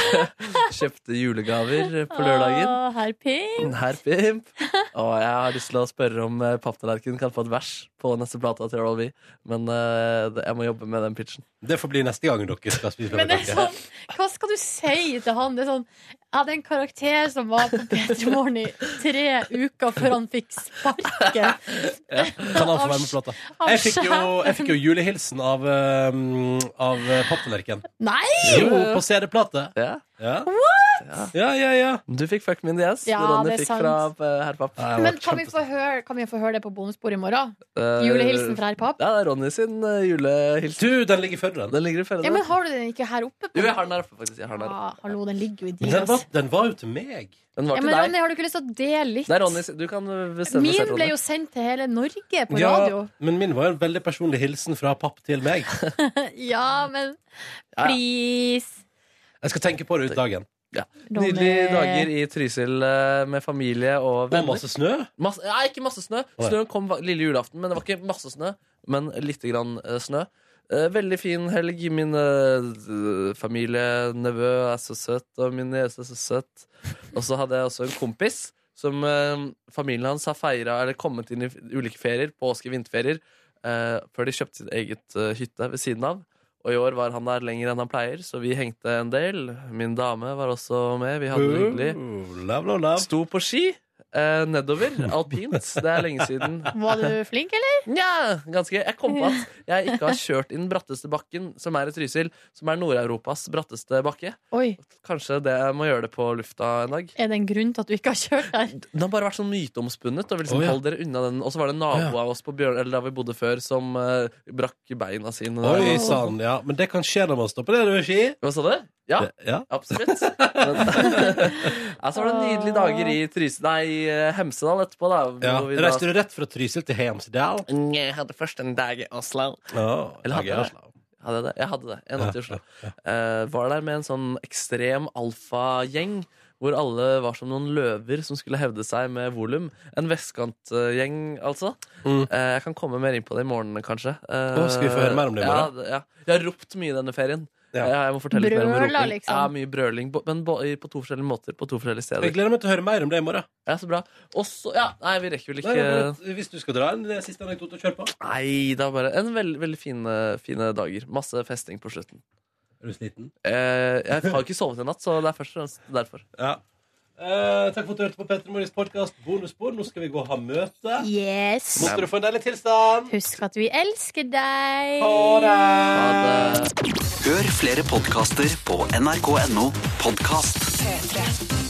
kjøpte julegaver på lørdagen. Å, herr Ping. Herr Pimp. Og jeg har lyst til å spørre om eh, papptallerkenen kan få et vers på neste plata til Oral B. Men eh, det- jeg må jobbe med den pitchen. Det får bli neste gang dere skal spise Men det er pepperkaker. sånn, hva skal du si til han? Det er sånn, jeg hadde en karakter som var på P3 Morgen i tre uker før han fikk sparken. Kan han få være med på plata? Av Jeg fikk jo, jeg fikk sjefen. jo julehilsen av, um, av eh, papptallerken. Nei! Jo, på CD-plate. Ja. Ja. ja, ja, ja. Du fikk Fuck Me In The Ass. Ja, Ja, Ronny det er fikk fra eh, herr Papp. Nei, jeg var Men kan vi, få kjempe- høre, kan vi få høre det på bonusbordet i morgen? Eh, Julehilsen fra herr Papp? Ja, det er Ronny sin eh, julehilsen. Du, den ligger før den. Den ligger i følge. Ja, men har du den ikke her oppe? Jo, på? jeg har den her oppe, faktisk. Jeg har den, her. Ja, hallo, den ligger jo i din. Den var, ass. den var jo til meg. den var Ja, til men deg. Ronny, har du ikke lyst til å dele litt? Det er Ronny sin. Du kan bestemme Min selv, ble Ronny. jo sendt til hele Norge på Ja, radio. men min var jo en veldig personlig hilsen fra papp til meg. Ja, men please, Jeg skal tenke på det ut dagen. Ronny. Nydelige dager i Trysil eh, med familie og Og venner. masse snø. Masse, nei, ikke masse snø. Å, ja. Snøen kom va- lille julaften, men det var ikke masse snø. Men lite grann eh, snø. Eh, veldig fin helg. Min eh, d- familie, nevø er så søt, og min niese er så søt. Og så hadde jeg også en kompis som eh, familien hans har feira eller kommet inn i f- ulike ferier, påske- og vinterferier, eh, før de kjøpte sitt eget eh, hytte ved siden av. Og i år var han der lenger enn han pleier, så vi hengte en del. Min dame var også med. Vi hadde det hyggelig. Uh, love, love, love. Sto på ski eh, nedover, alpint. Det er lenge siden. Var du flink, eller? Nja, ganske. Jeg kom på at jeg ikke har kjørt i den bratteste bakken, som er i Trysil, som er Nord-Europas bratteste bakke. Oi, Kanskje det jeg må gjøre det på lufta en dag. er det en grunn til at du ikke har kjørt der? Den har bare vært sånn myteomspunnet. Og vi liksom, Å, ja. hold dere unna den. Og så var det en Å, nabo ja. av oss på Bjørn, eller der vi bodde før, som eh, brakk beina sine. der. Oi sann, ja. Men det kan skje når man står på det du er ski. Hva sa du? Ja. Ja. Absolutt. Men, ja, så var det nydelige dager i Trys... Nei, eh, Hemsedal etterpå, da. ja. hvor vi da- Reiste du rett fra Trysil til Hemsedal? Jeg hadde først en dag i Oslo. Ja, Eller hadde ja, jeg det? Hadde jeg det? Jeg hadde det. En natt i Oslo. Eh, var der med en sånn ekstrem alfagjeng. Hvor alle var som noen løver som skulle hevde seg med volum. En vestkantgjeng, altså. Mm. Eh, jeg kan komme mer inn på det i morgen, kanskje. Eh, Å, skal vi få høre mer om det i morgen? Ja, det- ja. Jeg har ropt mye denne ferien. Ja. Ja, jeg må fortelle litt mer om Brøla, roping. liksom. Ja, mye brøling. bo- Men bo- i- på to forskjellige måter. På to forskjellige steder. Jeg gleder meg til å høre mer om det i morgen. Ja, så bra. Og så Ja, nei, vi rekker vel Nei, nei, ikke men hvis du skal dra en det er siste anekdote å kjøre på Nei, det var bare en veldig, veldig fine, fine dager. Masse festing på slutten. Er du sliten? Eh, jeg har jo ikke sovet i natt, så det er først og fremst derfor. Ja. Eh, takk for at du hørte på Petter Morgens podkast Bonusbord. Nå skal vi gå og ha møte. Yes. Måtte du få en deilig tilstand. Husk at vi elsker deg. Ha det. Hør flere podkaster på nrk.no podkast.